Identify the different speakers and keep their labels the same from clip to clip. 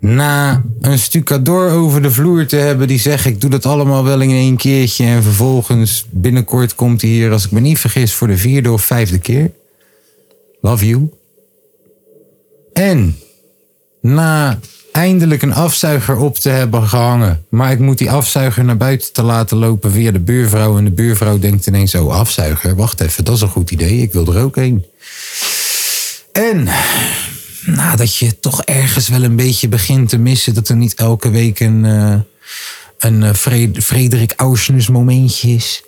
Speaker 1: Na een stucador over de vloer te hebben die zegt ik doe dat allemaal wel in één keertje. En vervolgens binnenkort komt hij hier, als ik me niet vergis, voor de vierde of vijfde keer. Love you. En na eindelijk een afzuiger op te hebben gehangen. Maar ik moet die afzuiger naar buiten te laten lopen via de buurvrouw. En de buurvrouw denkt ineens, oh afzuiger, wacht even, dat is een goed idee. Ik wil er ook een. En nadat je toch ergens wel een beetje begint te missen... dat er niet elke week een, eh, een eh, Fred- Frederik Ausnus momentje is...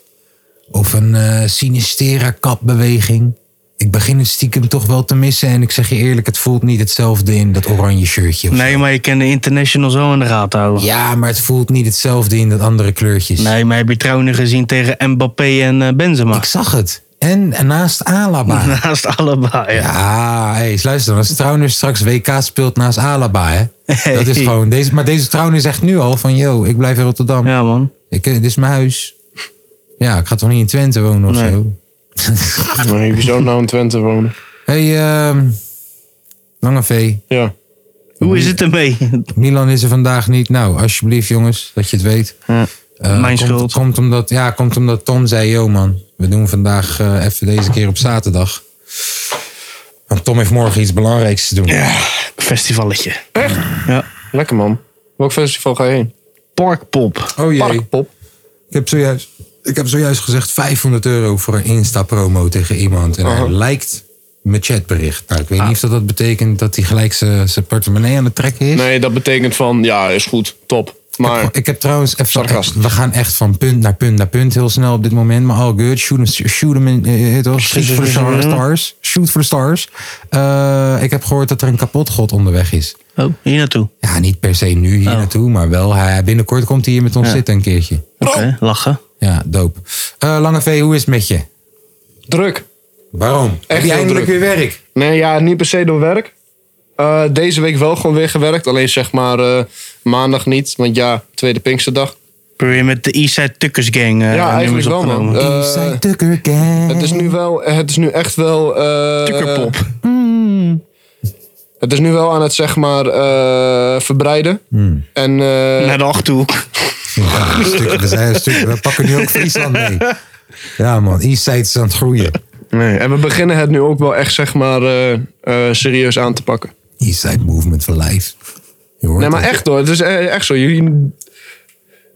Speaker 1: Of een eh Sinistera kapbeweging. Ik begin het stiekem toch wel te missen. En ik zeg je eerlijk, het voelt niet hetzelfde in dat oranje shirtje. of
Speaker 2: Nee, maar je kan de international zo in de gaten houden.
Speaker 1: Ja, maar het voelt niet hetzelfde in dat andere kleurtjes.
Speaker 2: Nee, maar heb je trouwen gezien tegen Mbappé en eh, Benzema?
Speaker 1: Ik zag het. En, en naast Alaba.
Speaker 2: Naast allebei, ja.
Speaker 1: Ja, hé, eens luister dan. Als Trouwner straks WK speelt naast Alaba, hè. Dat is
Speaker 2: Hey.
Speaker 1: gewoon... Deze, maar deze Trouwner zegt nu al van... Yo, ik blijf in Rotterdam.
Speaker 2: Ja, man.
Speaker 1: Ik, eh, dit is mijn huis. Ja, ik ga toch niet in Twente wonen of
Speaker 2: Nee.
Speaker 1: zo?
Speaker 3: Maar heb je zo nou in Twente wonen?
Speaker 1: Hé, hey, ehm, Lange V.
Speaker 3: Ja.
Speaker 2: Hoe is het ermee?
Speaker 1: Milan is er vandaag niet. Nou, alsjeblieft jongens, dat je het weet.
Speaker 2: Ja.
Speaker 1: Eh,
Speaker 2: Mijn
Speaker 1: komt,
Speaker 2: schuld.
Speaker 1: Komt omdat, ja, komt omdat Tom zei, yo man, we doen vandaag eh, even deze keer op zaterdag. Want Tom heeft morgen iets belangrijks te doen.
Speaker 2: Festivalletje.
Speaker 3: Lekker man. Welk festival ga je heen?
Speaker 2: Parkpop.
Speaker 1: Oh jee,
Speaker 3: Parkpop.
Speaker 1: ik heb, zojuist, ik heb zojuist gezegd 500 euro voor een Insta-promo tegen iemand. En hij lijkt mijn chatbericht. Nou, ik weet niet of dat, dat betekent dat hij gelijk zijn zijn portemonnee aan het trekken is.
Speaker 3: Nee, dat betekent van, ja, is goed, top. Maar
Speaker 1: Oh, Ik heb trouwens even.
Speaker 3: Sarcastisch.
Speaker 1: We gaan echt van punt naar punt naar punt heel snel op dit moment. Maar all good. Shoot, 'em- shoot 'em in. eh, eh, toch? Shoot for the stars. Shoot for the stars. Eh, ik heb gehoord dat er een kapotgod onderweg is.
Speaker 2: Oh, hier naartoe.
Speaker 1: Ja, niet per se nu
Speaker 3: Oh.
Speaker 1: hier naartoe, maar wel. Hij, binnenkort komt hij hier met ons zitten een keertje.
Speaker 3: Oh.
Speaker 2: Oké, lachen.
Speaker 1: Ja, doop. Eh Lange V, hoe is het met je?
Speaker 3: druk.
Speaker 1: Waarom? heb je
Speaker 3: heel
Speaker 1: eindelijk
Speaker 3: druk.
Speaker 1: weer werk?
Speaker 3: Nee, ja, niet per se door werk. Eh, deze week wel gewoon weer gewerkt. Alleen zeg maar eh, maandag niet. Want ja, tweede Pinksterdag.
Speaker 2: Probeer met de Eastside Tuckers Gang eh,
Speaker 3: Ja, eigenlijk
Speaker 2: nummers
Speaker 3: wel, man.
Speaker 2: opgenomen.
Speaker 3: Eh,
Speaker 1: Inside Tucker Gang.
Speaker 3: Het is nu wel, eh, het is nu echt wel... eh,
Speaker 2: Tukkerpop.
Speaker 3: Het is nu wel aan het zeg maar eh, verbreiden. En eh,
Speaker 2: Naar de Achterhoek.
Speaker 1: Ja, een stuk, we, zijn een stuk, we pakken nu ook Friesland mee. Ja, man. Eastside is aan het groeien.
Speaker 3: Nee, en we beginnen het nu ook wel echt, zeg maar, eh, eh, serieus aan te pakken.
Speaker 1: Eastside Movement for Life. Je hoort
Speaker 3: Nee, maar
Speaker 1: het.
Speaker 3: echt hoor. Het is eh, echt zo. Jullie,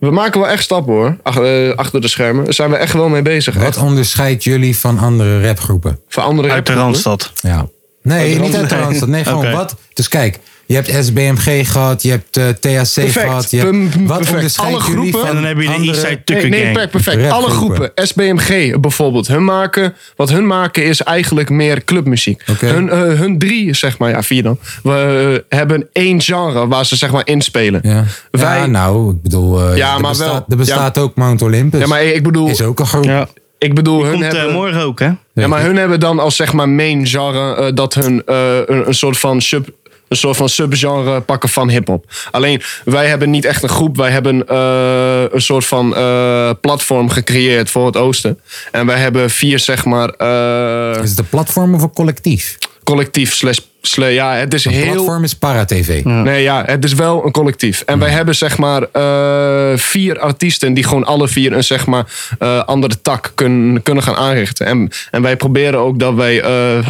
Speaker 3: we maken wel echt stappen hoor. Ach- eh, achter de schermen. Daar zijn we echt wel mee bezig. Echt.
Speaker 1: Wat onderscheidt jullie van andere rapgroepen?
Speaker 3: Voor andere
Speaker 2: Uit de
Speaker 3: rapgroepen.
Speaker 2: Randstad.
Speaker 1: Ja. Nee,
Speaker 3: Uit Oh, de
Speaker 1: niet uit de
Speaker 2: Randstad.
Speaker 1: Randstad. Nee, gewoon
Speaker 2: Oké.
Speaker 1: wat. Dus kijk, je hebt SBMG gehad, je hebt eh, THC gehad. Je hebt,
Speaker 3: Pum, pum,
Speaker 1: wat
Speaker 3: perfect.
Speaker 1: onderscheidt
Speaker 3: Alle
Speaker 1: jullie
Speaker 3: groepen.
Speaker 1: van
Speaker 2: En dan heb je de
Speaker 1: andere-
Speaker 2: Eastside
Speaker 3: Nee,
Speaker 2: Tucker
Speaker 3: nee,
Speaker 2: Gang.
Speaker 3: perfect, perfect. Alle
Speaker 1: Rapgroepen.
Speaker 3: groepen. SBMG bijvoorbeeld. Hun maken, wat hun maken is eigenlijk meer clubmuziek.
Speaker 1: Oké.
Speaker 3: Hun, eh, hun drie, zeg maar, ja vier dan. We eh, hebben één genre waar ze zeg maar inspelen.
Speaker 1: Ja.
Speaker 3: Wij,
Speaker 1: ja, nou, ik bedoel, eh,
Speaker 3: Ja,
Speaker 1: er,
Speaker 3: maar
Speaker 1: bestaat,
Speaker 3: wel.
Speaker 1: er bestaat ook Mount Olympus.
Speaker 3: ja, maar ik bedoel,
Speaker 1: dus is ook een groep.
Speaker 2: Ja.
Speaker 3: ik bedoel hun
Speaker 2: Komt eh,
Speaker 3: hebben...
Speaker 2: morgen ook, hè?
Speaker 3: Ja, maar
Speaker 1: ik.
Speaker 3: hun hebben dan als zeg maar main genre eh, dat hun eh, een, een soort van sub een soort van subgenre pakken van hip-hop. Alleen wij hebben niet echt een groep, wij hebben eh, een soort van eh, platform gecreëerd voor het Oosten. En wij hebben vier, zeg maar, eh,
Speaker 1: Is het een platform of een collectief?
Speaker 3: collectief slash. slash- ja, het is
Speaker 1: Een
Speaker 3: heel.
Speaker 1: platform is Paratv.
Speaker 3: Nee, ja, het is wel een collectief. En wij hebben zeg maar eh, vier artiesten die gewoon alle vier een zeg maar eh, andere tak kunnen kunnen gaan aanrichten. En, en wij proberen ook dat wij eh, eh,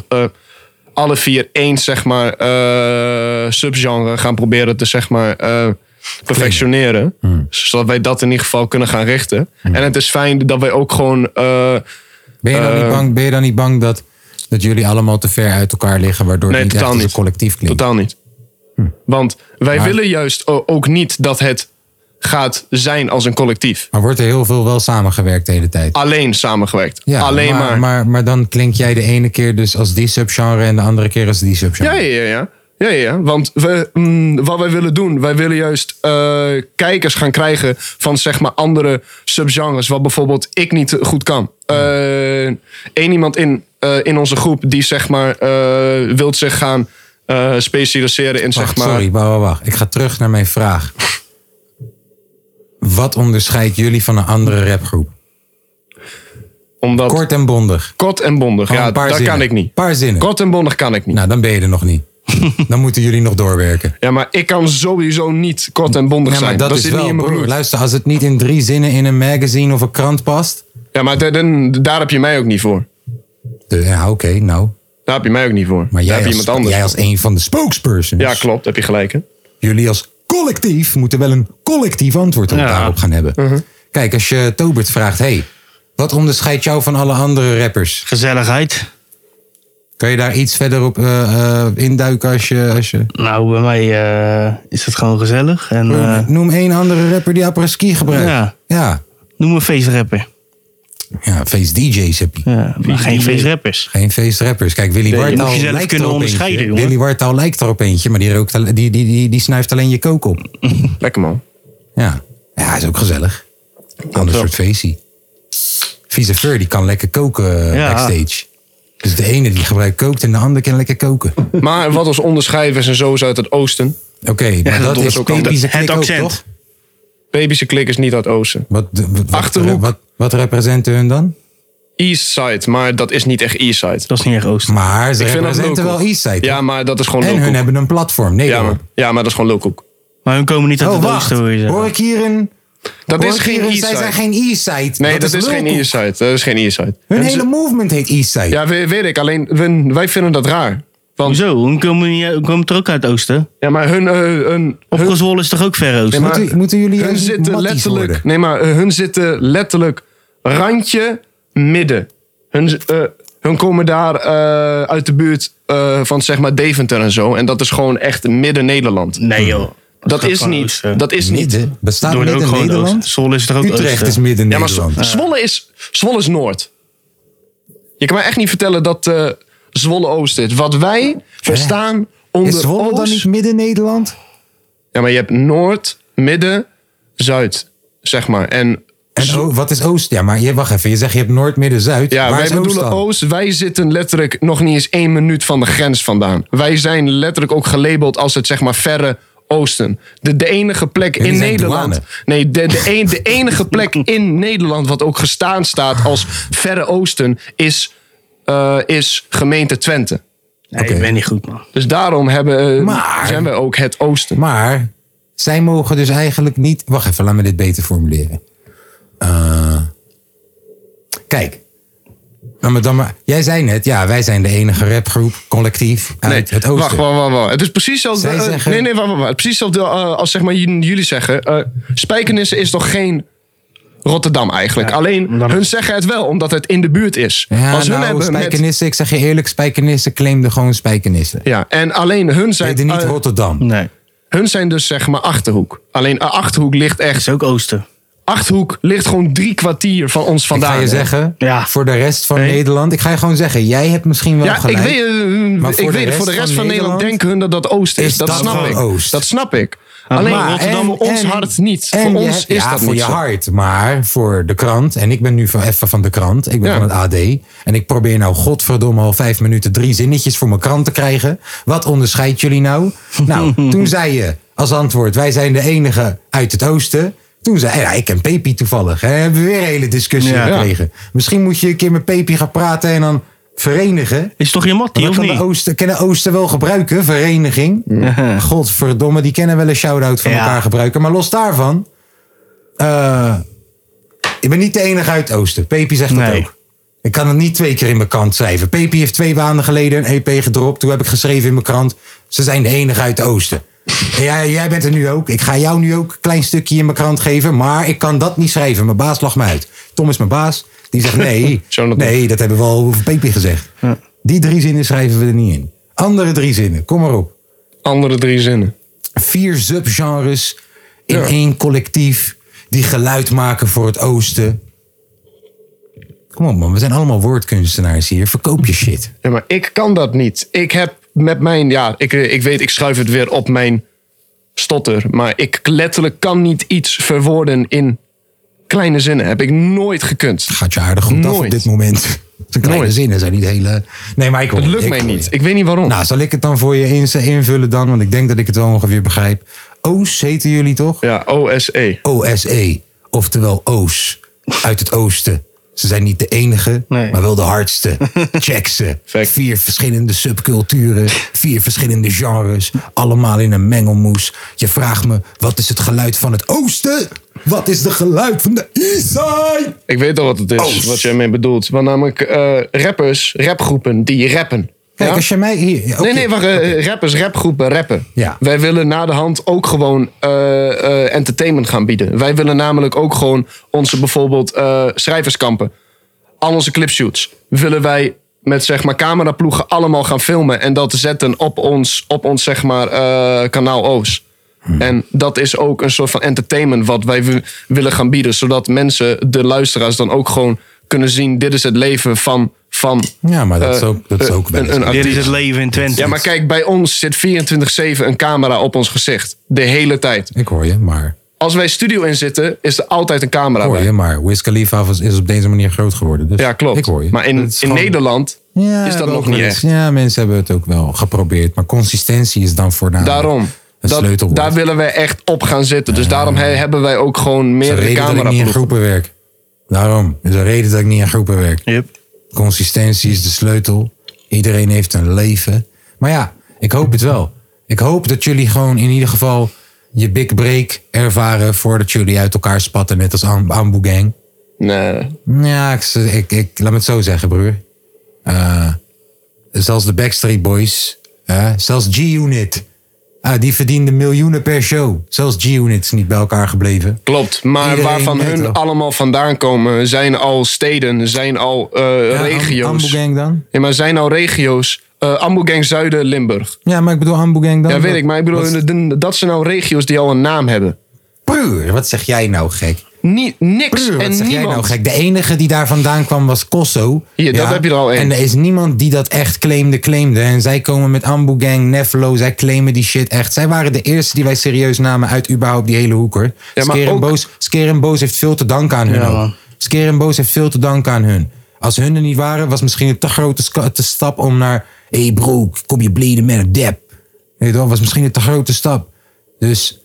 Speaker 3: alle vier één zeg maar eh, subgenre gaan proberen te zeg maar eh, perfectioneren. Zodat wij dat in ieder geval kunnen gaan richten. En het is fijn dat wij ook gewoon... eh,
Speaker 1: Ben je dan, niet,
Speaker 3: Eh,
Speaker 1: bang, ben je dan niet bang dat, dat jullie allemaal te ver uit elkaar liggen, waardoor
Speaker 3: Nee,
Speaker 1: het niet echt
Speaker 3: totaal
Speaker 1: als een
Speaker 3: niet.
Speaker 1: collectief klinkt?
Speaker 3: Totaal niet. Want wij
Speaker 1: Maar-
Speaker 3: willen juist o- ook niet dat het gaat zijn als een collectief.
Speaker 1: Maar wordt er heel veel wel samengewerkt de hele tijd?
Speaker 3: Alleen samengewerkt. Alleen maar.
Speaker 1: maar. Maar dan klink jij de ene keer dus als die subgenre en de andere keer als die subgenre.
Speaker 3: Ja, ja, ja, ja. Ja, ja, ja. want we, mm, wat wij willen doen, wij willen juist eh, kijkers gaan krijgen van zeg maar andere subgenres, wat bijvoorbeeld ik niet goed kan. Eén iemand in, eh, in onze groep die zeg maar eh wilt zich gaan eh, specialiseren in zeg
Speaker 1: Wacht,
Speaker 3: maar.
Speaker 1: sorry, wacht, wacht, wacht. Ik ga terug naar mijn vraag. Wat onderscheidt jullie van een andere rapgroep?
Speaker 3: Omdat kort,
Speaker 1: Kort en bondig.
Speaker 3: en bondig,
Speaker 1: Gewoon
Speaker 3: ja,
Speaker 1: een paar
Speaker 3: dat
Speaker 1: zinnen.
Speaker 3: kan ik niet.
Speaker 1: Paar zinnen.
Speaker 3: Kort en bondig kan ik niet.
Speaker 1: Nou, dan ben je er nog niet. Dan moeten jullie nog doorwerken.
Speaker 3: Ja, maar ik kan sowieso niet kort en bondig
Speaker 1: Ja, maar
Speaker 3: zijn.
Speaker 1: dat, is
Speaker 3: zit
Speaker 1: wel,
Speaker 3: niet in mijn
Speaker 1: broer,
Speaker 3: bloed.
Speaker 1: Luister, als het niet in drie zinnen in een magazine of een krant past.
Speaker 3: Ja, maar da- dan- daar heb je mij ook niet voor.
Speaker 1: de- ja, oké, nou.
Speaker 3: Daar heb je mij ook niet voor.
Speaker 1: Maar
Speaker 3: daar
Speaker 1: jij
Speaker 3: heb je
Speaker 1: als,
Speaker 3: iemand anders.
Speaker 1: jij als een van de spokespersons.
Speaker 3: Ja, klopt, heb je gelijk. Hè?
Speaker 1: jullie als collectief moeten wel een collectief antwoord op
Speaker 2: Ja.
Speaker 1: daarop gaan hebben. Kijk, als je Tobert vraagt, hey, wat onderscheidt jou van alle andere rappers?
Speaker 2: Gezelligheid.
Speaker 1: Kun je daar iets verder op eh, eh, induiken als je... Als je...
Speaker 2: Nou, bij mij eh, is het gewoon gezellig. En eh,
Speaker 1: Noem één andere rapper die apres-ski gebruikt.
Speaker 2: Ja.
Speaker 1: Ja,
Speaker 2: noem een feestrapper.
Speaker 1: ja feest DJ's heb je.
Speaker 2: Ja, maar geen feestrappers.
Speaker 1: Geen feestrappers. Kijk, Willy
Speaker 2: je
Speaker 1: Wartaal
Speaker 2: moet jezelf
Speaker 1: lijkt
Speaker 2: kunnen
Speaker 1: er op
Speaker 2: onderscheiden,
Speaker 1: eentje.
Speaker 2: jongen.
Speaker 1: Willy Wartaal lijkt er op eentje, maar die, rookt, al- die, die, die, die snuift alleen je kook op.
Speaker 3: Lekker man.
Speaker 1: Ja, ja is ook gezellig. Ander
Speaker 3: wel.
Speaker 1: soort feestje. Vieze Ver, die kan lekker koken eh,
Speaker 2: Ja.
Speaker 1: backstage. Dus de ene die gebruikt kookt en de ander kan lekker koken. Oké,
Speaker 3: Maar wat ons onderscheiden is en zo is uit het oosten.
Speaker 1: maar
Speaker 2: dat
Speaker 1: dat,
Speaker 2: is
Speaker 3: dus
Speaker 1: is
Speaker 2: ook al-
Speaker 1: typische
Speaker 2: het
Speaker 1: klik ook,
Speaker 2: accent.
Speaker 1: toch?
Speaker 3: Babysche klik is niet uit het oosten.
Speaker 1: Wat, de- wat, wat,
Speaker 3: Achterhoek.
Speaker 1: wat, wat representen hun dan?
Speaker 3: Eastside, maar dat is niet echt Eastside.
Speaker 2: Dat is niet echt oost.
Speaker 1: Maar ze
Speaker 3: Ik vind dat
Speaker 1: representen
Speaker 3: local.
Speaker 1: wel Eastside.
Speaker 3: Ja, maar dat is gewoon
Speaker 1: en hun
Speaker 3: lulkoek.
Speaker 1: hebben een platform. Nee,
Speaker 3: Ja
Speaker 1: hoor.
Speaker 3: maar, ja, maar dat is gewoon lulkoek.
Speaker 2: Maar hun komen niet uit
Speaker 1: Oh,
Speaker 2: het
Speaker 1: wacht.
Speaker 2: oosten, hoor je
Speaker 1: Hoor
Speaker 2: zeggen.
Speaker 1: ik hier een...
Speaker 3: Dat
Speaker 1: hoor
Speaker 3: is
Speaker 1: ik
Speaker 3: geen
Speaker 1: hier een- Zij
Speaker 3: Eastside.
Speaker 1: zijn geen Eastside.
Speaker 3: Nee, dat, is, geen
Speaker 1: lulkoek.
Speaker 3: Eastside. Dat is geen Eastside.
Speaker 1: Hun
Speaker 3: Hebben ze-
Speaker 1: hele movement heet Eastside.
Speaker 3: Ja, we- weet ik. Alleen we- wij vinden dat raar. Want,
Speaker 2: Hoezo? Hun komen, niet, hun komen er ook uit het oosten.
Speaker 3: ja, maar hun, eh, hun, hun,
Speaker 2: Opgezwollen is toch ook ver oosten?
Speaker 3: maar-
Speaker 1: moeten, moeten jullie
Speaker 3: hun
Speaker 1: juist niet
Speaker 3: zitten
Speaker 1: matties
Speaker 3: letterlijk.
Speaker 1: worden?
Speaker 3: Nee, maar eh, hun zitten letterlijk randje midden. Hun, z- eh, hun komen daar eh, uit de buurt eh, van zeg maar Deventer en zo. En dat is gewoon echt midden Nederland.
Speaker 2: Nee joh.
Speaker 3: Dat
Speaker 2: gaat
Speaker 3: is
Speaker 2: gewoon
Speaker 1: dus,
Speaker 3: niet.
Speaker 1: eh,
Speaker 2: oosten.
Speaker 3: Dat is niet.
Speaker 1: Midden? Bestaat
Speaker 2: Doen we ook
Speaker 1: midden
Speaker 2: gewoon
Speaker 1: Nederland?
Speaker 2: oosten. Zwolle is er ook
Speaker 1: Utrecht
Speaker 2: oosten.
Speaker 1: is midden
Speaker 3: Ja, maar Zw-
Speaker 1: Nederland.
Speaker 3: Zwolle is, Zwolle is Noord. Je kan mij echt niet vertellen dat eh, Zwolle Oost is. Wat wij verstaan onder
Speaker 1: Is Zwolle dan
Speaker 3: Oost-
Speaker 1: niet midden Nederland?
Speaker 3: Ja, maar je hebt Noord, Midden, Zuid, zeg maar. En
Speaker 1: En o- wat is Oost? Ja, maar je, wacht even. Je zegt je hebt Noord, Midden, Zuid.
Speaker 3: ja,
Speaker 1: Waar
Speaker 3: wij
Speaker 1: is Oost
Speaker 3: bedoelen
Speaker 1: dan?
Speaker 3: Oost. Wij zitten letterlijk nog niet eens één minuut van de grens vandaan. Wij zijn letterlijk ook gelabeld als het zeg maar verre Oosten. De, de enige plek
Speaker 1: Jullie
Speaker 3: in
Speaker 1: zijn
Speaker 3: Nederland.
Speaker 1: douane.
Speaker 3: Nee, de, de, een- de enige plek in Nederland wat ook gestaan staat als verre Oosten is, eh, is gemeente Twente.
Speaker 2: Nee, ik ben niet goed man.
Speaker 3: Dus daarom hebben, eh,
Speaker 1: Maar-
Speaker 3: zijn we ook het Oosten.
Speaker 1: Maar zij mogen dus eigenlijk niet... Wacht even, laat me dit beter formuleren. Eh, kijk. Nou, maar dan maar, jij zei net, ja, wij zijn de enige rapgroep, collectief, uit
Speaker 3: Nee,
Speaker 1: het Oosten.
Speaker 3: Wacht, wacht, wacht, wacht. Het is precies hetzelfde.
Speaker 1: Zij
Speaker 3: eh,
Speaker 1: zeggen-
Speaker 3: Nee, nee, wacht, wacht, wacht. Het is Precies hetzelfde eh, als zeg maar j- jullie zeggen. eh Spijkenissen is toch geen Rotterdam eigenlijk. Alleen
Speaker 2: omdat-
Speaker 3: hun zeggen het wel, omdat het in de buurt is.
Speaker 1: Ja,
Speaker 3: als hun
Speaker 1: nou,
Speaker 3: hebben met-
Speaker 1: spijkenissen, ik zeg je eerlijk, spijkenissen claimden gewoon spijkenissen.
Speaker 3: ja, en alleen hun zijn,
Speaker 1: Heette niet
Speaker 3: eh,
Speaker 1: Rotterdam.
Speaker 2: Nee.
Speaker 3: hun zijn dus zeg maar Achterhoek. Alleen eh, Achterhoek ligt echt...
Speaker 2: Is ook oosten.
Speaker 3: Achterhoek ligt gewoon drie kwartier van ons vandaan.
Speaker 1: ik ga je
Speaker 3: hè.
Speaker 1: zeggen,
Speaker 2: Ja.
Speaker 1: voor de rest van Nederland, ik ga je gewoon zeggen, jij hebt misschien wel
Speaker 3: Ja,
Speaker 1: gelijk.
Speaker 3: ik weet, eh,
Speaker 1: Maar
Speaker 3: ik
Speaker 1: voor de
Speaker 3: weet
Speaker 1: rest
Speaker 3: voor de rest
Speaker 1: van
Speaker 3: van, Nederland
Speaker 1: Nederland
Speaker 3: denken hun dat dat Oost is.
Speaker 1: is
Speaker 3: dat,
Speaker 1: dat
Speaker 3: snap
Speaker 1: gewoon
Speaker 3: ik.
Speaker 1: Oost.
Speaker 3: Dat snap ik. Alleen
Speaker 2: maar-
Speaker 3: Rotterdam,
Speaker 1: en-
Speaker 3: voor ons
Speaker 1: en-
Speaker 3: hart niet.
Speaker 1: en
Speaker 3: Voor
Speaker 1: je-
Speaker 3: ons is
Speaker 1: ja,
Speaker 3: dat
Speaker 1: voor
Speaker 3: niet
Speaker 1: je
Speaker 3: zo.
Speaker 1: hart, maar voor de krant. En ik ben nu van, even van de krant. Ik ben
Speaker 3: Ja.
Speaker 1: van het AD. En ik probeer nou godverdomme al vijf minuten drie zinnetjes voor mijn krant te krijgen. Wat onderscheidt jullie nou? Nou, toen zei je als antwoord, wij zijn de enige uit het oosten. Toen zei ja, ik ken Pepi toevallig. Hè, hebben we weer een hele discussie
Speaker 2: Ja.
Speaker 1: gekregen. Misschien moet je een keer met Pepi gaan praten en dan verenigen.
Speaker 2: Is toch je mattie
Speaker 1: Maar
Speaker 2: of
Speaker 1: dat kan
Speaker 2: niet?
Speaker 1: de Oosten, kennen Oosten wel gebruiken, vereniging. Godverdomme, die kennen wel een shout-out van
Speaker 2: Ja.
Speaker 1: elkaar gebruiken. Maar los daarvan. eh, ik ben niet de enige uit Oosten. Pepi zegt dat
Speaker 2: Nee.
Speaker 1: ook. Ik kan het niet twee keer in mijn krant schrijven. Pepi heeft twee maanden geleden een EP gedropt. Toen heb ik geschreven in mijn krant. Ze zijn de enige uit de Oosten. En jij, jij bent er nu ook. Ik ga jou nu ook een klein stukje in mijn krant geven. Maar ik kan dat niet schrijven. Mijn baas lacht me uit. Tom is mijn baas. Die zegt nee.
Speaker 3: Zo dat-
Speaker 1: nee, dat hebben we al over Pepi gezegd. Die drie zinnen schrijven we er niet in. Andere drie zinnen. Kom maar op
Speaker 3: Andere drie zinnen.
Speaker 1: vier subgenres in
Speaker 3: Ja.
Speaker 1: één collectief die geluid maken voor het oosten. Kom op man, we zijn allemaal woordkunstenaars hier. Verkoop je shit.
Speaker 3: Ja, maar ik kan dat niet. Ik heb met mijn, ja, ik, eh, ik weet, ik schuif het weer op mijn stotter. Maar ik letterlijk kan niet iets verwoorden in kleine zinnen. Heb ik nooit gekund.
Speaker 1: Gaat je aardig goed af op
Speaker 3: Nooit.
Speaker 1: dit moment. De kleine
Speaker 3: Nooit.
Speaker 1: zinnen zijn niet hele... Nee, maar ik hoor
Speaker 3: Het
Speaker 1: je,
Speaker 3: lukt
Speaker 1: ik
Speaker 3: mij
Speaker 1: hoor
Speaker 3: niet.
Speaker 1: je.
Speaker 3: Ik weet niet waarom.
Speaker 1: Nou, zal ik het dan voor je ins- invullen dan? Want ik denk dat ik het wel ongeveer begrijp. O's heten jullie toch?
Speaker 3: Ja, E. OSE.
Speaker 1: OSE, E, oftewel O's, uit het oosten. Ze zijn niet de enige,
Speaker 2: Nee.
Speaker 1: maar wel de hardste. Check ze.
Speaker 3: Fact.
Speaker 1: Vier verschillende subculturen, vier verschillende genres, allemaal in een mengelmoes. Je vraagt me, wat is het geluid van het oosten? Wat is het geluid van de eastside?
Speaker 3: Ik weet al wat het is,
Speaker 1: Oost.
Speaker 3: wat jij mee bedoelt. Want namelijk eh, rappers, rapgroepen die rappen.
Speaker 1: Kijk,
Speaker 3: Ja?
Speaker 1: als je mij hier... oké.
Speaker 3: Nee, nee, wacht. eh, rappers, rapgroepen rappen.
Speaker 1: Ja.
Speaker 3: Wij willen na de hand ook gewoon eh, eh, entertainment gaan bieden. Wij willen namelijk ook gewoon onze bijvoorbeeld eh, schrijverskampen. Al onze clipshoots. Willen wij met zeg maar cameraploegen allemaal gaan filmen. En dat zetten op ons, op ons zeg maar eh, kanaal O's.
Speaker 1: Hmm.
Speaker 3: En dat is ook een soort van entertainment wat wij wi- willen gaan bieden. Zodat mensen, de luisteraars, dan ook gewoon kunnen zien: dit is het leven van. van
Speaker 1: Ja, maar dat is
Speaker 3: eh,
Speaker 1: ook, dat is
Speaker 3: eh,
Speaker 1: ook wel
Speaker 3: een,
Speaker 1: eens-
Speaker 3: een
Speaker 2: Dit is
Speaker 3: artiest.
Speaker 2: het leven in Twente.
Speaker 3: Ja, maar kijk, bij ons zit 24-7 een camera op ons gezicht. De hele tijd.
Speaker 1: Ik hoor je, maar...
Speaker 3: Als wij studio in zitten, is er altijd een camera
Speaker 1: Hoor
Speaker 3: bij.
Speaker 1: je, maar Wiz Khalifa was- is op deze manier groot geworden. Dus
Speaker 3: Ja, klopt.
Speaker 1: Ik hoor je.
Speaker 3: Maar in,
Speaker 1: Dat is
Speaker 3: in
Speaker 1: gewoon-
Speaker 3: Nederland
Speaker 1: Ja,
Speaker 3: is dat
Speaker 1: wel
Speaker 3: nog niet
Speaker 1: gelukt.
Speaker 3: echt.
Speaker 1: Ja, mensen hebben het ook wel geprobeerd. Maar consistentie is dan voornamelijk
Speaker 3: Daarom.
Speaker 1: het
Speaker 3: Dat,
Speaker 1: sleutelwoord.
Speaker 3: daar willen wij echt op gaan zitten. Dus daarom he- hebben wij ook gewoon
Speaker 1: is een
Speaker 3: meerdere
Speaker 1: reden dat ik niet in
Speaker 3: cameraploegen.
Speaker 1: groepen werk. Daarom. is een reden dat ik niet in groepen werk.
Speaker 2: Yep.
Speaker 1: Consistentie is de sleutel. Iedereen heeft een leven. Maar ja, ik hoop het wel. Ik hoop dat jullie gewoon in ieder geval je big break ervaren... voordat jullie uit elkaar spatten, net als Am- Ambu Gang.
Speaker 3: Nee.
Speaker 1: Ja, ik, ik, ik- laat me het zo zeggen, broer. Eh, zelfs de Backstreet Boys, hè, zelfs G-Unit. Ah, die verdienden miljoenen per show. Zelfs G-Unit is niet bij elkaar gebleven.
Speaker 3: Klopt, maar
Speaker 1: Iedereen
Speaker 3: waarvan
Speaker 1: weet
Speaker 3: hun
Speaker 1: wel.
Speaker 3: allemaal vandaan komen, zijn al steden, zijn al eh,
Speaker 1: Ja, Am-
Speaker 3: regio's.
Speaker 1: Ambu Gang dan?
Speaker 3: Ja, maar zijn al regio's. eh Ambu Gang Zuiden, Limburg.
Speaker 1: Ja, maar ik bedoel Ambu Gang dan?
Speaker 3: Ja, weet ik, maar ik bedoel,
Speaker 1: Wat-
Speaker 3: hun- dat zijn al regio's die al een naam hebben.
Speaker 1: Broer, wat zeg jij nou gek?
Speaker 3: Ni- niks
Speaker 1: Broer,
Speaker 3: en
Speaker 1: wat zeg
Speaker 3: niemand.
Speaker 1: jij nou gek? De enige die daar vandaan kwam was Kosso.
Speaker 3: Hier, dat heb je er al één.
Speaker 1: En er is niemand die dat echt claimde, claimde. En zij komen met Ambu Gang, Neflo, zij claimen die shit echt. Zij waren de eerste die wij serieus namen uit überhaupt die hele hoeker.
Speaker 3: Ja, maar
Speaker 1: Skeer en
Speaker 3: ook-
Speaker 1: Boos, Skeer en Boos heeft veel te danken aan hun.
Speaker 2: Ja,
Speaker 1: ook.
Speaker 2: man.
Speaker 1: Skeer en Boos heeft veel te danken aan hun. Als hun er niet waren, was misschien een te grote ska- te stap om naar... Hé hey bro, kom je bleden met een dep. Weet je wel, was misschien een te grote stap. Dus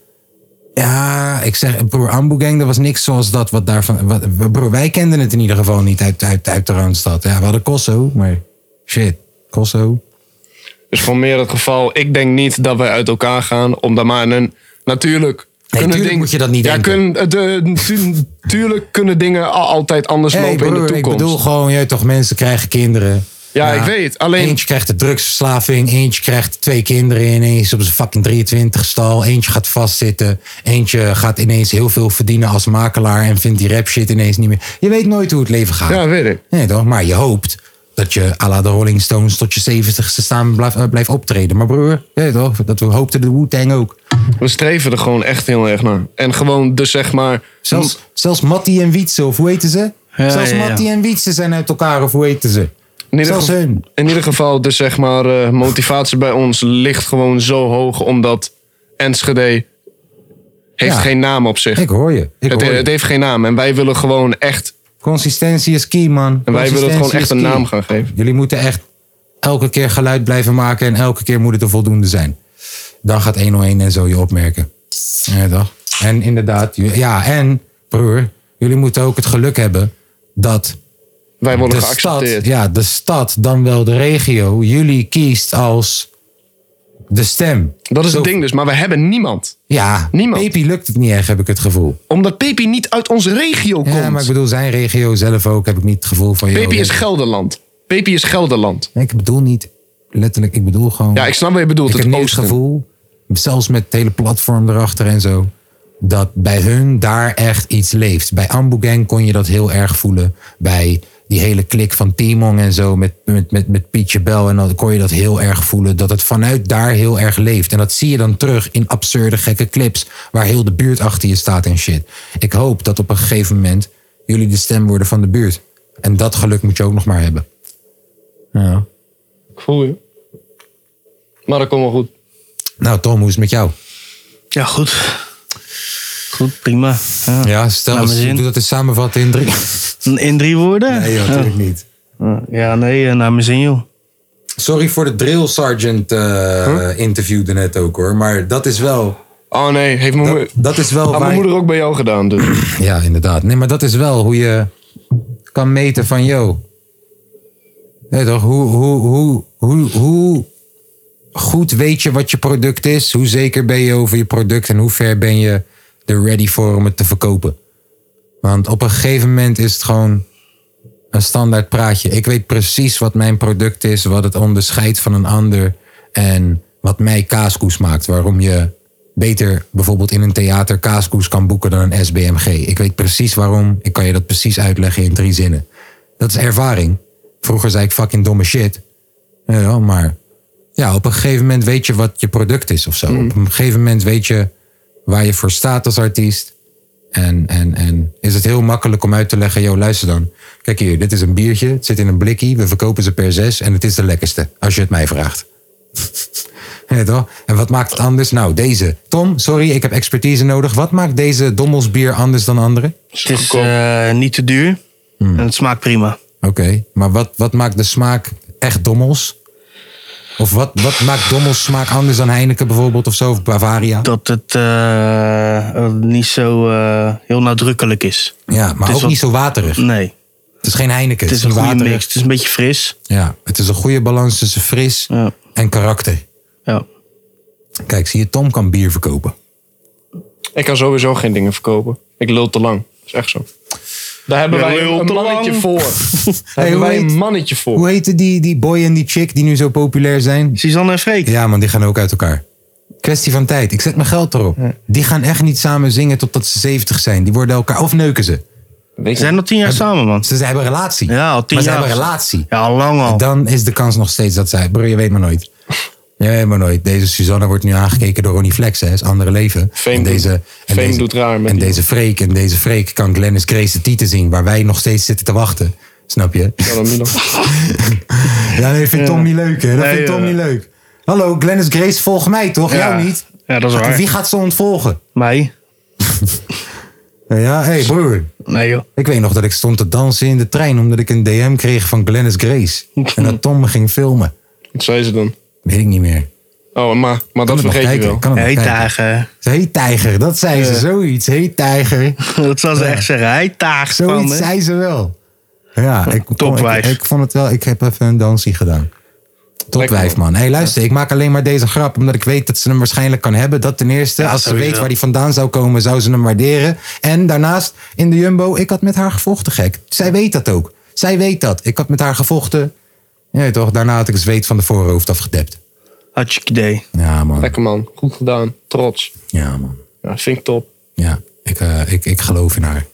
Speaker 1: ja, ik zeg, broer, Ambu Gang, dat was niks zoals dat wat daarvan... Wat, broer, wij kenden het in ieder geval niet uit, uit, uit de Randstad. Ja, we hadden Kosso, maar shit, Kosso.
Speaker 3: Dus voor meer het geval, ik denk niet dat wij uit elkaar gaan. Omdat maar een, natuurlijk...
Speaker 1: tuurlijk
Speaker 3: ding-
Speaker 1: moet je dat niet
Speaker 3: ja,
Speaker 1: denken.
Speaker 3: Kun, de, tu- tuurlijk kunnen dingen al- altijd anders
Speaker 1: Hey,
Speaker 3: lopen in
Speaker 1: broer, ik
Speaker 3: de toekomst.
Speaker 1: bedoel gewoon, je toch, mensen krijgen kinderen.
Speaker 3: Ja, ik weet, alleen-
Speaker 1: Eentje krijgt de drugsverslaving, eentje krijgt twee kinderen ineens op zijn fucking 23 stal. Eentje gaat vastzitten, eentje gaat ineens heel veel verdienen als makelaar en vindt die rap shit ineens niet meer. Je weet nooit hoe het leven gaat.
Speaker 3: Ja, weet ik.
Speaker 1: Nee, toch? Maar je hoopt dat je à la de Rolling Stones tot je 70ste staan blijft, eh, blijft optreden. Maar broer, nee, toch? Dat we hoopten de Wu-Tang ook.
Speaker 3: We streven er gewoon echt heel erg naar. En gewoon dus zeg maar...
Speaker 1: Zelfs, zelfs Mattie en Wietse, of hoe heten ze?
Speaker 2: Ja,
Speaker 1: zelfs
Speaker 2: ja, ja.
Speaker 1: Mattie en Wietse zijn uit elkaar, of hoe heten ze?
Speaker 3: In ieder,
Speaker 1: Zelfs
Speaker 3: geval,
Speaker 1: hun.
Speaker 3: in ieder geval, dus zeg maar, eh, motivatie bij ons ligt gewoon zo hoog. Omdat Enschede heeft
Speaker 1: Ja.
Speaker 3: geen naam op zich.
Speaker 1: Ik hoor je. Ik
Speaker 3: het,
Speaker 1: hoor je.
Speaker 3: het heeft geen naam. En wij willen gewoon echt...
Speaker 1: Consistentie is key, man.
Speaker 3: En wij willen het gewoon
Speaker 1: Consistentie
Speaker 3: echt
Speaker 1: is
Speaker 3: een
Speaker 1: key.
Speaker 3: naam gaan geven.
Speaker 1: Jullie moeten echt elke keer geluid blijven maken en elke keer moet het er voldoende zijn. Dan gaat 101 en zo je opmerken. Ja, toch? En inderdaad, ju- ja, en broer, jullie moeten ook het geluk hebben dat
Speaker 3: Wij worden
Speaker 1: de stad,
Speaker 3: geaccepteerd.
Speaker 1: ja, de stad, dan wel de regio, jullie kiest als de stem.
Speaker 3: Dat is
Speaker 1: Zo-
Speaker 3: het ding dus. Maar we hebben niemand.
Speaker 1: Ja,
Speaker 3: Niemand.
Speaker 1: Pepi lukt het niet echt, heb ik het gevoel.
Speaker 3: Omdat Pepi niet uit onze regio komt.
Speaker 1: Ja, maar ik bedoel, zijn regio zelf ook, heb ik niet het gevoel van... joh,
Speaker 3: Pepi is
Speaker 1: dit-
Speaker 3: Gelderland. Pepi is Gelderland.
Speaker 1: Nee, ik bedoel niet letterlijk, ik bedoel gewoon...
Speaker 3: Ja, ik snap wat je bedoelt.
Speaker 1: ik heb
Speaker 3: het
Speaker 1: nu het
Speaker 3: oosten.
Speaker 1: gevoel, zelfs met het hele platform erachter en zo, dat bij hun daar echt iets leeft. Bij Ambu Gang kon je dat heel erg voelen. Bij die hele klik van Timong en zo met, met, met, met Pietje Bel. En dan kon je dat heel erg voelen. Dat het vanuit daar heel erg leeft. En dat zie je dan terug in absurde gekke clips. Waar heel de buurt achter je staat en shit. Ik hoop dat op een gegeven moment jullie de stem worden van de buurt. En dat geluk moet je ook nog maar hebben. Ja.
Speaker 3: Ik voel je. Maar dat komt wel goed.
Speaker 1: Nou, Tom, hoe is het met jou?
Speaker 2: Ja, goed. Goed, prima. Ja.
Speaker 1: Ja, stel,
Speaker 2: naar
Speaker 1: als,
Speaker 2: mijn zin.
Speaker 1: doe dat eens samenvatten in drie.
Speaker 2: In drie woorden?
Speaker 1: natuurlijk niet.
Speaker 2: ja. ja, nee, eh, naar mijn zin, joh.
Speaker 1: Sorry voor de drill sergeant eh, interview daarnet ook hoor. Maar dat is wel.
Speaker 3: Oh nee, heeft mijn, moeder-
Speaker 1: Dat is wel.
Speaker 3: had
Speaker 1: waar-
Speaker 3: mijn moeder ook bij jou gedaan. Dus.
Speaker 1: Ja, inderdaad. Nee, maar dat is wel hoe je kan meten van yo. Nee, toch? Hoe, hoe, hoe, hoe, hoe goed weet je wat je product is? Hoe zeker ben je over je product en hoe ver ben je er ready voor om het te verkopen? Want op een gegeven moment is het gewoon een standaard praatje. Ik weet precies wat mijn product is, wat het onderscheidt van een ander en wat mij kaaskoes maakt. Waarom je beter bijvoorbeeld in een theater kaaskoes kan boeken dan een SBMG. Ik weet precies waarom. Ik kan je dat precies uitleggen in drie zinnen. Dat is ervaring. Vroeger zei ik fucking domme shit. Ja, Eh, oh, maar ja, op een gegeven moment weet je wat je product is of zo. Op een gegeven moment weet je waar je voor staat als artiest. En, en, en is het heel makkelijk om uit te leggen, joh, luister dan. Kijk hier, dit is een biertje, het zit in een blikkie, we verkopen ze per zes en het is de lekkerste, als je het mij vraagt. Ja, toch? En wat maakt het anders? Nou, deze. Tom, sorry, ik heb expertise nodig. Wat maakt deze dommelsbier anders dan andere?
Speaker 2: Het is eh, niet te duur en het smaakt prima.
Speaker 1: Oké, maar wat, wat maakt de smaak echt dommels? Of wat, wat maakt dommels smaak anders dan Heineken bijvoorbeeld of zo? Of Bavaria?
Speaker 2: Dat het eh, eh, niet zo eh, heel nadrukkelijk is.
Speaker 1: Ja, maar
Speaker 2: is
Speaker 1: ook
Speaker 2: wat-
Speaker 1: niet zo waterig.
Speaker 2: Nee, het,
Speaker 1: Het is geen Heineken.
Speaker 2: is een
Speaker 1: niet
Speaker 2: goede
Speaker 1: waterig.
Speaker 2: mix. Het is een beetje fris.
Speaker 1: Ja, het is een goede balans tussen fris
Speaker 2: Ja.
Speaker 1: en karakter.
Speaker 2: Ja.
Speaker 1: Kijk, zie je, Tom kan bier verkopen.
Speaker 3: Ik kan sowieso geen dingen verkopen. Ik lul te lang. Dat is echt zo. Daar hebben
Speaker 2: Je
Speaker 3: wij
Speaker 2: lult
Speaker 3: een
Speaker 2: te
Speaker 3: mannetje
Speaker 2: lang.
Speaker 3: voor. Daar hebben
Speaker 1: hoe
Speaker 3: wij
Speaker 1: heet-
Speaker 3: een mannetje voor.
Speaker 1: Hoe heette die, die boy en die chick die nu zo populair zijn?
Speaker 2: Suzanne en Freek.
Speaker 1: Ja, man, die gaan ook uit elkaar. Kwestie van tijd. Ik zet mijn geld erop. Die gaan echt niet samen zingen totdat ze 70 zijn. Die worden elkaar. Of neuken ze.
Speaker 3: Weet
Speaker 2: We zijn al tien jaar samen, man.
Speaker 1: Ze, ze hebben een relatie.
Speaker 2: Ja, al tien
Speaker 1: maar ze
Speaker 2: jaar.
Speaker 1: hebben een relatie.
Speaker 2: Ja, al lang al.
Speaker 1: Dan is de kans nog steeds dat zij. Bro, je weet maar nooit. Je weet maar nooit. Deze Suzanne wordt nu aangekeken door Ronnie Flex, hè? Is andere leven.
Speaker 3: Fame
Speaker 1: en
Speaker 3: doet-
Speaker 1: deze, en
Speaker 3: Fame
Speaker 1: deze,
Speaker 3: doet raar met
Speaker 1: En
Speaker 3: die
Speaker 1: deze Freek. En deze Freek kan Glennis Grace de tieten zien. Waar wij nog steeds zitten te wachten. Snap je?
Speaker 3: Ja, dan Milan.
Speaker 1: Ja, nee, vindt Tom niet leuk, hè? Dat
Speaker 2: Nee,
Speaker 1: vindt Tom
Speaker 2: ja.
Speaker 1: niet leuk. Hallo, Glennis Grace volgt mij toch?
Speaker 2: Ja.
Speaker 1: Jou niet?
Speaker 2: Ja, dat is waar.
Speaker 1: Wie gaat ze ontvolgen?
Speaker 2: Mij?
Speaker 1: Ja, hé hey, broer.
Speaker 2: Nee, joh.
Speaker 1: Ik weet nog dat ik stond te dansen in de trein omdat ik een DM kreeg van Glennis Grace. En dat Tom me ging filmen.
Speaker 3: Wat zei ze dan?
Speaker 1: Weet ik niet meer.
Speaker 3: Oh, maar, maar dat
Speaker 1: Kan het nog
Speaker 3: vergeet je
Speaker 1: kijken,
Speaker 3: wel.
Speaker 1: kan het nog
Speaker 2: Hey,
Speaker 1: kijken.
Speaker 2: dagen.
Speaker 1: Ze heet tijger, dat zei ze. Zoiets, heet tijger.
Speaker 2: Dat zal ze echt zeggen. Hij taagt van
Speaker 1: Zoiets
Speaker 2: me.
Speaker 1: zei ze wel. Ja, ik, ik,
Speaker 2: Topwijf.
Speaker 1: ik vond het wel. Ik heb even een dansie gedaan. Topwijf, man. Hé, hey, luister, ik maak alleen maar deze grap omdat ik weet dat ze hem waarschijnlijk kan hebben. Dat ten eerste. Als ze
Speaker 2: sowieso.
Speaker 1: weet waar die vandaan zou komen, zou ze hem waarderen. En daarnaast, in de Jumbo, ik had met haar gevochten, gek. Zij weet dat ook. Zij weet dat. Ik had met haar gevochten. Ja, toch? Daarna had ik het zweet van de voorhoofd afgedept.
Speaker 2: Had je idee.
Speaker 1: Ja, man.
Speaker 3: Lekker man. Goed gedaan. Trots.
Speaker 1: Ja, man.
Speaker 3: Ja, vind ik top.
Speaker 1: Ja, ik, eh, ik, ik geloof in haar.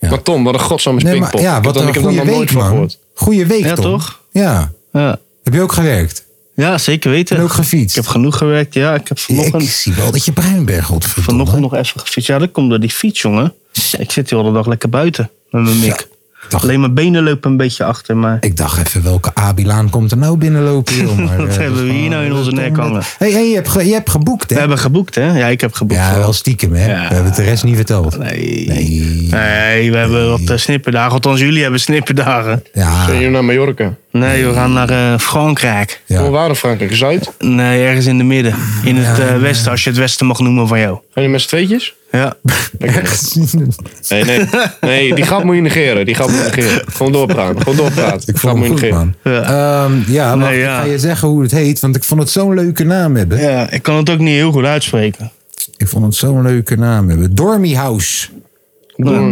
Speaker 1: Ja.
Speaker 3: Maar Tom, wat een godsamme
Speaker 1: Nee,
Speaker 3: springpop.
Speaker 1: maar, ja,
Speaker 3: Ik heb
Speaker 1: wat
Speaker 3: dan-
Speaker 1: een
Speaker 3: ik heb er
Speaker 1: goede
Speaker 3: nog nooit
Speaker 1: week,
Speaker 3: van
Speaker 1: man.
Speaker 3: gehoord.
Speaker 1: Goeie week,
Speaker 2: Ja,
Speaker 1: Tom.
Speaker 2: toch?
Speaker 1: Ja.
Speaker 2: Ja.
Speaker 1: Heb je ook gewerkt?
Speaker 2: ja, zeker weten.
Speaker 1: En ook gefietst?
Speaker 2: Ik heb genoeg gewerkt. Ja, ik heb vanochtend,
Speaker 1: Ik zie wel dat je bruin bent, godverdomme.
Speaker 2: vanochtend nog even gefietst. Ja, dat komt door die fiets, jongen. Ik zit de hele dag lekker buiten met mijn mik.
Speaker 1: dacht-
Speaker 2: Alleen mijn benen lopen een beetje achter, maar...
Speaker 1: Ik dacht even, welke Abilaan komt er nou binnenlopen, joh. Maar,
Speaker 2: Wat
Speaker 1: eh,
Speaker 2: hebben we hier nou in onze nek hangen?
Speaker 1: hey, hey, je, hebt ge- je hebt geboekt,
Speaker 2: We
Speaker 1: hè?
Speaker 2: hebben geboekt, hè? Ja, ik heb geboekt.
Speaker 1: Ja,
Speaker 2: voor-
Speaker 1: wel stiekem, hè?
Speaker 2: Ja.
Speaker 1: We hebben het de rest niet verteld.
Speaker 2: Nee.
Speaker 1: Nee.
Speaker 2: Nee, we hebben wat eh, snipperdagen. Althans, jullie hebben snipperdagen.
Speaker 3: Ben
Speaker 1: Ja,
Speaker 3: je naar Mallorca?
Speaker 2: Nee, we gaan naar eh, Frankrijk.
Speaker 1: Ja.
Speaker 3: Hoe waren Frankrijk? Zuid?
Speaker 2: Nee, ergens in de midden. In het eh, westen, als je het westen mag noemen van jou.
Speaker 3: Gaan je met z'n tweetjes?
Speaker 2: Ja.
Speaker 3: Nee, nee. Nee, die grap moet je negeren. Die grap moet je negeren. Gewoon doorpraten. Gewoon doorpraten.
Speaker 1: ik vond het goed, man. Ehm, ja, maar
Speaker 2: Nee,
Speaker 1: ik
Speaker 2: ja.
Speaker 1: ga je zeggen hoe het heet, want ik vond het zo'n leuke naam hebben.
Speaker 2: ja, ik kan het ook niet heel goed uitspreken.
Speaker 1: Ik vond het zo'n leuke naam hebben. Dormy House.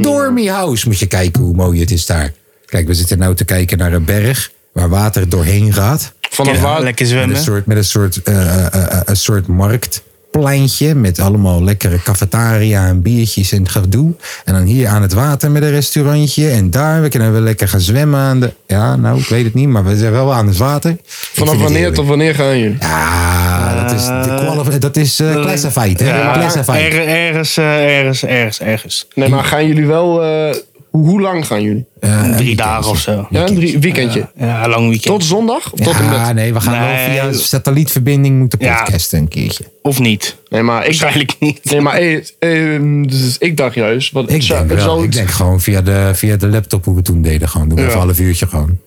Speaker 1: Dormy House. Moet je kijken hoe mooi het is daar. Kijk, we zitten nou te kijken naar een berg waar water doorheen gaat.
Speaker 3: Vanaf waar?
Speaker 2: lekker
Speaker 1: Met een
Speaker 2: zwemmen.
Speaker 1: soort, met een soort, eh, eh, eh, eh, een soort marktpleintje met allemaal lekkere cafetaria en biertjes en gedoe. En dan hier aan het water met een restaurantje. En daar we kunnen we lekker gaan zwemmen aan de... Ja, nou, ik weet het niet, maar we zijn wel aan het water. Ik vind
Speaker 3: Vanaf
Speaker 1: het
Speaker 3: wanneer
Speaker 1: heerlijk.
Speaker 3: tot wanneer gaan jullie?
Speaker 1: Ja, dat is, de qualif- dat is eh classified. hè?
Speaker 3: ja, maar-
Speaker 1: Classified.
Speaker 2: Ergens, ergens, eh, ergens, ergens, ergens.
Speaker 3: Nee, maar gaan jullie wel... eh, Hoe, hoe lang gaan jullie?
Speaker 1: Eh,
Speaker 2: Drie dagen of zo.
Speaker 3: Ja, een drie, weekendje.
Speaker 2: Ja, lang weekend.
Speaker 3: Tot zondag? Of tot en
Speaker 1: ja,
Speaker 3: met?
Speaker 1: nee, we gaan wel
Speaker 2: Nee.
Speaker 1: via een satellietverbinding moeten
Speaker 2: Ja.
Speaker 1: podcasten een keertje.
Speaker 2: Of niet.
Speaker 3: Nee, maar ik,
Speaker 2: Waarschijnlijk niet.
Speaker 3: nee, maar, eh, eh, dus ik dacht juist. Wat,
Speaker 1: Ik denk, wel, ik denk gewoon via de, via de laptop hoe we toen deden. Gewoon doen we
Speaker 3: Ja.
Speaker 1: even een half uurtje gewoon.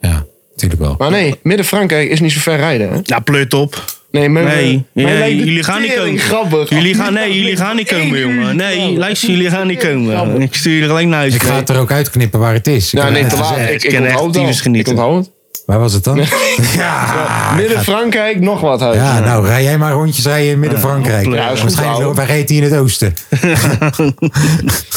Speaker 1: Ja, natuurlijk wel.
Speaker 3: Maar nee, Midden-Frankrijk is niet zo ver rijden. Hè?
Speaker 1: Nou,
Speaker 2: Ja, pleut op.
Speaker 3: Nee, maar,
Speaker 2: Nee,
Speaker 3: maar
Speaker 2: nee,
Speaker 3: lijkt de
Speaker 2: jullie gaan niet
Speaker 3: tering
Speaker 2: komen.
Speaker 3: Grappig.
Speaker 2: Jullie gaan, nee, jullie gaan niet komen, jongen. Nee, luister, jullie gaan niet komen. Ik stuur jullie gelijk naar huis.
Speaker 1: Ik ga het er ook uitknippen waar het is. Ik heb
Speaker 3: Ja, Nou, nee,
Speaker 1: net
Speaker 3: te laat.
Speaker 1: gezegd.
Speaker 3: Ik,
Speaker 2: Ik
Speaker 3: ik
Speaker 2: ken echt
Speaker 3: onthoud het
Speaker 2: tyfus
Speaker 3: al. Ik
Speaker 2: genieten.
Speaker 3: onthoud het.
Speaker 1: Waar was het dan? Ja,
Speaker 3: Midden-Frankrijk, nog wat huis.
Speaker 1: ja, nou, rij jij maar rondjes rijden in Midden-Frankrijk.
Speaker 2: Ja,
Speaker 3: is goed,
Speaker 1: Waarschijnlijk
Speaker 3: ouwe.
Speaker 1: loopt- waar reed hij in het oosten.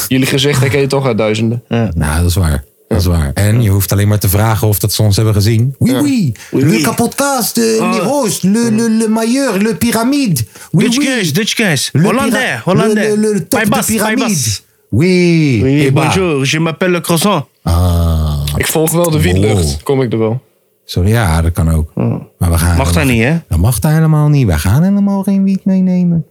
Speaker 3: Jullie gezichten ken je toch uit duizenden.
Speaker 1: Nou, dat is waar. Dat is waar. En je hoeft alleen maar te vragen of dat ze ons hebben gezien. Oui, oui.
Speaker 2: Oui,
Speaker 1: Le
Speaker 2: oui.
Speaker 1: Capodcast, eh,
Speaker 3: Ah.
Speaker 1: le Roos, le, le, le Mailleur, le Pyramide. Oui,
Speaker 2: Dutch
Speaker 1: oui.
Speaker 2: cash, Dutch cash.
Speaker 1: Le
Speaker 2: Hollandais,
Speaker 1: pyra-
Speaker 2: Hollandais.
Speaker 1: Le, le, le top
Speaker 2: Bij Bas,
Speaker 1: de
Speaker 2: bij
Speaker 1: Pyramide.
Speaker 2: Bas.
Speaker 1: Oui.
Speaker 2: Oui,
Speaker 1: eh ben.
Speaker 2: bonjour, je m'appelle le croissant.
Speaker 1: Ah,
Speaker 3: Ik volg wel de wietlucht.
Speaker 1: Wow.
Speaker 3: Kom ik er wel.
Speaker 1: sorry, ja, dat kan ook. Maar we gaan
Speaker 2: Hmm. Mag dat niet, hè?
Speaker 1: Dat mag daar helemaal niet. Wij gaan helemaal geen wiet meenemen.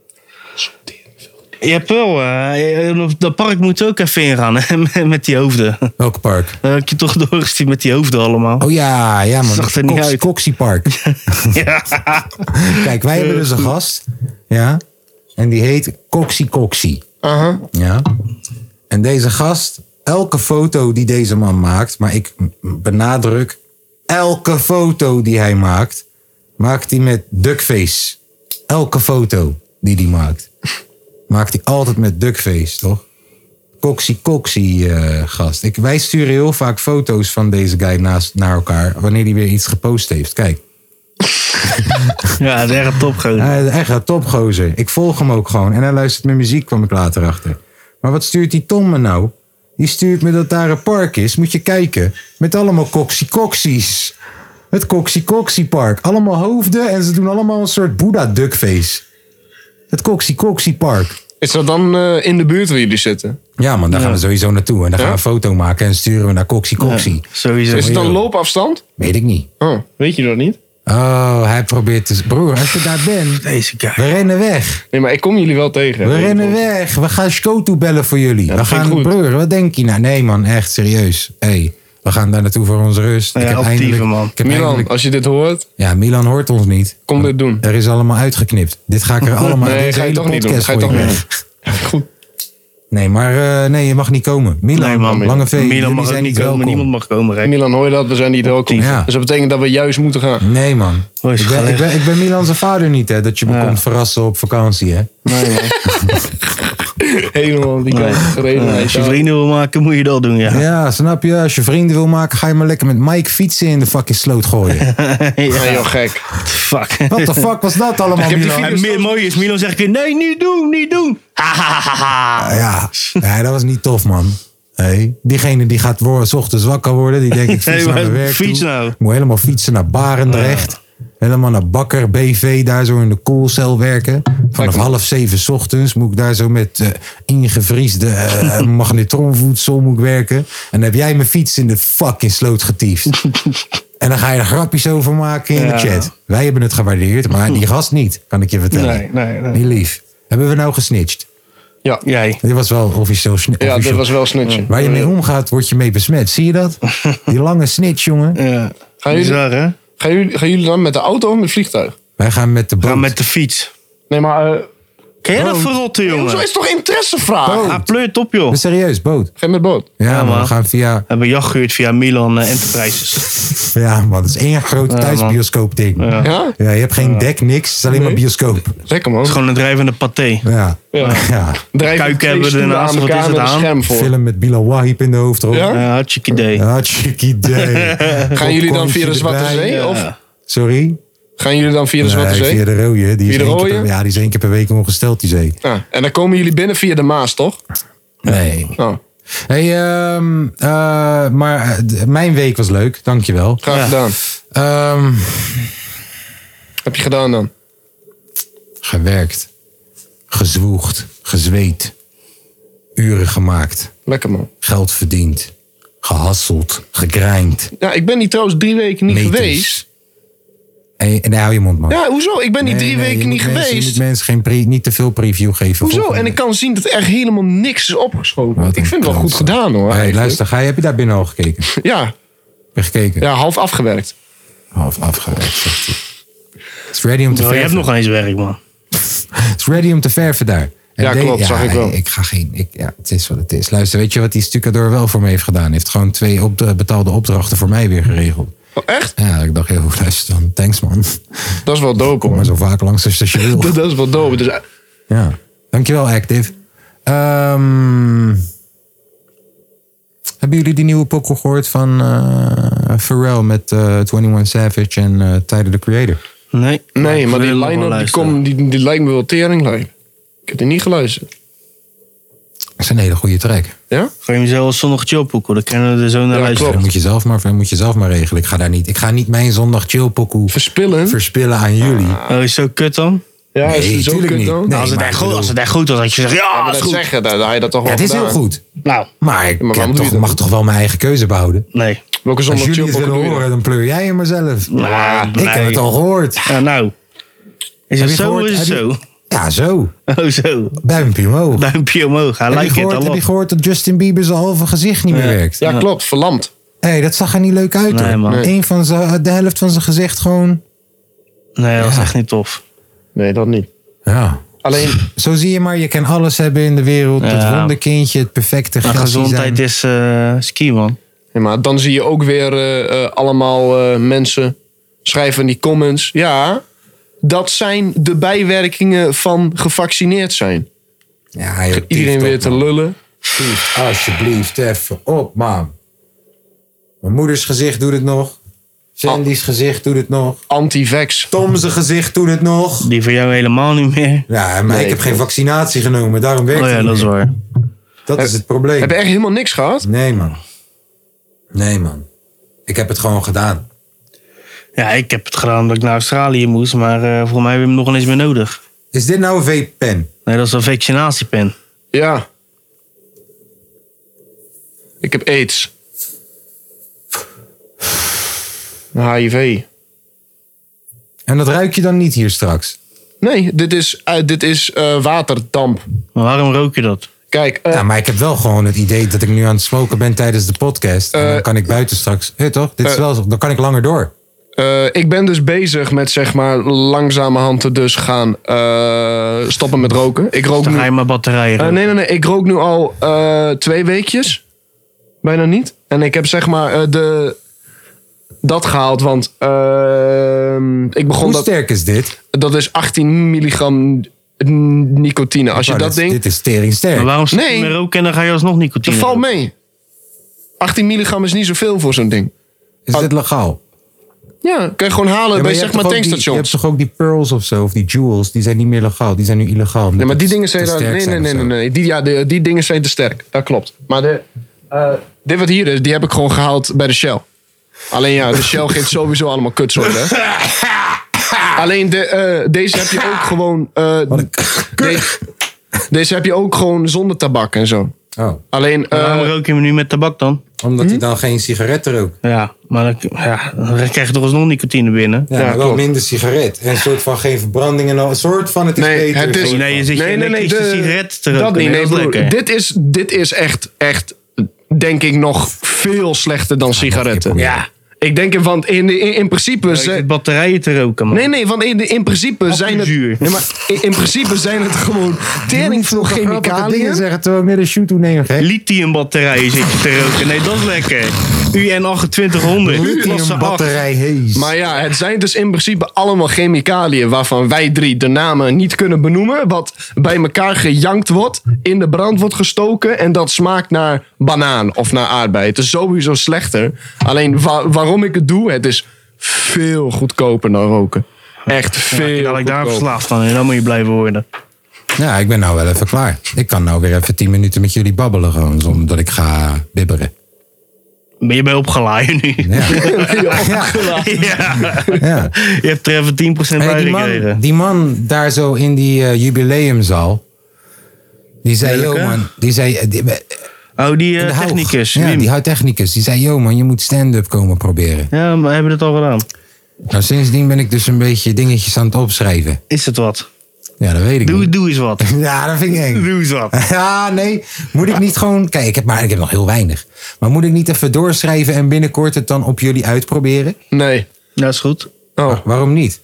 Speaker 2: Je hebt wel, eh, dat park moet ook even ingaan hè, met- met die hoofden.
Speaker 1: Welk park?
Speaker 2: Dan heb ik je toch doorgestuurd met die hoofden allemaal.
Speaker 1: Oh ja, ja man.
Speaker 2: Zag er niet
Speaker 1: Cox-
Speaker 2: uit.
Speaker 1: Coxie Park.
Speaker 2: Ja.
Speaker 1: Kijk, wij hebben dus een gast. Ja. En die heet Coxie Coxie.
Speaker 3: Aha.
Speaker 1: Ja. En deze gast, elke foto die deze man maakt, maar ik m- benadruk, elke foto die hij maakt, maakt hij met duckface. Elke foto die hij maakt, maakt hij altijd met duckface, toch? Coxie Coxie eh, gast. Ik, wij sturen heel vaak foto's van deze guy naast, naar elkaar, wanneer hij weer iets gepost heeft. Kijk.
Speaker 2: ja, dat is echt top gewoon.
Speaker 1: Hij is echt een topgozer. Ik volg hem ook gewoon. En hij luistert mijn muziek, kwam ik later achter. Maar wat stuurt die Tom me nou? Die stuurt me dat daar een park is, moet je kijken. Met allemaal coxie-coxies. Het coxie-coxie-park. Allemaal hoofden en ze doen allemaal een soort Boeddha-duckface. Het coxie-coxie-park.
Speaker 3: Is dat dan eh, in de buurt waar jullie zitten?
Speaker 1: Ja man, daar gaan we sowieso naartoe. En daar gaan we
Speaker 3: Ja?
Speaker 1: een foto maken en sturen we naar coxie-coxie.
Speaker 2: Sowieso.
Speaker 3: Is het dan
Speaker 1: joh.
Speaker 3: loopafstand?
Speaker 1: Weet ik niet.
Speaker 3: Oh, weet je dat niet?
Speaker 1: Oh, hij probeert te... Broer, als je daar bent,
Speaker 2: Deze guy.
Speaker 1: we rennen weg.
Speaker 3: Nee, maar ik kom jullie wel tegen.
Speaker 1: We rennen weg. We gaan Skoto bellen voor jullie. we
Speaker 3: dat vind
Speaker 1: gaan
Speaker 3: ik goed.
Speaker 1: breuren. Wat denk je nou? Nee man, echt serieus. Hey, we gaan daar naartoe voor onze rust.
Speaker 2: Ja, actieve, man.
Speaker 1: Ik heb
Speaker 3: Milan,
Speaker 1: eindelijk-
Speaker 3: als je dit hoort,
Speaker 1: ja, Milan hoort ons niet.
Speaker 3: kom dit doen.
Speaker 1: Er is allemaal uitgeknipt. Dit ga ik er allemaal...
Speaker 3: Nee,
Speaker 1: deze
Speaker 3: ga je
Speaker 1: hele
Speaker 3: toch niet doen.
Speaker 1: podcast
Speaker 3: Ga je
Speaker 1: gooi
Speaker 3: toch
Speaker 1: ik
Speaker 3: niet
Speaker 1: weg.
Speaker 3: doen. Goed.
Speaker 1: Nee, maar eh, nee, je mag niet komen. Milan,
Speaker 2: Nee, man.
Speaker 1: Lange V,
Speaker 2: Milan
Speaker 1: jullie
Speaker 2: mag ook
Speaker 1: zijn
Speaker 2: niet
Speaker 1: welkom.
Speaker 2: komen. Niemand mag komen, Rek.
Speaker 3: Milan, hoor je dat? We zijn niet welkom.
Speaker 1: Ja.
Speaker 3: Dus dat betekent dat we juist moeten gaan.
Speaker 1: Nee man.
Speaker 2: Oh, is
Speaker 1: ik, ben, ik,
Speaker 2: gelegd.
Speaker 1: ben, ik ben Milan zijn vader niet, hè. Dat je me komt verrassen op vakantie, hè.
Speaker 3: Helemaal die kant gereden.
Speaker 2: Ja, als je vrienden wil maken, moet je dat doen, ja.
Speaker 1: Ja, snap je? Als je vrienden wil maken, ga je maar lekker met Mike fietsen in de fucking sloot gooien.
Speaker 3: Nee, joh, gek.
Speaker 2: Fuck.
Speaker 1: What the fuck was dat allemaal,
Speaker 3: heb die
Speaker 1: Milan?
Speaker 2: En meer mooi is, Milan zegt weer, nee, niet doen, niet doen. Ha, ha, ha, ha, ha.
Speaker 1: Ja, nee, dat was niet tof, man. Hey, diegene die gaat wo- 's ochtends wakker worden, die denkt ik fiets
Speaker 2: Hey,
Speaker 1: naar mijn
Speaker 2: maar
Speaker 1: werk
Speaker 2: fiets
Speaker 1: toe.
Speaker 2: nou. Ah.
Speaker 1: Moet helemaal fietsen naar Barendrecht. Helemaal naar Bakker, BV, daar zo in de koelcel werken. Vanaf half zeven 's ochtends moet ik daar zo met eh, ingevriesde eh, magnetronvoedsel moet ik werken. En dan heb jij mijn fiets in de fucking sloot getiefd. en dan ga je er grapjes over maken in
Speaker 2: Ja.
Speaker 1: de chat. Wij hebben het gewaardeerd, maar die gast niet, kan ik je vertellen.
Speaker 2: Nee, nee, nee.
Speaker 1: Niet lief. Hebben we nou gesnitcht?
Speaker 3: Ja, ja,
Speaker 2: Jij.
Speaker 1: Dit was wel officieel sni-
Speaker 3: dat
Speaker 1: officieel.
Speaker 3: was wel snutje.
Speaker 1: Waar je mee omgaat, word je mee besmet. Zie je dat? Die lange snitch, jongen.
Speaker 2: Ja.
Speaker 3: Ga je-
Speaker 2: Bizar, hè?
Speaker 3: Gaan jullie, gaan jullie dan met de auto of met het vliegtuig?
Speaker 1: Wij gaan met de boot.
Speaker 2: Ga met de fiets.
Speaker 3: Nee, maar... eh,
Speaker 2: Ken je dat
Speaker 1: Oh.
Speaker 2: verrotte,
Speaker 3: hoezo
Speaker 2: jongen?
Speaker 3: is het toch interessevraag?
Speaker 2: Ah, pleurt op, joh.
Speaker 1: Maar Serieus, boot.
Speaker 3: Ga je met boot?
Speaker 1: Ja, man. We
Speaker 2: man.
Speaker 1: gaan via...
Speaker 2: We hebben jacht gehuurd via Milan eh, Enterprises.
Speaker 1: Ja, man. Dat is één grote thuisbioscoop ding. Ja.
Speaker 3: Ja?
Speaker 1: je hebt geen dek, niks. Het is alleen maar bioscoop.
Speaker 3: Lekker man.
Speaker 2: Gewoon een drijvende paté.
Speaker 1: Ja. Ja.
Speaker 3: Ja. Drijven
Speaker 2: Kuik
Speaker 3: twee
Speaker 2: hebben we
Speaker 3: stoelen
Speaker 2: ernaast,
Speaker 3: aan
Speaker 2: wat
Speaker 3: elkaar
Speaker 2: is het
Speaker 3: met een
Speaker 2: aan?
Speaker 3: scherm voor.
Speaker 1: Film met Bilal Wahib in de hoofdrol.
Speaker 3: Ja?
Speaker 2: Ja, Eh, hartstikke idee.
Speaker 1: Hartstikke idee.
Speaker 3: Gaan jullie dan via de
Speaker 1: Popcornje
Speaker 3: Zwarte
Speaker 1: erbij.
Speaker 3: Zee?
Speaker 1: Ja.
Speaker 3: Of
Speaker 1: Sorry?
Speaker 3: gaan jullie dan via de Zwarte
Speaker 1: Nee,
Speaker 3: Zee?
Speaker 1: via de rode. Die is
Speaker 3: Via de
Speaker 1: één keer per-
Speaker 3: rode?
Speaker 1: ja, die is één keer per week ongesteld, die zee.
Speaker 3: Ja. Ah, En dan komen jullie binnen via de Maas, toch?
Speaker 1: Nee.
Speaker 3: Nou,
Speaker 1: Hey, ehm, eh, maar eh, d- mijn week was leuk. Dankjewel.
Speaker 3: graag gedaan.
Speaker 1: Ehm
Speaker 3: Heb je gedaan dan?
Speaker 1: gewerkt, gezwoegd, gezweet, uren gemaakt,
Speaker 3: Lekker man.
Speaker 1: geld verdiend, gehasseld, gegrind,
Speaker 3: Ja, ik ben hier trouwens drie weken niet
Speaker 1: meters.
Speaker 3: geweest.
Speaker 1: En, en hou je mond, man.
Speaker 3: Ja, hoezo? Ik ben die
Speaker 1: Nee,
Speaker 3: drie
Speaker 1: nee, je moet
Speaker 3: weken niet
Speaker 1: mensen- Je moet
Speaker 3: geweest.
Speaker 1: mensen geen pre- niet te veel preview geven.
Speaker 3: Hoezo?
Speaker 1: Volgende.
Speaker 3: En ik kan zien dat er echt helemaal niks is opgeschoten.
Speaker 1: Wat
Speaker 3: Ik
Speaker 1: een
Speaker 3: vind het wel goed
Speaker 1: klootzak.
Speaker 3: gedaan hoor.
Speaker 1: Hey,
Speaker 3: eigenlijk.
Speaker 1: luister, ga, je- heb je daar binnen al gekeken? Heb
Speaker 3: Ja,
Speaker 1: je gekeken?
Speaker 3: ja, half afgewerkt.
Speaker 1: Half afgewerkt, zegt hij. Het is ready om te
Speaker 2: Bro, Nou, je
Speaker 1: verven.
Speaker 2: hebt nog eens werk, man.
Speaker 1: Het is ready om te verven daar. En
Speaker 3: Ja, klopt, zag ik wel.
Speaker 1: Ik ga geen... Ik, ja, het is wat het is. Luister, weet je wat die Stucador wel voor me heeft gedaan? Hij heeft gewoon twee opd- betaalde opdrachten voor mij weer geregeld.
Speaker 3: Oh, echt?
Speaker 1: Ja, ik dacht heel goed, luister dan. Thanks, man.
Speaker 3: Dat is wel dope
Speaker 1: Kom
Speaker 3: hoor.
Speaker 1: maar zo vaak langs als je wil.
Speaker 3: Dat, dat is wel dope. Dus, eh,
Speaker 1: Ja. Dankjewel, Active. Ehm, hebben jullie die nieuwe pokkel gehoord van eh Pharrell met eh 21 Savage en eh Tyler, the Creator?
Speaker 2: Nee.
Speaker 3: nee, maar die
Speaker 2: Ik wil nog wel
Speaker 3: line-up die,
Speaker 2: luisteren.
Speaker 3: kom, die, die lijkt me wel teringlijn. Ik heb die niet geluisterd.
Speaker 1: Dat is een hele goede track.
Speaker 3: Ja?
Speaker 2: Ga je mezelf als zondag chillpoeken, dan kunnen we er zo naar
Speaker 3: Ja,
Speaker 2: luisteren.
Speaker 1: Dat moet je zelf maar, dat moet je zelf maar regelen. Ik ga, daar niet, ik ga niet mijn zondag chill pokoe
Speaker 3: Verspillen?
Speaker 1: verspillen aan jullie.
Speaker 2: Oh, is zo kut dan?
Speaker 3: ja,
Speaker 1: nee,
Speaker 3: het
Speaker 1: tuurlijk niet.
Speaker 3: dan?
Speaker 1: Nee,
Speaker 2: als, het
Speaker 1: maar
Speaker 2: echt
Speaker 1: ik
Speaker 2: goed, als
Speaker 1: bedoel-
Speaker 2: het echt goed was, had je gezegd, ja,
Speaker 3: Ja, maar
Speaker 2: dat is
Speaker 3: dat
Speaker 2: goed.
Speaker 3: zeggen, daar, daar had je dat toch
Speaker 1: Ja,
Speaker 3: wel
Speaker 1: het is heel
Speaker 3: gedaan.
Speaker 1: goed.
Speaker 2: Nou,
Speaker 1: Maar ik
Speaker 3: maar waarom
Speaker 1: heb
Speaker 3: doe je
Speaker 1: toch-
Speaker 3: dat
Speaker 1: mag
Speaker 3: dan?
Speaker 1: toch wel mijn eigen keuze behouden?
Speaker 2: nee.
Speaker 3: Welke
Speaker 1: Als
Speaker 3: zondag
Speaker 1: jullie
Speaker 3: chill
Speaker 1: het willen
Speaker 3: doe je
Speaker 1: horen,
Speaker 3: dat?
Speaker 1: dan pleur jij hem maar zelf.
Speaker 2: Nou,
Speaker 1: ik heb
Speaker 2: nee.
Speaker 1: het al gehoord.
Speaker 2: Ja, nou.
Speaker 1: Heb
Speaker 2: Is het
Speaker 1: je
Speaker 2: zo
Speaker 1: gehoord-
Speaker 2: is het
Speaker 1: heb
Speaker 2: zo?
Speaker 1: je- Ja, zo.
Speaker 2: Oh, zo.
Speaker 1: Duimpje omhoog.
Speaker 2: Duimpje omhoog.
Speaker 1: Heb
Speaker 2: Hij
Speaker 1: je,
Speaker 2: lijkt het
Speaker 1: gehoord,
Speaker 2: al
Speaker 1: heb je
Speaker 2: op.
Speaker 1: gehoord dat Justin Bieber zijn halve gezicht niet meer werkt?
Speaker 3: Ja, klopt. Verlamd.
Speaker 1: Hé, hey, dat zag er niet leuk uit
Speaker 2: Nee,
Speaker 1: hoor.
Speaker 2: man.
Speaker 1: Eén van zijn, de helft van zijn gezicht gewoon...
Speaker 2: Nee, dat is echt niet tof.
Speaker 3: Nee, dat niet.
Speaker 1: Ja.
Speaker 3: Alleen,
Speaker 1: Zo zie je maar, je kan alles hebben in de wereld.
Speaker 2: Ja.
Speaker 1: Het wonderkindje, het perfecte
Speaker 2: Maar
Speaker 1: grassie
Speaker 2: gezondheid
Speaker 1: zijn.
Speaker 2: is eh, ski, man.
Speaker 3: ja, maar dan zie je ook weer eh, eh, allemaal eh, mensen schrijven in die comments. Ja, dat zijn de bijwerkingen van gevaccineerd zijn.
Speaker 1: Ja, joh,
Speaker 3: Iedereen
Speaker 1: tief,
Speaker 3: weer
Speaker 1: top,
Speaker 3: te lullen.
Speaker 1: Tief, alsjeblieft, even op, man. Mijn moeders gezicht doet het nog. Sandy's gezicht doet het nog.
Speaker 3: Anti-vax.
Speaker 1: Tom's gezicht doet het nog.
Speaker 2: Die voor jou helemaal niet meer.
Speaker 1: Ja, maar
Speaker 3: Nee,
Speaker 1: ik heb geen
Speaker 3: klopt.
Speaker 1: vaccinatie genomen. Daarom werkt
Speaker 2: Oh ja,
Speaker 1: het
Speaker 2: dat
Speaker 1: niet.
Speaker 2: is waar.
Speaker 1: Dat is het probleem.
Speaker 3: Heb je echt helemaal niks gehad?
Speaker 1: Nee, man. Nee, man. Ik heb het gewoon gedaan.
Speaker 2: Ja, ik heb het gedaan omdat ik naar Australië moest, maar eh, volgens mij heb je hem nog eens meer nodig.
Speaker 1: Is dit nou een vape-pen?
Speaker 2: Nee, dat is een vaccinatiepen.
Speaker 3: Ja. Ik heb aids. HIV.
Speaker 1: En dat ruik je dan niet hier straks?
Speaker 3: Nee, dit is, eh, dit is eh, waterdamp.
Speaker 2: Maar waarom rook je dat?
Speaker 3: Kijk, eh,
Speaker 1: Ja, maar ik heb wel gewoon het idee dat ik nu aan het smoken ben tijdens de podcast. en
Speaker 3: Eh,
Speaker 1: dan kan ik buiten straks... Hé, toch? Dit is
Speaker 3: eh,
Speaker 1: wel zo. Dan kan ik langer door.
Speaker 3: eh, ik ben dus bezig met zeg maar langzamerhand dus gaan eh, stoppen met roken. Ik rook
Speaker 2: Dan
Speaker 3: nu,
Speaker 2: ga je maar batterijen
Speaker 3: Eh,
Speaker 2: roken.
Speaker 3: nee, nee, nee. Ik rook nu al eh, twee weekjes. Bijna niet. En ik heb zeg maar eh, de, dat gehaald, want ehm, ik begon
Speaker 1: Hoe
Speaker 3: dat...
Speaker 1: sterk is dit?
Speaker 3: Dat is 18 milligram nicotine. Als je
Speaker 1: Oh,
Speaker 3: dat
Speaker 1: dit,
Speaker 3: ding...
Speaker 1: Dit is tering
Speaker 2: Maar
Speaker 1: sterk.
Speaker 2: waarom stop je
Speaker 3: Nee.
Speaker 2: met roken en dan ga je alsnog
Speaker 3: Dat
Speaker 2: nicotine
Speaker 3: valt
Speaker 2: roken?
Speaker 3: mee. 18 milligram is niet zoveel voor zo'n ding.
Speaker 1: Is dit legaal?
Speaker 3: Ja, kan je gewoon halen
Speaker 1: Ja,
Speaker 3: bij
Speaker 1: je hebt
Speaker 3: Oh, zeg
Speaker 1: toch
Speaker 3: maar
Speaker 1: ook die- Je hebt
Speaker 3: tankstations.
Speaker 1: toch ook die pearls of zo? Of die jewels? Die zijn niet meer legaal. Die zijn nu illegaal.
Speaker 3: Nee, maar die dingen zijn...
Speaker 1: te
Speaker 3: daar-
Speaker 1: sterk
Speaker 3: Nee, nee,
Speaker 1: zijn
Speaker 3: nee,
Speaker 1: of
Speaker 3: nee.
Speaker 1: zo.
Speaker 3: nee. Die, ja, de- die dingen zijn te sterk. Dat klopt. Maar de, eh, dit wat hier is, die heb ik gewoon gehaald bij de Shell. Alleen ja, de Shell geeft sowieso allemaal kutzooi, hè. Alleen de, eh, deze heb je ook gewoon... eh, de- deze heb je ook gewoon zonder tabak en zo.
Speaker 1: Oh,
Speaker 3: Alleen... eh,
Speaker 2: Waarom rook je hem nu met tabak dan?
Speaker 3: Hm?
Speaker 1: omdat hij dan geen sigaretten rookt.
Speaker 2: Ja, maar dan, ja, dan krijg je toch alsnog nicotine binnen.
Speaker 1: Ja,
Speaker 3: Ja,
Speaker 1: maar wel
Speaker 3: klopt.
Speaker 1: minder sigaret. En een soort van geen verbranding en al. Een soort van het is
Speaker 3: Nee,
Speaker 1: beter.
Speaker 3: het is-
Speaker 1: soort
Speaker 2: Nee, je
Speaker 1: van.
Speaker 2: zit nee, nee, nee, de sigaret te roken.
Speaker 3: dat niet.
Speaker 2: Nee,
Speaker 3: Nee,
Speaker 2: dat is
Speaker 3: broer,
Speaker 2: lekker.
Speaker 3: dit, is, dit is echt, echt, denk ik, nog veel slechter dan sigaretten.
Speaker 1: proberen.
Speaker 3: Ja. Ik denk, want in, in, in principe...
Speaker 2: Rook je
Speaker 3: Ze,
Speaker 2: batterijen te roken, man.
Speaker 3: eh, nee, nee, want in, in principe zijn het...
Speaker 2: Appelzuur.
Speaker 3: Nee, maar in, in principe zijn het gewoon tering veel
Speaker 1: Grappige dingen
Speaker 3: chemicaliën.
Speaker 1: zeggen terwijl ik net een shoot toe neem. gek.
Speaker 2: Lithiumbatterijen zit je te roken. Nee, dat is lekker. UN2800. klasse
Speaker 1: Lithium
Speaker 2: acht.
Speaker 1: batterij hees.
Speaker 3: Maar ja, het zijn dus in principe allemaal chemicaliën waarvan wij drie de namen niet kunnen benoemen. Wat bij elkaar gejankt wordt, in de brand wordt gestoken en dat smaakt naar banaan of naar aardbei. Het is sowieso slechter. Alleen wa- waarom ik het doe, het is veel goedkoper dan roken. Echt veel
Speaker 2: Ja, dat ik daar
Speaker 3: goedkoper.
Speaker 2: verslaafd aan en dan moet je blijven worden.
Speaker 1: Ja, ik ben nou wel even klaar. Ik kan nou weer even 10 minuten met jullie babbelen gewoon. Zonder dat ik ga bibberen.
Speaker 2: Ben je bij opgeladen nu?
Speaker 1: Ja. ja.
Speaker 2: ja.
Speaker 1: ja.
Speaker 2: Je hebt er even 10%
Speaker 1: Hey,
Speaker 2: bij
Speaker 1: die, man,
Speaker 2: gekregen.
Speaker 1: die man daar zo in die eh, jubileumzaal. Die zei,
Speaker 2: Welke?
Speaker 1: joh man. Die zei, eh, die- eh,
Speaker 2: Oh, die
Speaker 1: de
Speaker 2: eh,
Speaker 1: Haug.
Speaker 2: technicus.
Speaker 1: Ja,
Speaker 2: Wim.
Speaker 1: die houdt technicus. Die zei, joh man, je moet stand-up komen proberen.
Speaker 2: Ja, maar hebben we dat al gedaan?
Speaker 1: Nou, sindsdien ben ik dus een beetje dingetjes aan het opschrijven.
Speaker 2: Is het wat?
Speaker 1: Ja, dat weet ik
Speaker 2: Doe,
Speaker 1: niet.
Speaker 2: doe eens wat.
Speaker 1: Ja, dat vind ik eng.
Speaker 2: Doe eens wat.
Speaker 1: Ja, nee. Moet ik niet gewoon... Kijk, ik heb, maar, ik heb nog heel weinig. Maar moet ik niet even doorschrijven en binnenkort het dan op jullie uitproberen?
Speaker 3: Nee.
Speaker 2: Dat is goed.
Speaker 3: Oh,
Speaker 1: Waarom niet?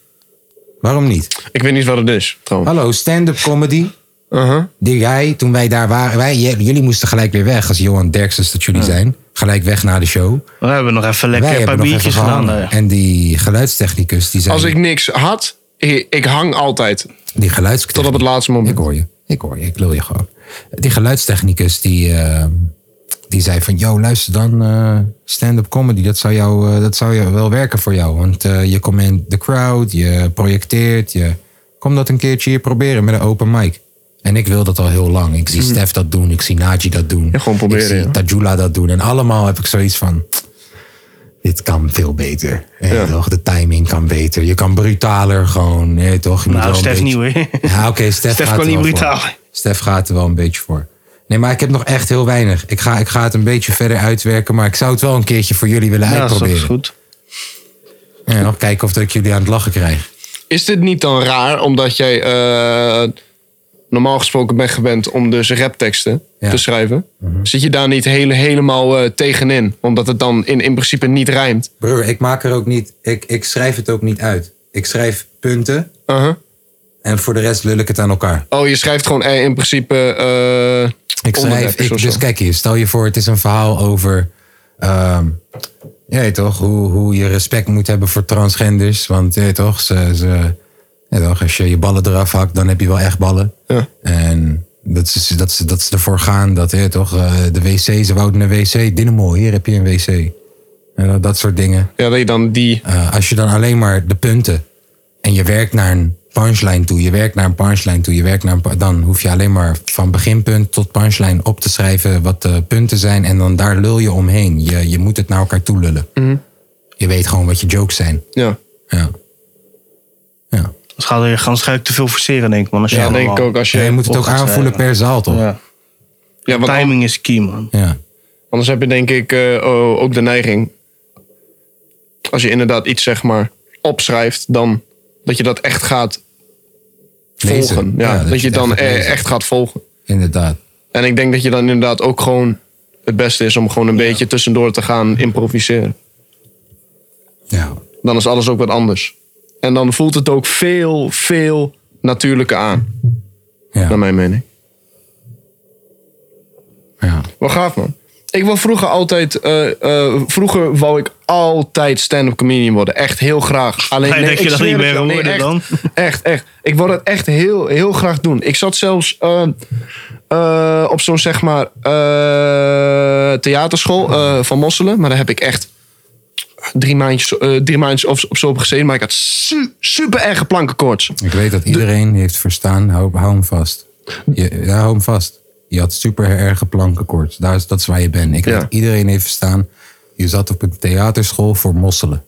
Speaker 1: Waarom niet?
Speaker 3: ik weet niet wat het is, trouwens.
Speaker 1: Hallo, stand-up comedy.
Speaker 3: Uh-huh.
Speaker 1: Die jij, toen wij daar waren... Wij, j- jullie moesten gelijk weer weg als Johan Derksens dat jullie zijn. Gelijk weg na de show.
Speaker 2: We hebben nog even
Speaker 1: wij
Speaker 2: lekker een
Speaker 1: hebben
Speaker 2: paar
Speaker 1: nog
Speaker 2: biertjes
Speaker 1: even
Speaker 2: gedaan.
Speaker 1: gehangen.
Speaker 2: eh.
Speaker 1: En die geluidstechnicus, die zei...
Speaker 3: Als ik niks had, ik, ik hang altijd.
Speaker 1: Die geluids...
Speaker 3: Tot op het laatste moment.
Speaker 1: Ik hoor je. Ik hoor je. Ik wil je gewoon. Die geluidstechnicus die, eh, die zei van... Yo, luister dan eh, stand-up comedy. Dat zou, jou, eh, dat zou jou wel werken voor jou. Want eh, je comment de crowd. Je projecteert. Je... Kom dat een keertje hier proberen met een open mic. En ik wil dat al heel lang. Ik zie Stef dat doen. Ik zie Naji dat doen.
Speaker 3: Mhm. Ja, gewoon proberen,
Speaker 1: Ik zie
Speaker 3: ja.
Speaker 1: Tajula dat doen. En allemaal heb ik zoiets van... Dit kan veel beter. Eh, toch? De timing kan beter. Je kan brutaler gewoon. eh, toch? Je moet
Speaker 2: Nou,
Speaker 1: wel een beetje-
Speaker 2: Stef niet hoor.
Speaker 1: ja, Ah, oké, Stef,
Speaker 2: Stef
Speaker 1: gaat
Speaker 2: kan
Speaker 1: er
Speaker 2: niet
Speaker 1: wel
Speaker 2: brutaal.
Speaker 1: voor. Stef gaat er wel een beetje voor. Nee, maar ik heb nog echt heel weinig. Ik ga, ik ga het een beetje verder uitwerken, maar ik zou het wel een keertje voor jullie willen
Speaker 2: Ja, dat is
Speaker 1: uitproberen.
Speaker 2: goed.
Speaker 1: En nog kijken of dat ik jullie aan het lachen krijg.
Speaker 3: Is dit niet dan raar, omdat jij eh, normaal gesproken bent gewend om dus rapteksten
Speaker 1: Ja. Mhm.
Speaker 3: te schrijven? Zit je daar niet hele, helemaal eh, tegenin? Omdat het dan in, in principe niet rijmt.
Speaker 1: Broer, ik maak er ook niet. Ik, ik schrijf het ook niet uit. Ik schrijf punten
Speaker 3: Uh-huh.
Speaker 1: en voor de rest lul ik het aan elkaar.
Speaker 3: Oh, je schrijft gewoon eh, in principe eh
Speaker 1: Ik schrijf,
Speaker 3: onderwerpjes
Speaker 1: ik,
Speaker 3: of
Speaker 1: dus
Speaker 3: zo.
Speaker 1: kijk hier, stel je voor, het is een verhaal over. ehm, ja, je toch, hoe, hoe je respect moet hebben voor transgenders. Want je weet toch, ze, ze, ja, toch, als je je ballen eraf hakt, dan heb je wel echt ballen.
Speaker 3: Ja.
Speaker 1: En dat ze, dat, ze, dat ze ervoor gaan dat je weet toch, eh, de wc, ze wouden een wc. Dynamo, hier heb je een wc. En dat, dat soort dingen.
Speaker 3: Ja, dat je dan die...
Speaker 1: Eh, als je dan alleen maar de punten en je werkt naar een punchline toe, je werkt naar een punchline toe, je werkt naar een pu- dan hoef je alleen maar van beginpunt tot punchline op te schrijven wat de punten zijn en dan daar lul je omheen. Je, je moet het naar elkaar toe lullen. Je weet gewoon wat je jokes zijn.
Speaker 3: Ja,
Speaker 1: Ja. Ja.
Speaker 2: Dat gaat er gaan schuik te veel forceren, denk ik, man. Als je
Speaker 3: ja
Speaker 2: allemaal-
Speaker 3: denk ik ook. Als je,
Speaker 1: En je moet het
Speaker 2: op
Speaker 1: ook
Speaker 2: gaat
Speaker 1: aanvoelen
Speaker 2: schrijven.
Speaker 1: per zaal toch? Ja.
Speaker 2: Ja.
Speaker 3: ja, want an-
Speaker 2: Timing is key, man.
Speaker 3: anders heb je denk ik eh, oh, ook de neiging... Als je inderdaad iets zeg maar opschrijft, dan dat je dat echt gaat volgen.
Speaker 1: Lezen.
Speaker 3: Ja, dat, je het dan
Speaker 1: echt gaat
Speaker 3: eh,
Speaker 1: lezen.
Speaker 3: echt gaat volgen.
Speaker 1: Inderdaad.
Speaker 3: En ik denk dat je dan inderdaad ook gewoon het beste is om gewoon een beetje tussendoor te gaan improviseren.
Speaker 1: Ja.
Speaker 3: Dan is alles ook wat anders. En dan voelt het ook veel, veel natuurlijker aan,
Speaker 1: Ja.
Speaker 3: naar mijn mening.
Speaker 1: ja.
Speaker 3: Wat gaaf, man. Ik wil vroeger altijd... eh, eh, vroeger wou ik altijd stand-up comedian worden. Echt heel graag. Alleen
Speaker 2: Nee, dat je
Speaker 3: ik
Speaker 2: dat
Speaker 3: zweer
Speaker 2: niet
Speaker 3: het
Speaker 2: meer
Speaker 3: je.
Speaker 2: worden
Speaker 3: echt,
Speaker 2: dan.
Speaker 3: Echt, echt. Ik wou dat echt heel, heel graag doen. Ik zat zelfs eh, eh, op zo'n, zeg maar, eh, theaterschool eh, van Mosselen. Maar daar heb ik echt drie maandjes, eh, drie maandjes of, of zo op gezeten. Maar ik had su- super erge plankenkoorts.
Speaker 1: Ik weet dat iedereen heeft verstaan. Hou, hou hem vast. Je, ja, hou hem vast. Je had super erge plankenkoorts. Daar is, dat is waar je bent. Ik weet
Speaker 3: Ja.
Speaker 1: dat iedereen heeft verstaan. Je zat op een theaterschool voor mosselen.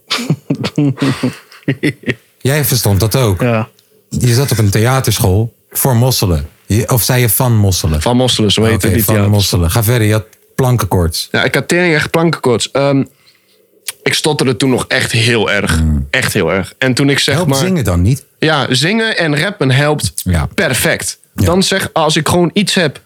Speaker 1: Jij verstond dat ook.
Speaker 2: Ja.
Speaker 1: Je zat op een theaterschool voor mosselen. Je- of zei je van mosselen?
Speaker 3: Van Mosselen, zo heet
Speaker 1: Ah, Oké,
Speaker 3: het. die
Speaker 1: van
Speaker 3: theater.
Speaker 1: mosselen. Ga verder. Je had plankenkoorts.
Speaker 3: Ja, ik had tering echt plankenkoorts. Ehm, ik stotterde toen nog echt heel erg. Echt heel erg. En toen ik zeg
Speaker 1: Help
Speaker 3: maar...
Speaker 1: Hmm. zingen dan niet.
Speaker 3: Ja, zingen en rappen helpt
Speaker 1: Ja.
Speaker 3: perfect. Dan zeg, als ik gewoon iets heb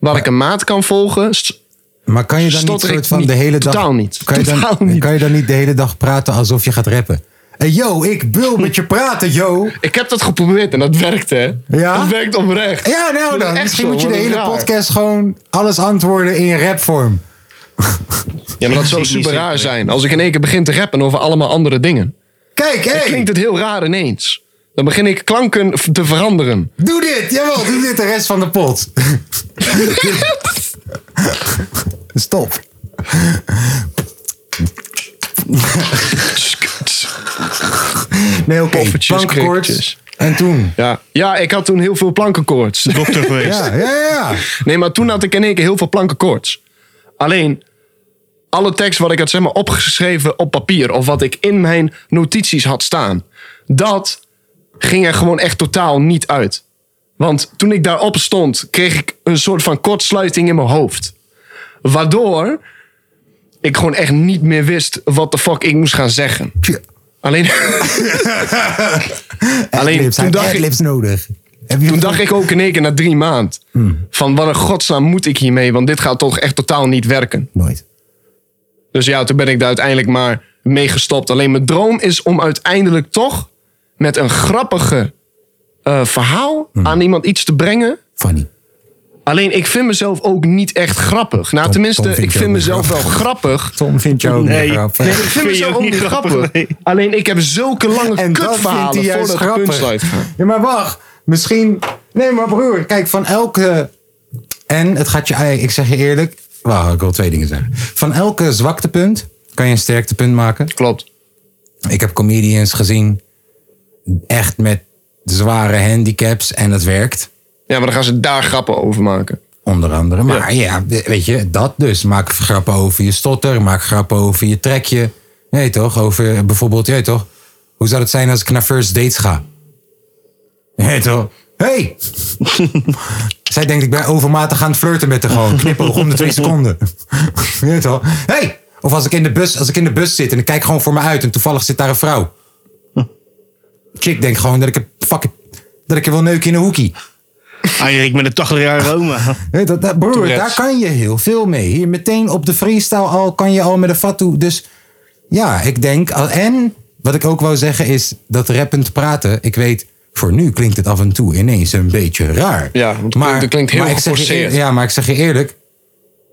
Speaker 3: waar ik een maat kan volgen... s-
Speaker 1: Maar kan je dan niet
Speaker 3: Stotter ik
Speaker 1: soort van
Speaker 3: niet.
Speaker 1: de hele dag...
Speaker 3: Totaal niet.
Speaker 1: Kan je, dan,
Speaker 3: Totaal niet.
Speaker 1: kan je dan niet de hele dag praten alsof je gaat rappen? Hey, yo, ik wil met je praten, yo.
Speaker 3: Ik heb dat geprobeerd en dat werkt, hè?
Speaker 1: Ja?
Speaker 3: Dat werkt oprecht.
Speaker 1: Ja, nou
Speaker 3: Dat is
Speaker 1: dan.
Speaker 3: echt
Speaker 1: Misschien
Speaker 3: zo,
Speaker 1: moet je de
Speaker 3: wat
Speaker 1: hele
Speaker 3: raar.
Speaker 1: podcast gewoon alles antwoorden in rapvorm.
Speaker 3: Ja, maar dat zou
Speaker 2: Ik zie
Speaker 3: super
Speaker 2: niet
Speaker 3: raar
Speaker 2: zitten.
Speaker 3: zijn. Als ik in één keer begin te rappen over allemaal andere dingen...
Speaker 1: Kijk, hé,
Speaker 3: klinkt het heel raar ineens. Dan begin ik klanken v- te veranderen.
Speaker 1: doe dit. Jawel, doe dit de rest van de pot. Stop. Nee, oké.
Speaker 3: Poffertjes,
Speaker 1: Plankenkoorts.
Speaker 3: krikkertjes.
Speaker 1: En toen?
Speaker 3: Ja. ja, ik had toen heel veel plankenkoorts.
Speaker 2: Dokter geweest.
Speaker 1: Ja, ja, ja.
Speaker 3: Nee, maar toen had ik in één keer heel veel plankenkoorts. Alleen, alle tekst wat ik had zeg maar, opgeschreven op papier... of wat ik in mijn notities had staan... dat ging er gewoon echt totaal niet uit. Want toen ik daarop stond, kreeg ik een soort van kortsluiting in mijn hoofd. Waardoor ik gewoon echt niet meer wist wat de fuck ik moest gaan zeggen.
Speaker 1: Tje.
Speaker 3: Alleen, alleen
Speaker 1: Adlibs, hij
Speaker 3: toen
Speaker 1: heeft
Speaker 3: dacht ik,
Speaker 1: adlibs nodig. Heb je
Speaker 3: toen dacht ik ook in één keer na drie maanden.
Speaker 1: Hmm.
Speaker 3: Van wat een godsnaam moet ik hiermee? Want dit gaat toch echt totaal niet werken.
Speaker 1: Nooit.
Speaker 3: Dus ja, toen ben ik daar uiteindelijk maar mee gestopt. Alleen mijn droom is om uiteindelijk toch met een grappige eh, verhaal
Speaker 1: Hmm.
Speaker 3: aan iemand iets te brengen.
Speaker 1: Funny.
Speaker 3: Alleen ik vind mezelf ook niet echt grappig. Nou,
Speaker 1: Tom-
Speaker 3: tenminste,
Speaker 1: Tom vind
Speaker 3: ik
Speaker 1: je
Speaker 3: vind
Speaker 1: ook
Speaker 3: mezelf
Speaker 1: niet
Speaker 3: wel grappig.
Speaker 1: Tom vindt jou ook
Speaker 2: Nee.
Speaker 1: niet grappig.
Speaker 2: Nee.
Speaker 3: Ik vind
Speaker 2: Vind je
Speaker 3: mezelf
Speaker 2: ook
Speaker 3: ook
Speaker 2: niet
Speaker 3: niet grappig.
Speaker 2: grappig, nee.
Speaker 3: Alleen ik heb zulke lange
Speaker 1: En dat vindt hij
Speaker 3: kutverhalen
Speaker 1: juist
Speaker 3: voordat de kunst
Speaker 1: grappig.
Speaker 3: uitgaat.
Speaker 1: Ja, maar wacht. Misschien... Nee, maar broer. Kijk, van elke... En het gaat je... ei- Ik zeg je eerlijk... Wauw, ik wil twee dingen zeggen. Van elke zwaktepunt kan je een sterktepunt maken.
Speaker 3: Klopt.
Speaker 1: Ik heb comedians gezien. Echt met zware handicaps. En dat werkt.
Speaker 3: Ja, maar dan gaan ze daar grappen over maken.
Speaker 1: Onder andere. Maar ja. weet je, dat dus. Maak grappen over je stotter. Maak grappen over je trekje. Nee, toch? Over eh, bijvoorbeeld, jij toch? Hoe zou het zijn als ik naar first dates ga? Nee, toch? Hey! Zij denkt, ik ben overmatig aan het flirten met haar gewoon. Knipoog om de twee seconden. Nee, toch? Hey! Of als ik, in de bus, als ik in de bus zit en ik kijk gewoon voor me uit en toevallig zit daar een vrouw. Chick denkt gewoon dat ik een fucking... Dat ik je wil neuken in een hoekie.
Speaker 2: Erik met een 80 jaar Roma.
Speaker 1: Nee, dat, dat, broer,
Speaker 3: Tourette's.
Speaker 1: daar kan je heel veel mee. Hier meteen op de freestyle al kan je al met een fatu. Dus ja, ik denk. al- En wat ik ook wou zeggen is dat rappend praten. Ik weet, voor nu klinkt het af en toe ineens een beetje raar.
Speaker 3: Ja, want het klinkt- het klinkt heel
Speaker 1: ik zeg je eer-
Speaker 3: geforceerd.
Speaker 1: ja, maar ik zeg je eerlijk.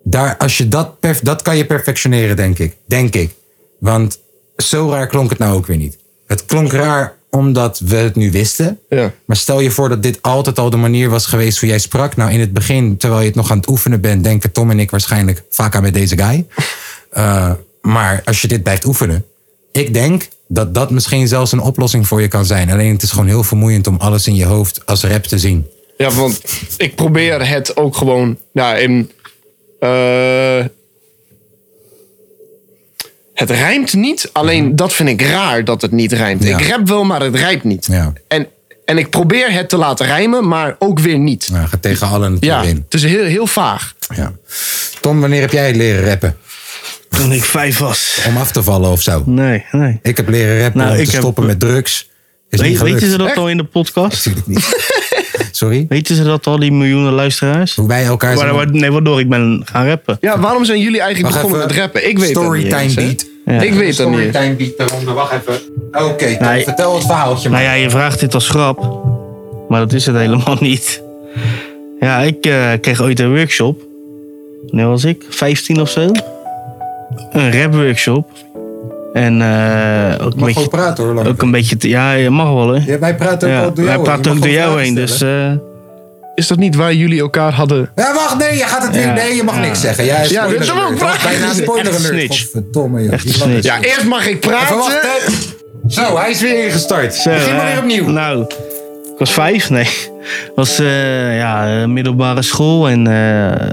Speaker 1: Daar, als je dat, perf- dat kan je perfectioneren, denk ik. Denk ik. Want zo raar klonk het nou ook weer niet. Het klonk raar omdat we het nu wisten.
Speaker 3: Ja.
Speaker 1: Maar stel je voor dat dit altijd al de manier was geweest hoe jij sprak. Nou, in het begin, terwijl je het nog aan het oefenen bent, denken Tom en ik waarschijnlijk vaak aan met deze guy. Eh, maar als je dit blijft oefenen, ik denk dat dat misschien zelfs een oplossing voor je kan zijn. Alleen het is gewoon heel vermoeiend om alles in je hoofd als rap te zien.
Speaker 3: Ja, want ik probeer het ook gewoon. Nou, in. eh, het rijmt niet, alleen dat vind ik raar dat het niet rijmt.
Speaker 1: Mhm. Ja.
Speaker 3: Ik rap wel, maar het rijmt niet.
Speaker 1: Ja.
Speaker 3: En, en ik probeer het te laten rijmen, maar ook weer niet.
Speaker 1: Nou, gaat tegen allen het
Speaker 3: Ja,
Speaker 1: weer in.
Speaker 3: het is heel, heel vaag.
Speaker 1: Ja. Tom, wanneer heb jij leren rappen?
Speaker 2: Toen ik vijf was.
Speaker 1: Om af te vallen of zo?
Speaker 2: Nee, nee.
Speaker 1: Ik heb leren rappen
Speaker 2: Nou,
Speaker 1: om
Speaker 2: ik
Speaker 1: te
Speaker 2: heb-
Speaker 1: stoppen met drugs. Is niet
Speaker 2: Weet,
Speaker 1: gelukt.
Speaker 2: weten ze dat al in de podcast?
Speaker 1: Natuurlijk niet. Sorry?
Speaker 2: Weten ze dat al, die miljoenen luisteraars?
Speaker 1: Hoe wij elkaar...
Speaker 2: Waar,
Speaker 1: zijn-
Speaker 2: waar- nee, waardoor ik ben gaan rappen.
Speaker 3: Ja, waarom zijn jullie eigenlijk
Speaker 1: Wacht
Speaker 3: begonnen
Speaker 1: even.
Speaker 3: met rappen? Ik weet dat niet
Speaker 1: Storytime
Speaker 3: eens, hè.
Speaker 1: beat.
Speaker 2: Ja.
Speaker 3: Ik weet dat niet.
Speaker 1: Storytime beat daaronder. Wacht even. Oké, Tom,
Speaker 2: Nee.
Speaker 1: vertel het verhaaltje maar.
Speaker 2: Nou ja, je vraagt dit als grap, maar dat is het helemaal niet. Ja, ik eh, kreeg ooit een workshop. Wanneer was ik? 15 of zo. Een rap workshop. En eh, ook een
Speaker 1: Mag gewoon
Speaker 2: beetje...
Speaker 1: praten hoor. Lang.
Speaker 2: Ook een beetje te- ja, je mag wel hè.
Speaker 1: Ja, wij praten ook
Speaker 2: Ja,
Speaker 1: al door
Speaker 2: wij
Speaker 1: jou
Speaker 2: praten
Speaker 1: heen.
Speaker 2: ook
Speaker 1: Je mag
Speaker 2: door jou
Speaker 1: gewoon
Speaker 2: heen, dus...
Speaker 1: vragen
Speaker 2: eh,
Speaker 3: Is dat niet waar jullie elkaar hadden?
Speaker 1: Ja, wacht, nee, je gaat het weer.
Speaker 2: Ja.
Speaker 1: Nee, je mag
Speaker 2: Ja.
Speaker 1: niks zeggen. Ja,
Speaker 3: Ja,
Speaker 1: spoiler
Speaker 3: dit is ook
Speaker 1: alert.
Speaker 3: waar.
Speaker 1: Dat was Bijna
Speaker 3: Echt
Speaker 1: een
Speaker 3: een
Speaker 1: spoiler alert.
Speaker 2: snitch.
Speaker 1: Godverdomme, joh.
Speaker 2: Echt een
Speaker 1: Die lachen.
Speaker 2: snitch.
Speaker 3: Ja, eerst mag ik
Speaker 1: Even
Speaker 3: praten.
Speaker 1: wacht, hè. Zo, hij is weer ingestart.
Speaker 2: Zo,
Speaker 1: Begin maar
Speaker 2: hè.
Speaker 1: weer opnieuw.
Speaker 2: Nou, ik was vijf, nee. was eh, ja, eh, middelbare school en eh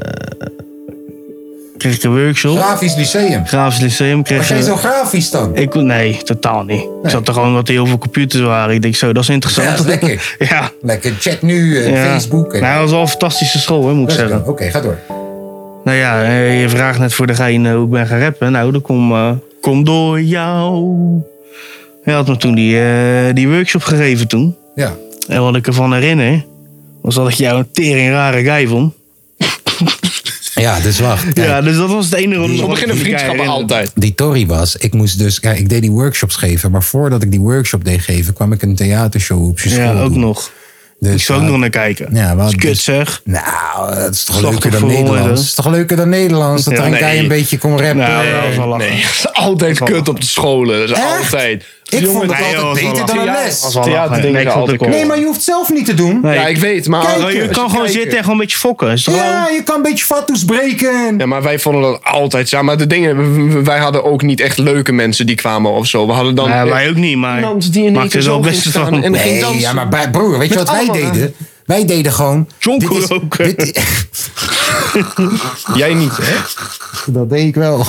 Speaker 2: kreeg ik een workshop.
Speaker 1: Grafisch lyceum.
Speaker 2: Grafisch Lyceum
Speaker 1: Was
Speaker 2: kreeg
Speaker 1: jij
Speaker 2: ik.
Speaker 1: zo grafisch dan?
Speaker 2: Ik, nee, totaal niet. Ik zat er gewoon wat heel veel computers waren. Ik denk zo, dat is interessant.
Speaker 1: Ja, dat is lekker.
Speaker 2: ja,
Speaker 1: Lekker chat nu, eh,
Speaker 2: ja.
Speaker 1: Facebook. en-
Speaker 2: Nou, dat was wel een fantastische school, hè, moet ik
Speaker 1: Let's go.
Speaker 2: zeggen.
Speaker 1: Oké, ga door.
Speaker 2: Nou ja, eh, je vraagt net voor de gein eh, hoe ik ben gaan rappen. Nou, dat kom, eh, kom door jou. Hij had me toen die, eh, die workshop gegeven toen.
Speaker 1: Ja.
Speaker 2: En wat ik ervan herinner, was dat ik jou een tering rare guy vond.
Speaker 1: Ja, dus wacht.
Speaker 2: Ja, dus dat was het enige. wat
Speaker 3: Zo
Speaker 2: ik
Speaker 3: beginnen
Speaker 2: van die guy
Speaker 3: vriendschappen
Speaker 2: herinner.
Speaker 3: altijd.
Speaker 1: die Tory was, ik moest dus, kijk, ik deed die workshops geven, maar voordat ik die workshop deed geven, kwam ik een theatershow op je school.
Speaker 2: Ja, ook
Speaker 1: doen.
Speaker 2: nog.
Speaker 1: Dus,
Speaker 2: Ik zou ook
Speaker 1: eh,
Speaker 2: nog naar kijken.
Speaker 1: Ja, we
Speaker 2: Dat is
Speaker 1: hadden
Speaker 2: kut
Speaker 1: dus-
Speaker 2: zeg.
Speaker 1: Nou, dat is toch leuker dan
Speaker 2: Slachtofferrol,
Speaker 1: Nederlands?
Speaker 2: hè?
Speaker 1: Het is toch leuker dan Nederlands? Dat
Speaker 2: Ja,
Speaker 1: er een
Speaker 2: nee.
Speaker 1: guy een beetje kon rappen.
Speaker 2: Nou, dat was wel lachen.
Speaker 3: Nee, dat is altijd kut op de scholen. Dat is
Speaker 1: Echt?
Speaker 3: altijd.
Speaker 1: ik vond het
Speaker 2: nee,
Speaker 1: altijd
Speaker 2: joh,
Speaker 1: beter
Speaker 2: dat
Speaker 1: dan
Speaker 2: was
Speaker 1: een
Speaker 3: wel-
Speaker 1: les.
Speaker 3: was wel lachen. Theaterdingen
Speaker 2: Nee, ik vond het
Speaker 3: altijd
Speaker 2: ook-
Speaker 1: Nee, maar je hoeft zelf niet te doen.
Speaker 2: Nee.
Speaker 3: Ja, ik weet, maar...
Speaker 1: Kijken.
Speaker 3: als
Speaker 2: je kan
Speaker 3: kijkt-
Speaker 2: gewoon zitten en gewoon een beetje fokken. Is toch
Speaker 1: Ja,
Speaker 2: wel-
Speaker 1: je kan een beetje fatsoes breken.
Speaker 3: Ja, maar wij vonden dat altijd... Ja, maar de dingen... Wij hadden ook niet echt leuke mensen die kwamen of zo. We hadden dan...
Speaker 2: Nou, wij ook niet, maar
Speaker 3: Iemand die in één
Speaker 2: maakt
Speaker 3: keer
Speaker 2: er
Speaker 3: zo
Speaker 2: wel
Speaker 3: ging
Speaker 2: best
Speaker 3: staan
Speaker 2: van.
Speaker 3: en- ging
Speaker 1: Nee,
Speaker 3: dansen.
Speaker 1: ja, maar bij- broer, weet je
Speaker 3: Met
Speaker 1: wat wij
Speaker 3: allemaal.
Speaker 1: deden? Wij deden gewoon...
Speaker 2: Jonko
Speaker 1: dit is-
Speaker 2: ook, hè?
Speaker 1: dit is-
Speaker 3: Jij niet, hè?
Speaker 1: Dat deed ik wel.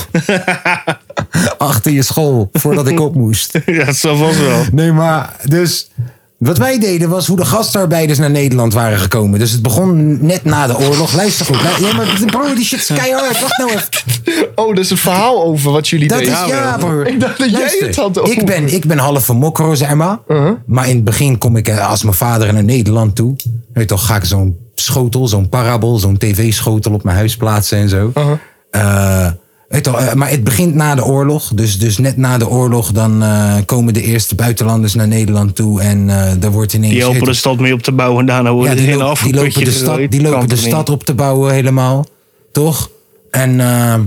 Speaker 1: Achter je school, voordat ik op moest.
Speaker 2: Ja, dat zal vast wel.
Speaker 1: Nee, maar dus Wat wij deden was hoe de gastarbeiders naar Nederland waren gekomen. Dus het begon net na de oorlog. Luister goed. lu- Ja, maar broer, die shit is keihard. Wacht nou even.
Speaker 3: Oh, dat is een verhaal over wat jullie
Speaker 1: Dat
Speaker 3: deden.
Speaker 1: is ja, broer.
Speaker 3: Ik dacht dat jij
Speaker 1: Luister,
Speaker 3: het had over. Uh-huh.
Speaker 1: Ik ben, ik ben half van Mokro, zeg maar. Maar in het begin kom ik eh, als mijn vader naar Nederland toe. Weet je toch, ga ik zo'n schotel, zo'n parabol, zo'n tv-schotel op mijn huis plaatsen en zo.
Speaker 3: Uh-huh.
Speaker 1: Eh, weet je toch, eh, maar het begint na de oorlog. Dus, dus net na de oorlog dan eh, komen de eerste buitenlanders naar Nederland toe. En eh daar wordt ineens...
Speaker 2: Die
Speaker 1: weet
Speaker 2: helpen
Speaker 1: je
Speaker 2: de stad mee op te bouwen en daarna worden
Speaker 1: ja,
Speaker 2: ze
Speaker 1: die,
Speaker 2: in
Speaker 1: lopen- die
Speaker 2: afgeputje
Speaker 1: lopen de, stad, die lopen de stad op te bouwen helemaal. Toch? En ehm,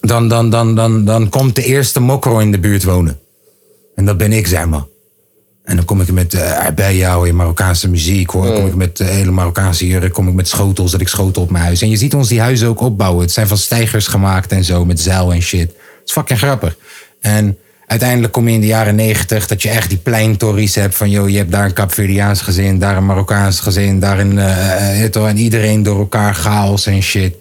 Speaker 1: dan, dan, dan, dan, dan komt de eerste mokro in de buurt wonen. En dat ben ik, zeg maar. En dan kom ik met eh bij jou in Marokkaanse muziek. Hoor. Dan kom ik met eh, hele Marokkaanse jurk. Kom ik met schotels, dat ik schotel op mijn huis. En je ziet ons die huizen ook opbouwen. Het zijn van stijgers gemaakt en zo, met zeil en shit. Het is fucking grappig. En uiteindelijk kom je in de jaren negentig... dat je echt die pleintorries hebt van... joh, je hebt daar een Capverdiaans gezin, daar een Marokkaans gezin... daar een... eh, eh, weet je wel, en iedereen door elkaar chaos en shit.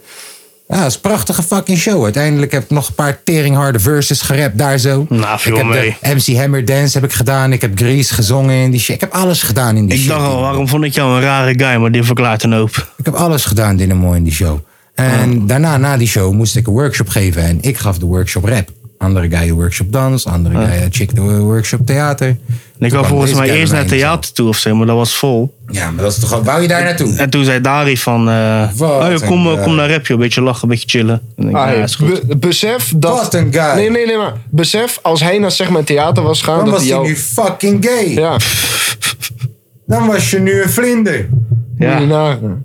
Speaker 1: Ja, het is een prachtige fucking show. Uiteindelijk heb ik nog een paar teringharde verses gerapt daar zo.
Speaker 2: Nou, viel
Speaker 1: ik heb
Speaker 2: mee.
Speaker 1: de MC Hammer Dance heb ik gedaan. Ik heb Grease gezongen in die shit. Ik heb alles gedaan in die
Speaker 2: Ik
Speaker 1: shit.
Speaker 2: dacht al, waarom vond ik jou een rare guy, maar dit verklaart een hoop.
Speaker 1: Ik heb alles gedaan, Dynamo, in die show. En
Speaker 2: Oh.
Speaker 1: daarna, na die show, moest ik een workshop geven. En ik gaf de workshop rap. Andere guy de workshop dans. Andere guy eh, chick de workshop theater.
Speaker 2: Oh. En
Speaker 1: Toen
Speaker 2: ik wou
Speaker 1: kwam
Speaker 2: volgens
Speaker 1: deze
Speaker 2: mij
Speaker 1: guy
Speaker 2: eerst naar
Speaker 1: bij
Speaker 2: het
Speaker 1: mij en
Speaker 2: theater toe of zo, maar dat was vol.
Speaker 1: zo. Ja, maar dat is toch gewoon... Wou je daar naartoe?
Speaker 2: En toen zei Dari van, eh,
Speaker 1: Wat
Speaker 2: oh, joh, kom,
Speaker 1: een
Speaker 2: eh,
Speaker 1: guy.
Speaker 2: kom naar Rap, joh. Een beetje lachen, een beetje chillen. En ik,
Speaker 3: Ah,
Speaker 2: ja, is goed.
Speaker 3: be- besef dat.
Speaker 1: Wat een guy.
Speaker 3: Nee, nee, nee, maar besef als hij naar zeg maar theater was gaan.
Speaker 1: Dan
Speaker 3: dat
Speaker 1: was je
Speaker 3: jou...
Speaker 1: nu fucking gay.
Speaker 3: Ja,
Speaker 1: Dan was je nu een vlinder.
Speaker 3: ja.
Speaker 1: nou-
Speaker 2: ja.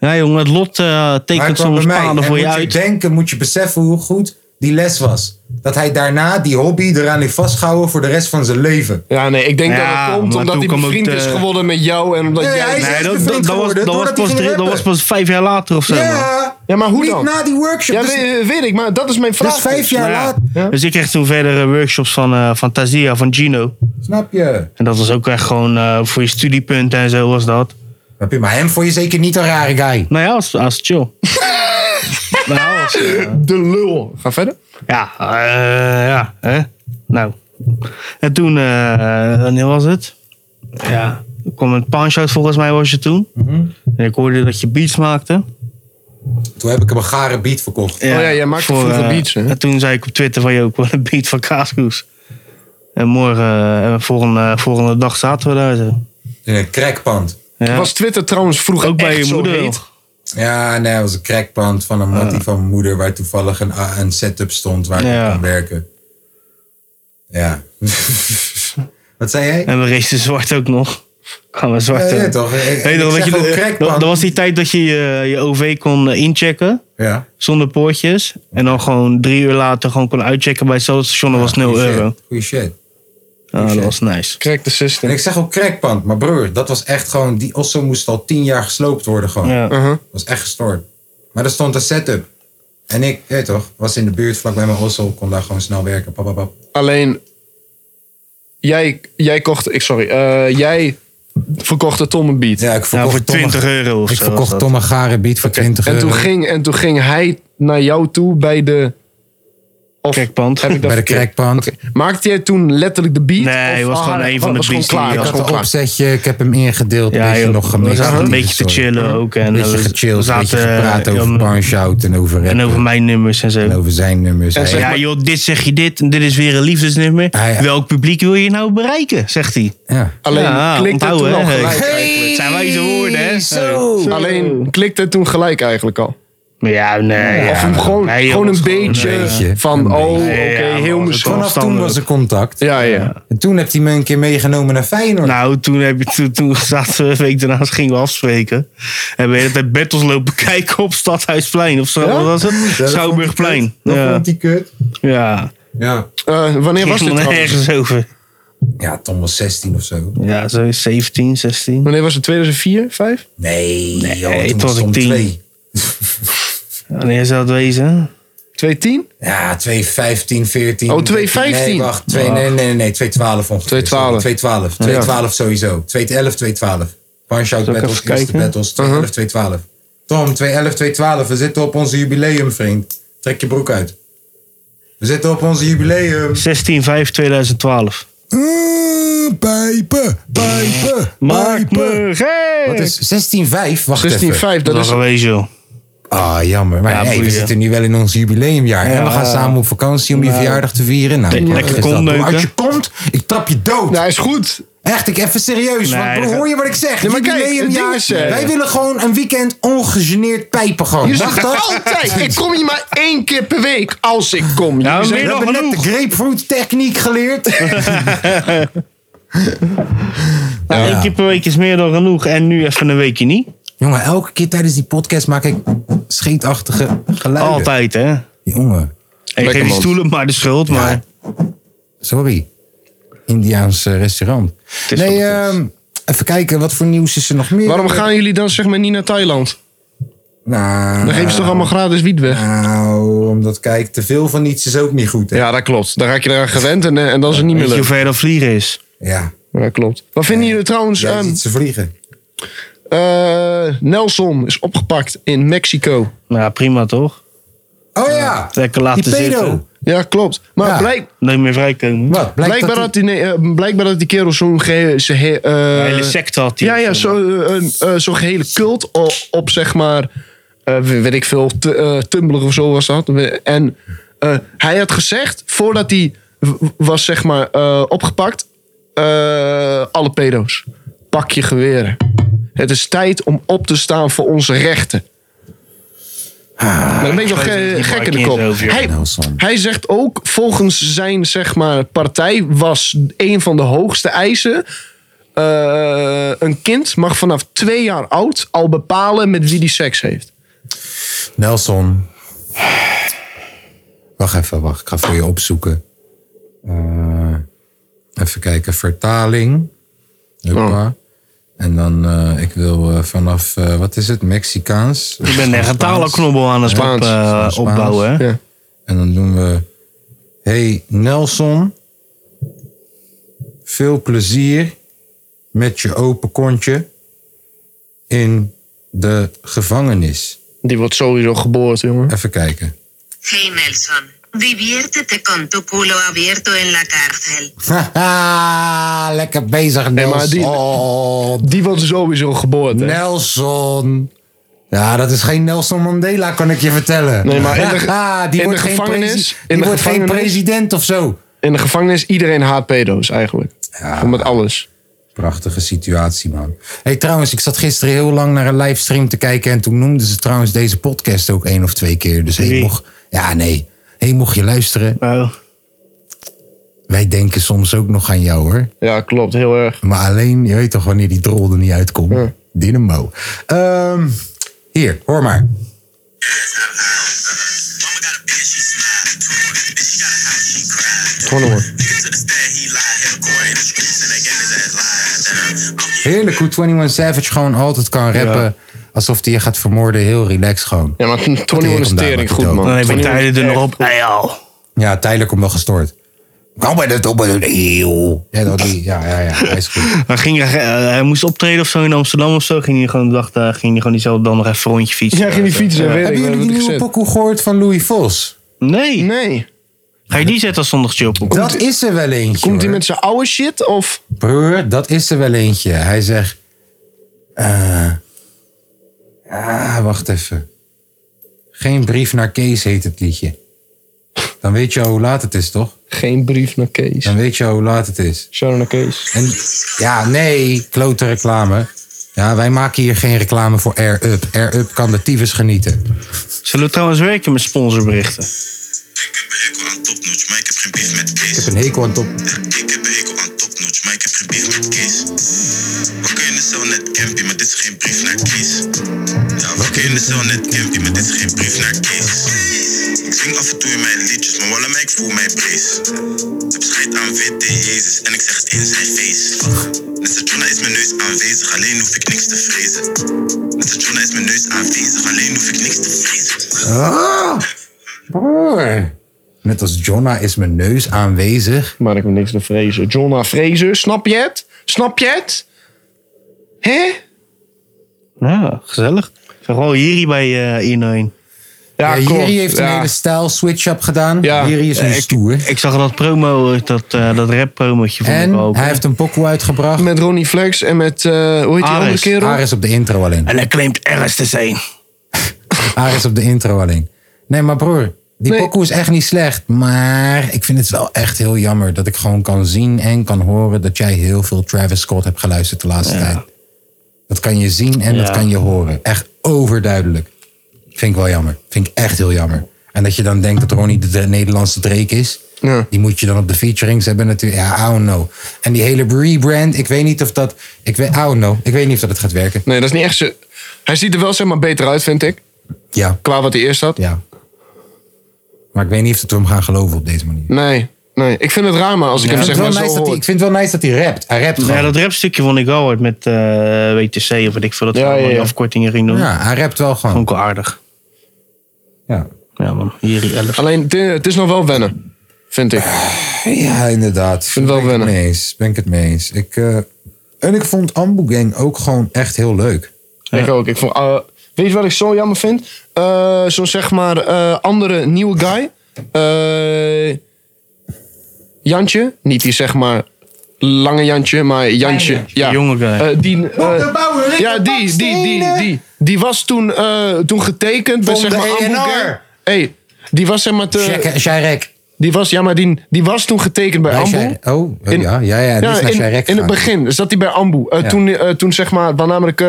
Speaker 2: ja, jongen, het lot eh,
Speaker 1: Hij
Speaker 2: tekent
Speaker 1: kwam
Speaker 2: soms
Speaker 1: bij mij.
Speaker 2: paden
Speaker 1: En
Speaker 2: voor je
Speaker 1: moet
Speaker 2: uit.
Speaker 1: je denken, moet je beseffen hoe goed die les was. Dat hij daarna die hobby eraan heeft vastgehouden voor de rest van zijn leven.
Speaker 3: ja, nee, ik denk
Speaker 2: Ja,
Speaker 3: dat het komt
Speaker 2: maar
Speaker 3: omdat
Speaker 2: toen
Speaker 3: hij
Speaker 2: kwam ook
Speaker 3: bevriend is
Speaker 2: de-
Speaker 3: geworden met jou en omdat
Speaker 1: Nee,
Speaker 3: jij.
Speaker 1: hij is-
Speaker 2: Nee,
Speaker 1: echt
Speaker 2: dat,
Speaker 1: bevriend
Speaker 2: dat, dat, was,
Speaker 1: geworden
Speaker 2: dat, was
Speaker 1: doordat
Speaker 2: pas
Speaker 1: hij ging
Speaker 2: drie- dat was
Speaker 1: rappen.
Speaker 2: pas vijf jaar later of zo. man.
Speaker 1: Ja,
Speaker 3: Ja, maar hoe
Speaker 1: Niet
Speaker 3: dan?
Speaker 1: na die workshop.
Speaker 3: Ja,
Speaker 1: dus,
Speaker 3: weet, weet ik, maar dat is mijn vraag.
Speaker 1: dus vijf jaar
Speaker 2: Nou ja.
Speaker 1: later.
Speaker 2: Dus ik kreeg toen verdere workshops van, eh van Tazia, van Gino.
Speaker 1: Snap je?
Speaker 2: En dat was ook echt gewoon eh, voor je studiepunten en zo was dat.
Speaker 1: Snap je? Maar hem vond je zeker niet een rare guy.
Speaker 2: Nou ja, als, als chill. nou, als,
Speaker 3: De lul. Ga verder.
Speaker 2: ja, eh, ja, hè? Nou. En toen, eh, wanneer was het? Ja, er kwam een punch-out volgens mij was je toen. En ik hoorde dat je beats maakte.
Speaker 1: Toen heb ik hem een gare beat verkocht.
Speaker 3: Oh ja, jij maakte vroeger
Speaker 2: eh,
Speaker 3: beats, hè?
Speaker 2: En toen zei ik op Twitter van, yo, ik wil een beat van Kaaskoes. En morgen, eh, volgende, volgende dag zaten we daar zo.
Speaker 1: In een crackpand.
Speaker 2: Ja.
Speaker 3: Was Twitter trouwens vroeger
Speaker 2: ook bij
Speaker 3: echt
Speaker 2: je
Speaker 3: zo
Speaker 2: moeder.
Speaker 3: heet?
Speaker 2: nog.
Speaker 1: Ja, nee, het was een crackpand van een mattie van mijn moeder... waar toevallig een, een setup stond waar ik op
Speaker 2: Ja.
Speaker 1: kon werken. Ja. Wat zei jij?
Speaker 2: En we racen zwart ook nog. Gaan we zwart.
Speaker 1: Ja, ja,
Speaker 2: eh.
Speaker 1: toch? Ik- ik-
Speaker 2: Weet je
Speaker 1: ik
Speaker 2: nog dat je
Speaker 1: zeg ook
Speaker 2: de-
Speaker 1: crackpand.
Speaker 2: dat, dat was die tijd dat je je, je OV kon eh, inchecken
Speaker 1: Ja.
Speaker 2: zonder poortjes. En dan gewoon drie uur later gewoon kon uitchecken bij hetzelfde station. Dat was 0
Speaker 1: Goeie shit.
Speaker 2: euro.
Speaker 1: Goeie shit.
Speaker 2: Ja, dat was nice.
Speaker 3: Crack the system.
Speaker 1: En ik zeg ook crackpand, maar broer, dat was echt gewoon... Die osso moest al tien jaar gesloopt worden gewoon.
Speaker 2: Ja.
Speaker 1: Dat was echt gestoord. Maar er stond een setup. En ik, weet je toch, was in de buurt vlakbij mijn osso, kon daar gewoon snel werken. Pap, pap, pap.
Speaker 3: Alleen, jij, jij kocht, ik sorry, eh, jij verkocht de Tom een beat.
Speaker 1: Ja, ik verkocht
Speaker 2: Nou, voor
Speaker 1: Tom een-
Speaker 2: 20 euro of
Speaker 1: Ik
Speaker 2: zo was
Speaker 1: verkocht
Speaker 2: dat.
Speaker 1: Tom een gare beat voor 20
Speaker 3: en,
Speaker 1: euro.
Speaker 3: toen ging, en toen ging hij naar jou toe bij de. Of
Speaker 2: Crackpand.
Speaker 3: heb ik dat
Speaker 1: bij de
Speaker 3: verkeerd?
Speaker 1: crackpand.
Speaker 3: Maakte jij toen letterlijk de beat?
Speaker 2: Nee,
Speaker 3: Of
Speaker 2: was
Speaker 3: ah,
Speaker 2: gewoon een van de
Speaker 3: was
Speaker 2: beats die je
Speaker 3: Gewoon klaar,
Speaker 1: Ik
Speaker 3: was
Speaker 1: had
Speaker 3: gewoon
Speaker 1: een
Speaker 3: klaar.
Speaker 1: opzetje, ik heb hem ingedeeld. een beetje
Speaker 2: joh,
Speaker 1: nog
Speaker 2: we
Speaker 1: gemixt.
Speaker 2: zaten een
Speaker 1: Die
Speaker 2: beetje te
Speaker 1: soort.
Speaker 2: chillen ook. En eh,
Speaker 1: Een beetje
Speaker 2: we
Speaker 1: gechilld, een beetje
Speaker 2: zaten,
Speaker 1: gepraat
Speaker 2: eh,
Speaker 1: over
Speaker 2: om-
Speaker 1: Punch-Out en over
Speaker 2: En
Speaker 1: rappen
Speaker 2: over mijn nummers en zo.
Speaker 1: en over zijn nummers.
Speaker 3: En
Speaker 1: Hij-
Speaker 3: zeg-
Speaker 2: ja, joh, dit zeg je dit en dit is weer een liefdesnummer.
Speaker 1: Ah, ja.
Speaker 2: Welk publiek wil je nou bereiken, zegt hij.
Speaker 1: ja.
Speaker 3: Alleen
Speaker 2: Ja,
Speaker 3: klikte het toen
Speaker 2: onthouden,
Speaker 3: al
Speaker 2: hè.
Speaker 3: gelijk.
Speaker 2: Het zijn wijze woorden, hè?
Speaker 1: Zo.
Speaker 3: Alleen klikte het toen gelijk eigenlijk al.
Speaker 2: Ja, nee.
Speaker 3: of
Speaker 2: ja,
Speaker 3: hem gewoon,
Speaker 2: nee, joh,
Speaker 3: gewoon
Speaker 2: het
Speaker 3: een
Speaker 2: is
Speaker 3: beetje
Speaker 2: eh,
Speaker 1: beetje,
Speaker 3: van,
Speaker 1: een
Speaker 3: oh, oké,
Speaker 2: beetje. Ja, maar
Speaker 3: heel
Speaker 2: was het
Speaker 3: misschien.
Speaker 2: wel-
Speaker 1: Vanaf toen was er contact.
Speaker 3: Ja, ja.
Speaker 1: En toen heeft hij me een keer meegenomen naar Feyenoord.
Speaker 2: Nou, toen, heb je, toen, toen zaten we een week daarnaast, gingen we afspreken. En we de hele tijd battles lopen kijken op Stadhuisplein of zo. Wat was
Speaker 1: Ja,
Speaker 2: het?
Speaker 1: dat
Speaker 2: Schouwburgplein.
Speaker 1: vond hij kut. Dat
Speaker 2: Ja.
Speaker 1: vond hij kut.
Speaker 2: ja.
Speaker 1: Ja.
Speaker 3: Eh, wanneer was dit
Speaker 2: Ging er
Speaker 3: trouwens?
Speaker 2: ergens over.
Speaker 1: ja, Tom was 16 of zo.
Speaker 2: Ja, zo 17, 16.
Speaker 3: Wanneer was het? 2004, 5?
Speaker 1: Nee, joh,
Speaker 2: toen
Speaker 1: toen
Speaker 2: was
Speaker 1: was
Speaker 2: ik
Speaker 1: Tom
Speaker 2: tien.
Speaker 1: 2.
Speaker 2: Wanneer zou dat wezen?
Speaker 3: 2010?
Speaker 1: Ja, 215, 14.
Speaker 3: Oh, 215.
Speaker 1: Nee, wacht.
Speaker 2: Ah.
Speaker 1: Twee, nee, nee, nee, nee. 212 ongeveer.
Speaker 3: 212.
Speaker 1: 212. 212 sowieso. 211, 212. Punch-out
Speaker 2: Zal ik
Speaker 1: battles,
Speaker 2: even
Speaker 1: eerste
Speaker 2: kijken? Uh-huh.
Speaker 1: battles. 211, 212. Tom, 211, 212. We zitten op onze jubileum, vriend. Trek je broek uit. We zitten op onze jubileum.
Speaker 2: 16, 5, 2012.
Speaker 1: Eh, pijpen, pijpen,
Speaker 2: Maak
Speaker 1: pijpen.
Speaker 2: me gek!
Speaker 1: Wat is 16-5? Wacht even.
Speaker 3: 16,5, dat
Speaker 2: Dat is
Speaker 3: is...
Speaker 2: een wezen, joh.
Speaker 1: Ah, jammer. Maar
Speaker 2: Ja,
Speaker 1: hey, we
Speaker 2: boeien.
Speaker 1: zitten nu wel in ons jubileumjaar. En we gaan samen op vakantie om je verjaardag te vieren. Nou,
Speaker 2: Nee,
Speaker 1: wat
Speaker 2: lekker
Speaker 1: is dat?
Speaker 2: kont neuken.
Speaker 1: Als je komt, ik trap je dood.
Speaker 3: Nou, is goed.
Speaker 1: Echt, ik even serieus.
Speaker 2: Nee,
Speaker 1: want bro,
Speaker 2: dat-
Speaker 1: hoor je wat ik zeg?
Speaker 3: maar kijk,
Speaker 1: Jubileumjaar.
Speaker 3: het ding is, eh,
Speaker 1: wij willen gewoon een weekend ongegeneerd pijpen gewoon.
Speaker 3: Je
Speaker 1: Mag
Speaker 3: zegt
Speaker 1: dat?
Speaker 3: altijd, ik kom hier maar één keer per week als ik kom.
Speaker 2: Ja,
Speaker 3: Jullie
Speaker 1: We
Speaker 2: meer
Speaker 3: zeggen-
Speaker 2: dan
Speaker 1: hebben net
Speaker 2: genoeg.
Speaker 1: de grapefruit techniek geleerd.
Speaker 2: Nou,
Speaker 1: Ja.
Speaker 2: Eén keer per week is meer dan genoeg. En nu even een weekje niet.
Speaker 1: Jongen, elke keer tijdens die podcast maak ik scheetachtige geluiden.
Speaker 2: Altijd, hè?
Speaker 1: Jongen,
Speaker 2: Ik
Speaker 3: Lekker,
Speaker 2: geef die
Speaker 3: man.
Speaker 2: stoelen maar de schuld, maar...
Speaker 1: sorry. Indiaans eh, restaurant.
Speaker 2: is
Speaker 1: Nee,
Speaker 2: wat het is.
Speaker 1: ehm, even kijken, wat voor nieuws is er nog meer?
Speaker 3: Waarom gaan jullie dan zeg maar niet naar Thailand?
Speaker 1: Nou,
Speaker 3: Dan geven ze toch allemaal gratis wiet weg?
Speaker 1: nou, omdat kijk, te veel van iets is ook niet goed. Hè?
Speaker 3: Ja, dat klopt. Dan raak je eraan gewend en, eh, en dan is het niet meer
Speaker 2: Weet je hoe
Speaker 3: leuk.
Speaker 2: ver dat vliegen is?
Speaker 1: Ja,
Speaker 3: Dat klopt. Wat vinden jullie trouwens?
Speaker 1: jij
Speaker 3: ehm,
Speaker 1: ziet ze vliegen.
Speaker 3: eh, Nelson is opgepakt in Mexico.
Speaker 2: Nou, prima toch?
Speaker 1: Oh ja,
Speaker 2: Lekker laten
Speaker 1: die pedo.
Speaker 2: zitten.
Speaker 3: Ja, klopt. Maar
Speaker 1: Ja.
Speaker 3: blijk-
Speaker 2: Niet meer vrijkomen.
Speaker 1: Wat? Blijkt
Speaker 3: blijkbaar,
Speaker 1: dat
Speaker 3: dat die, nee, eh, blijkbaar dat die kerel zo'n ge- ze he- eh,
Speaker 2: Een hele secte had hij.
Speaker 3: Ja, ja zo, eh, een, eh, zo'n gehele cult o- op, zeg maar, eh, weet ik veel, t- eh, Tumblr of zo was dat. En eh, hij had gezegd, voordat hij w- was zeg maar eh, opgepakt, eh, alle pedo's, pak je geweren. Het is tijd om op te staan voor onze rechten. maar dan ben je nog
Speaker 2: weet het
Speaker 3: ge-
Speaker 2: niet, maar
Speaker 3: gek in
Speaker 2: ik
Speaker 3: de
Speaker 2: ken
Speaker 3: kop.
Speaker 2: het over, joh.
Speaker 3: Hij,
Speaker 1: Nelson.
Speaker 3: hij zegt ook, volgens zijn zeg maar, partij was een van de hoogste eisen eh, een kind mag vanaf twee jaar oud al bepalen met wie die seks heeft.
Speaker 1: Nelson. Wacht even, wacht. Ik ga voor je opzoeken. Eh, even kijken. Vertaling. Huppa. En dan, eh, ik wil eh, vanaf, eh, wat is het? Mexicaans.
Speaker 2: Je bent echt een talenknobbel aan het
Speaker 3: Spaans.
Speaker 2: op, eh,
Speaker 1: Spaans.
Speaker 2: opbouwen. hè?
Speaker 3: Ja.
Speaker 1: En dan doen we... Hey Nelson. Veel plezier met je open kontje in de gevangenis.
Speaker 3: Die wordt sowieso geboord, jongen.
Speaker 1: Even kijken.
Speaker 4: Hey Nelson, diviértete con tu culo abierto en la cárcel.
Speaker 1: Haha, lekker bezig,
Speaker 3: Nee, maar
Speaker 1: Nelson. Oh,
Speaker 3: die- Die wordt sowieso geboord.
Speaker 2: Nou.
Speaker 3: Hè?
Speaker 1: Nelson. Ja, dat is geen Nelson Mandela, kan ik je vertellen.
Speaker 3: Nee, maar in de ge-
Speaker 1: Haha, die
Speaker 3: in
Speaker 1: wordt
Speaker 3: de
Speaker 1: geen
Speaker 3: gevangenis-
Speaker 1: presi-
Speaker 3: in
Speaker 1: die
Speaker 3: de
Speaker 1: wordt geen
Speaker 3: gevangenis-
Speaker 1: president of zo.
Speaker 3: In de gevangenis, iedereen haat pedo's eigenlijk. Gewoon Met alles.
Speaker 1: Prachtige situatie, man. hey, trouwens, ik zat gisteren heel lang naar een livestream te kijken. En toen noemden ze trouwens deze podcast ook één of twee keer. Dus hey,
Speaker 2: Nee.
Speaker 1: mocht, ja, nee. hey, mocht je luisteren.
Speaker 3: Oh.
Speaker 2: Nou,
Speaker 1: Wij denken soms ook nog aan jou, hoor.
Speaker 3: Ja, klopt. Heel erg.
Speaker 1: Maar alleen, je weet toch wanneer die drol er niet uitkomt. Dynamo. Ehm, hier, hoor maar.
Speaker 5: Mama got a bitch, she smiled. And she got a house, she cried.
Speaker 3: Gewoon hoor.
Speaker 5: Nigga to the stand, he lied. Held court in the streets and they gave his ass lies. Damn, I'm
Speaker 1: Heerlijk hoe 21 Savage gewoon altijd kan rappen. Alsof hij je gaat vermoorden. Heel relaxed gewoon.
Speaker 3: Ja, maar
Speaker 1: Die
Speaker 3: 21
Speaker 1: heeft
Speaker 3: is
Speaker 1: hem daar
Speaker 3: tering
Speaker 1: maar
Speaker 3: goed, man.
Speaker 2: dan heb ik
Speaker 3: 21
Speaker 2: tijden er nog op. Hey, al.
Speaker 1: Ja, tijdelijk om wel gestoord. Kom bij dat op een eeuw. Ja, dat die. Ja, ja, ja. Hij is goed.
Speaker 2: Maar ging hij, eh, hij moest optreden of zo in Amsterdam of zo. Ging hij gewoon, de dag, daar ging hij gewoon diezelfde dan nog even een rondje fietsen.
Speaker 3: Ja, ging die fietsen. weet ik,
Speaker 1: Hebben
Speaker 3: wat
Speaker 1: jullie
Speaker 3: ik
Speaker 1: die nieuwe
Speaker 3: gezegd.
Speaker 1: pokoe gehoord van Louis Vos?
Speaker 2: Nee.
Speaker 3: Nee.
Speaker 2: Ga je die zetten als zondag chillpoek?
Speaker 1: Dat is er wel eentje.
Speaker 3: Komt hij
Speaker 1: hoor.
Speaker 3: met zijn oude shit of...
Speaker 1: Broer, dat is er wel eentje. Hij zegt. eh, ah, wacht even. Geen brief naar Kees heet het liedje. Dan weet je al hoe laat het is, toch?
Speaker 3: Geen brief naar Kees.
Speaker 1: Dan weet je al hoe laat het is.
Speaker 3: Shout naar Kees.
Speaker 1: En, ja, nee, klote reclame. Ja, wij maken hier geen reclame voor Air Up. Air Up kan de tyfus genieten.
Speaker 2: Zullen we trouwens werken met sponsorberichten?
Speaker 5: Ik heb een hekel aan topnotch, maar ik heb geen beef met Kees.
Speaker 1: Ik heb een hekel aan top.
Speaker 5: Ik heb een hekel aan topnotch, maar ik heb geen beef met Kees. Wakker in de cel net campy, maar dit is geen brief naar Kees. Ja, wakker in de cel net campy, maar dit is geen brief naar Kees. Ik zing af en toe in mijn liedjes, maar wallah, maar ik voel mij brees. Ik heb scheid aan witte Jezus en ik zeg het in zijn face. Nessa Jonah is mijn neus aanwezig, alleen hoef ik niks te vrezen. Nessa Jonah is mijn neus aanwezig, alleen hoef ik niks te vrezen.
Speaker 1: Ah, broer. Net als Jonna is mijn neus aanwezig.
Speaker 3: Maar ik heb niks te vrezen. Jonna Fraser, snap je het? Snap je het? Hè?
Speaker 2: Nou, gezellig. Ik zag wel Jiri bij eh 1-1.
Speaker 3: Ja,
Speaker 1: Ja,
Speaker 3: Ah, klopt.
Speaker 1: Jiri heeft een
Speaker 3: Ja.
Speaker 1: hele stijl switch-up gedaan.
Speaker 3: Ja.
Speaker 1: Jiri is nu
Speaker 2: ik,
Speaker 1: stoer.
Speaker 2: ik zag dat promo, eh, dat, eh, dat rap promotje vond ik
Speaker 1: En
Speaker 2: wel ook.
Speaker 1: hij heeft een pokoe uitgebracht.
Speaker 3: Met Ronnie Flex en met, eh, hoe heet die
Speaker 2: Ares.
Speaker 3: andere kerel?
Speaker 1: Aris op de intro alleen.
Speaker 2: En hij claimt ergens te zijn.
Speaker 1: Aris op de intro alleen. Nee, maar broer, die
Speaker 3: Nee.
Speaker 1: pokoe is echt niet slecht. Maar ik vind het wel echt heel jammer dat ik gewoon kan zien en kan horen dat jij heel veel Travis Scott hebt geluisterd de laatste tijd. Dat kan je zien en dat
Speaker 2: Ja.
Speaker 1: kan je horen. Echt overduidelijk. Vind ik wel jammer. Vind ik echt heel jammer. En dat je dan denkt dat Ronnie de, de Nederlandse Drake is.
Speaker 3: Ja.
Speaker 1: Die moet je dan op de featurings hebben natuurlijk. Ja, I don't know. En die hele rebrand, ik weet niet of dat... Ik weet, I don't know. Ik weet niet of dat het gaat werken.
Speaker 3: Nee, dat is niet echt zo... Hij ziet er wel zeg maar beter uit, vind ik.
Speaker 1: Ja.
Speaker 3: Qua wat hij eerst had.
Speaker 1: Ja. Maar ik weet niet of dat we hem gaan geloven op deze manier.
Speaker 3: Nee, nee. Ik vind het raar, maar als ik hem
Speaker 1: ik,
Speaker 3: zeg
Speaker 1: vind het
Speaker 3: maar
Speaker 1: wel nice dat
Speaker 3: zo
Speaker 1: hij, ik
Speaker 3: hoor.
Speaker 1: vind het wel nice dat hij rapt. Hij rapt gewoon.
Speaker 2: Nou Ja,
Speaker 1: Ja,
Speaker 2: dat rapstukje vond ik wel hard met eh, WTC of wat ik veel. Dat
Speaker 3: Ja,
Speaker 2: ze allemaal
Speaker 3: ja,
Speaker 2: die
Speaker 3: ja.
Speaker 2: afkortingen ging doen.
Speaker 1: hij rapt wel gewoon.
Speaker 2: Vond ik wel aardig.
Speaker 1: Ja,
Speaker 2: Ja man, Jiri 11.
Speaker 3: Alleen, het- het is nog wel wennen. Vind ik.
Speaker 1: ja inderdaad. Ik
Speaker 3: vind het wel
Speaker 1: ben ik
Speaker 3: wennen.
Speaker 1: het mee eens. Ben ik het mee eens. Ik, eh, en ik vond Ambu Gang ook gewoon echt heel leuk.
Speaker 3: Ik ook. Ik vond, eh, weet je wat ik zo jammer vind? Eh, Zo'n zeg maar eh, andere nieuwe guy. Eh, Jantje. Niet die zeg maar lange Jantje, maar Jantje. ja.
Speaker 2: Jonge guy.
Speaker 3: Eh, die, eh, ja, die, die, die, die. Die was toen, eh, toen getekend bij
Speaker 1: Van
Speaker 3: zeg
Speaker 1: de
Speaker 3: maar Ambu
Speaker 1: A&R.
Speaker 3: Gang. Hey, die was zeg maar te-
Speaker 2: eh,
Speaker 1: Shaq- Shirek.
Speaker 3: die was, ja, maar die, die was toen getekend bij
Speaker 1: Hij
Speaker 3: Ambu.
Speaker 1: zei- oh, oh,
Speaker 3: In-
Speaker 1: ja, ja, ja, die is naar
Speaker 3: in,
Speaker 1: Shirek
Speaker 3: in het
Speaker 1: gegaan.
Speaker 3: begin zat hij bij Ambu. Eh,
Speaker 1: Ja.
Speaker 3: toen, eh, toen zeg maar, waar namelijk eh,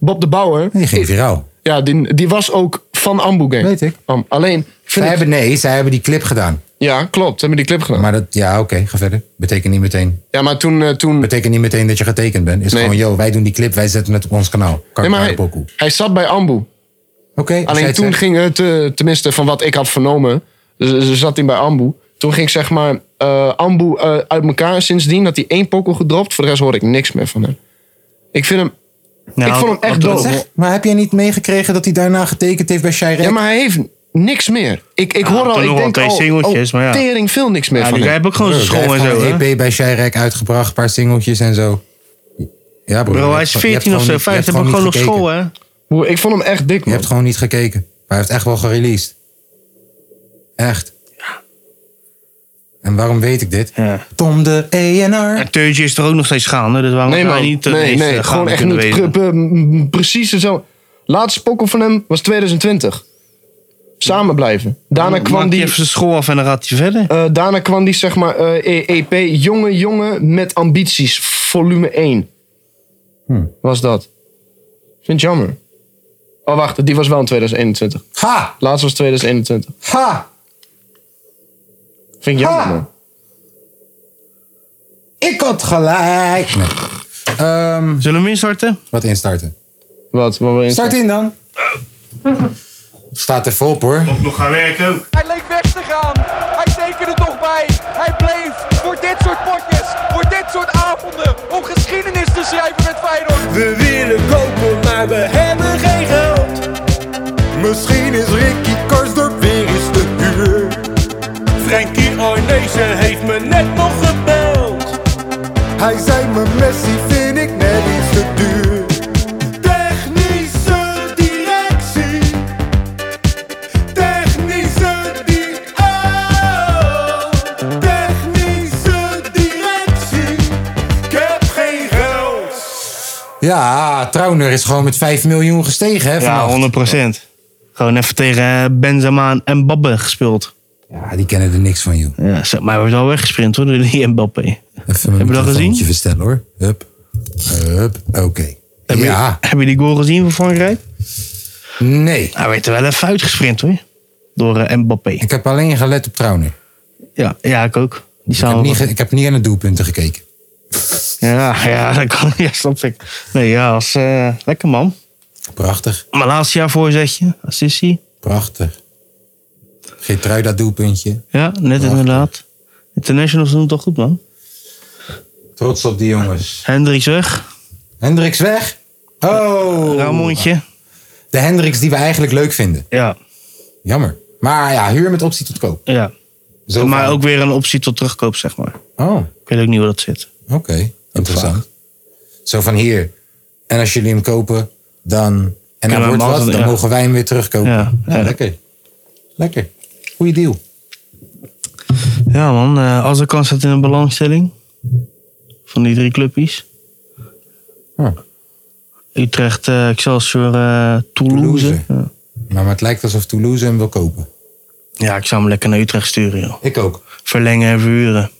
Speaker 3: Bob de Bouwer.
Speaker 1: Die ging viraal.
Speaker 3: Ja, die, die was ook van Ambu Gang.
Speaker 1: Weet ik.
Speaker 3: Am- alleen, ik vind
Speaker 1: Zij
Speaker 3: het-
Speaker 1: hebben, nee, zij hebben die clip gedaan.
Speaker 3: Ja, klopt. Hebben die clip gedaan.
Speaker 1: Maar dat, ja, oké, ga verder. Betekent niet meteen.
Speaker 3: ja, maar toen... eh, toen
Speaker 1: Betekent niet meteen dat je getekend bent. Is
Speaker 3: Nee.
Speaker 1: gewoon, yo, wij doen die clip, wij zetten het op ons kanaal. Kan
Speaker 3: nee, maar
Speaker 1: Oké,
Speaker 3: hij, hij zat bij Ambu.
Speaker 1: als jij
Speaker 3: Alleen
Speaker 1: het
Speaker 3: toen
Speaker 1: zegt.
Speaker 3: ging het, eh, tenminste van wat ik had vernomen, z- z- zat hij bij Ambu. Toen ging zeg maar eh, Ambu eh, uit elkaar. Sindsdien had hij één pokkel gedropt. Voor de rest hoor ik niks meer van hem. Ik vind hem...
Speaker 2: Nou,
Speaker 3: ik vond hem
Speaker 2: wat-
Speaker 3: echt
Speaker 2: wat-
Speaker 3: doof.
Speaker 1: Zeg, maar heb jij niet meegekregen dat hij daarna getekend heeft bij Shirek?
Speaker 3: Ja, maar hij heeft niks meer. Ik, ik
Speaker 2: Ja,
Speaker 3: hoor al,
Speaker 2: toen nog
Speaker 3: ik
Speaker 2: wel
Speaker 3: denk
Speaker 2: twee
Speaker 3: al,
Speaker 2: singeltjes,
Speaker 3: al
Speaker 2: maar ja.
Speaker 3: tering veel niks meer
Speaker 2: Ja,
Speaker 3: van
Speaker 2: die guy
Speaker 3: hem.
Speaker 2: heeft ook gewoon zijn school en
Speaker 1: Hij heeft
Speaker 2: zo.
Speaker 1: gewoon
Speaker 2: hè?
Speaker 1: een EP bij Shirek uitgebracht, een paar singeltjes en zo. Ja, broer,
Speaker 2: Bro,
Speaker 1: je hebt
Speaker 2: hij is
Speaker 1: gewoon- je hebt
Speaker 2: 14 of zo,
Speaker 1: gewoon niet-
Speaker 2: 15.
Speaker 1: je
Speaker 2: Hij
Speaker 1: hebt
Speaker 2: gewoon
Speaker 1: niet
Speaker 2: nog
Speaker 1: gekeken.
Speaker 2: school hè.
Speaker 3: Broer, Ik vond hem echt dik,
Speaker 1: Je
Speaker 3: man.
Speaker 1: hebt gewoon niet gekeken. Maar hij heeft echt wel gereleased. Echt. En waarom weet ik dit?
Speaker 2: Ja.
Speaker 1: Tom de ENR.
Speaker 2: En Teutje is er ook nog steeds gaande, dus waarom
Speaker 3: Nee,
Speaker 2: zou
Speaker 3: man.
Speaker 2: hij niet eh,
Speaker 3: nee,
Speaker 2: ineens, eh,
Speaker 3: nee,
Speaker 2: gaande
Speaker 3: gewoon echt
Speaker 2: kunnen
Speaker 3: niet.
Speaker 2: wezen?
Speaker 3: Pre- pre- mm, precies zo. Laatste pokkel van hem was 2020. Samen blijven. Daarna
Speaker 2: Dan maakt
Speaker 3: kwam
Speaker 2: hij
Speaker 3: die,
Speaker 2: even zijn school af en dan gaat hij verder.
Speaker 3: eh, daarna kwam die zeg maar eh, E- EP Jonge Jongen met Ambities, volume 1.
Speaker 1: Hm.
Speaker 3: Was dat. Vind het jammer. Oh, wacht, die was wel in 2021.
Speaker 1: Ha!
Speaker 3: Laatst was 2021.
Speaker 1: Ha!
Speaker 3: Vind ik jammer,
Speaker 1: Ha!
Speaker 3: man.
Speaker 1: Ik had gelijk. Nee. Ehm,
Speaker 2: Zullen we hem instarten?
Speaker 1: wat instarten?
Speaker 3: Wat, wat wil je
Speaker 1: Start in dan. Staat er vol op hoor.
Speaker 2: Nog gaan werken ook.
Speaker 6: Hij leek weg te gaan. Hij tekende toch bij. Hij bleef voor dit soort potjes, voor dit soort avonden, om geschiedenis te schrijven met Feyenoord.
Speaker 7: We willen kopen, maar we hebben geen geld. Misschien is Ricky Karsdorp weer eens te duur. Frankie Arnezen heeft me net nog gebeld. Hij zei me Messi vind ik net iets te duur. Technische directie. Technische di- oh. Technische directie. Ik heb geen geld.
Speaker 1: Ja, Trauner is gewoon met 5 miljoen gestegen hè
Speaker 2: Ja,
Speaker 1: vannacht.
Speaker 2: 100%. Gewoon even tegen eh, Benzema en Mbappe gespeeld.
Speaker 1: Ja, die kennen er niks van, joh.
Speaker 2: Ja, zo- maar hij wordt al weggesprint hoor, door die Mbappé.
Speaker 1: Even mijn
Speaker 2: Heb je dat
Speaker 1: microfoontje
Speaker 2: gezien?
Speaker 1: verstellen, hoor. Hup. Hup. Oké.
Speaker 2: Heb,
Speaker 1: Ja.
Speaker 2: je, heb je die goal gezien van Frankrijk?
Speaker 1: Nee.
Speaker 2: Hij werd er Nou, wel even uitgesprint hoor. Door eh, Mbappé.
Speaker 1: Ik heb alleen gelet op Trauner.
Speaker 2: Ja, ja, ik ook. Die
Speaker 1: Ik heb,
Speaker 2: staan
Speaker 1: niet, ge- ik heb niet aan de doelpunten gekeken.
Speaker 2: Ja, ja, dat kan. Ja, snap ik. Nee, ja, als, eh, lekker man.
Speaker 1: Prachtig.
Speaker 2: Mijn laatste jaar voorzetje, assistie.
Speaker 1: Prachtig. Geertruida doelpuntje.
Speaker 2: Ja, net inderdaad. Internationals doen het toch goed, man.
Speaker 1: Trots op die jongens.
Speaker 2: Hendricks weg,
Speaker 1: Hendricks weg. Oh.
Speaker 2: Ramontje.
Speaker 1: De Hendricks die we eigenlijk leuk vinden.
Speaker 2: Ja,
Speaker 1: Jammer. Maar ja, huur met optie tot koop.
Speaker 2: ja.
Speaker 1: Zo
Speaker 2: maar
Speaker 1: van-
Speaker 2: ook weer een optie tot terugkoop, zeg maar.
Speaker 1: Oh, oké.
Speaker 2: Ik weet ook niet hoe dat zit.
Speaker 1: Interessant. Zo van hier. En als jullie hem kopen, dan... En
Speaker 2: we
Speaker 1: dan
Speaker 2: hem
Speaker 1: wordt wat,
Speaker 2: altijd-
Speaker 1: dan
Speaker 2: ja.
Speaker 1: mogen wij hem weer terugkopen.
Speaker 2: Ja,
Speaker 1: Ja,
Speaker 2: ja.
Speaker 1: lekker. Lekker. Goeie deal.
Speaker 2: Ja man, eh als er kan staat in een belangstelling. Van die drie clubjes.
Speaker 1: Ja.
Speaker 2: Utrecht, eh, Excelsior, eh, Toulouse.
Speaker 1: Toulouse. Maar, maar het lijkt alsof Toulouse hem wil kopen.
Speaker 2: Ja, ik zou hem lekker naar Utrecht sturen joh.
Speaker 1: Ik ook.
Speaker 2: Verlengen en verhuren.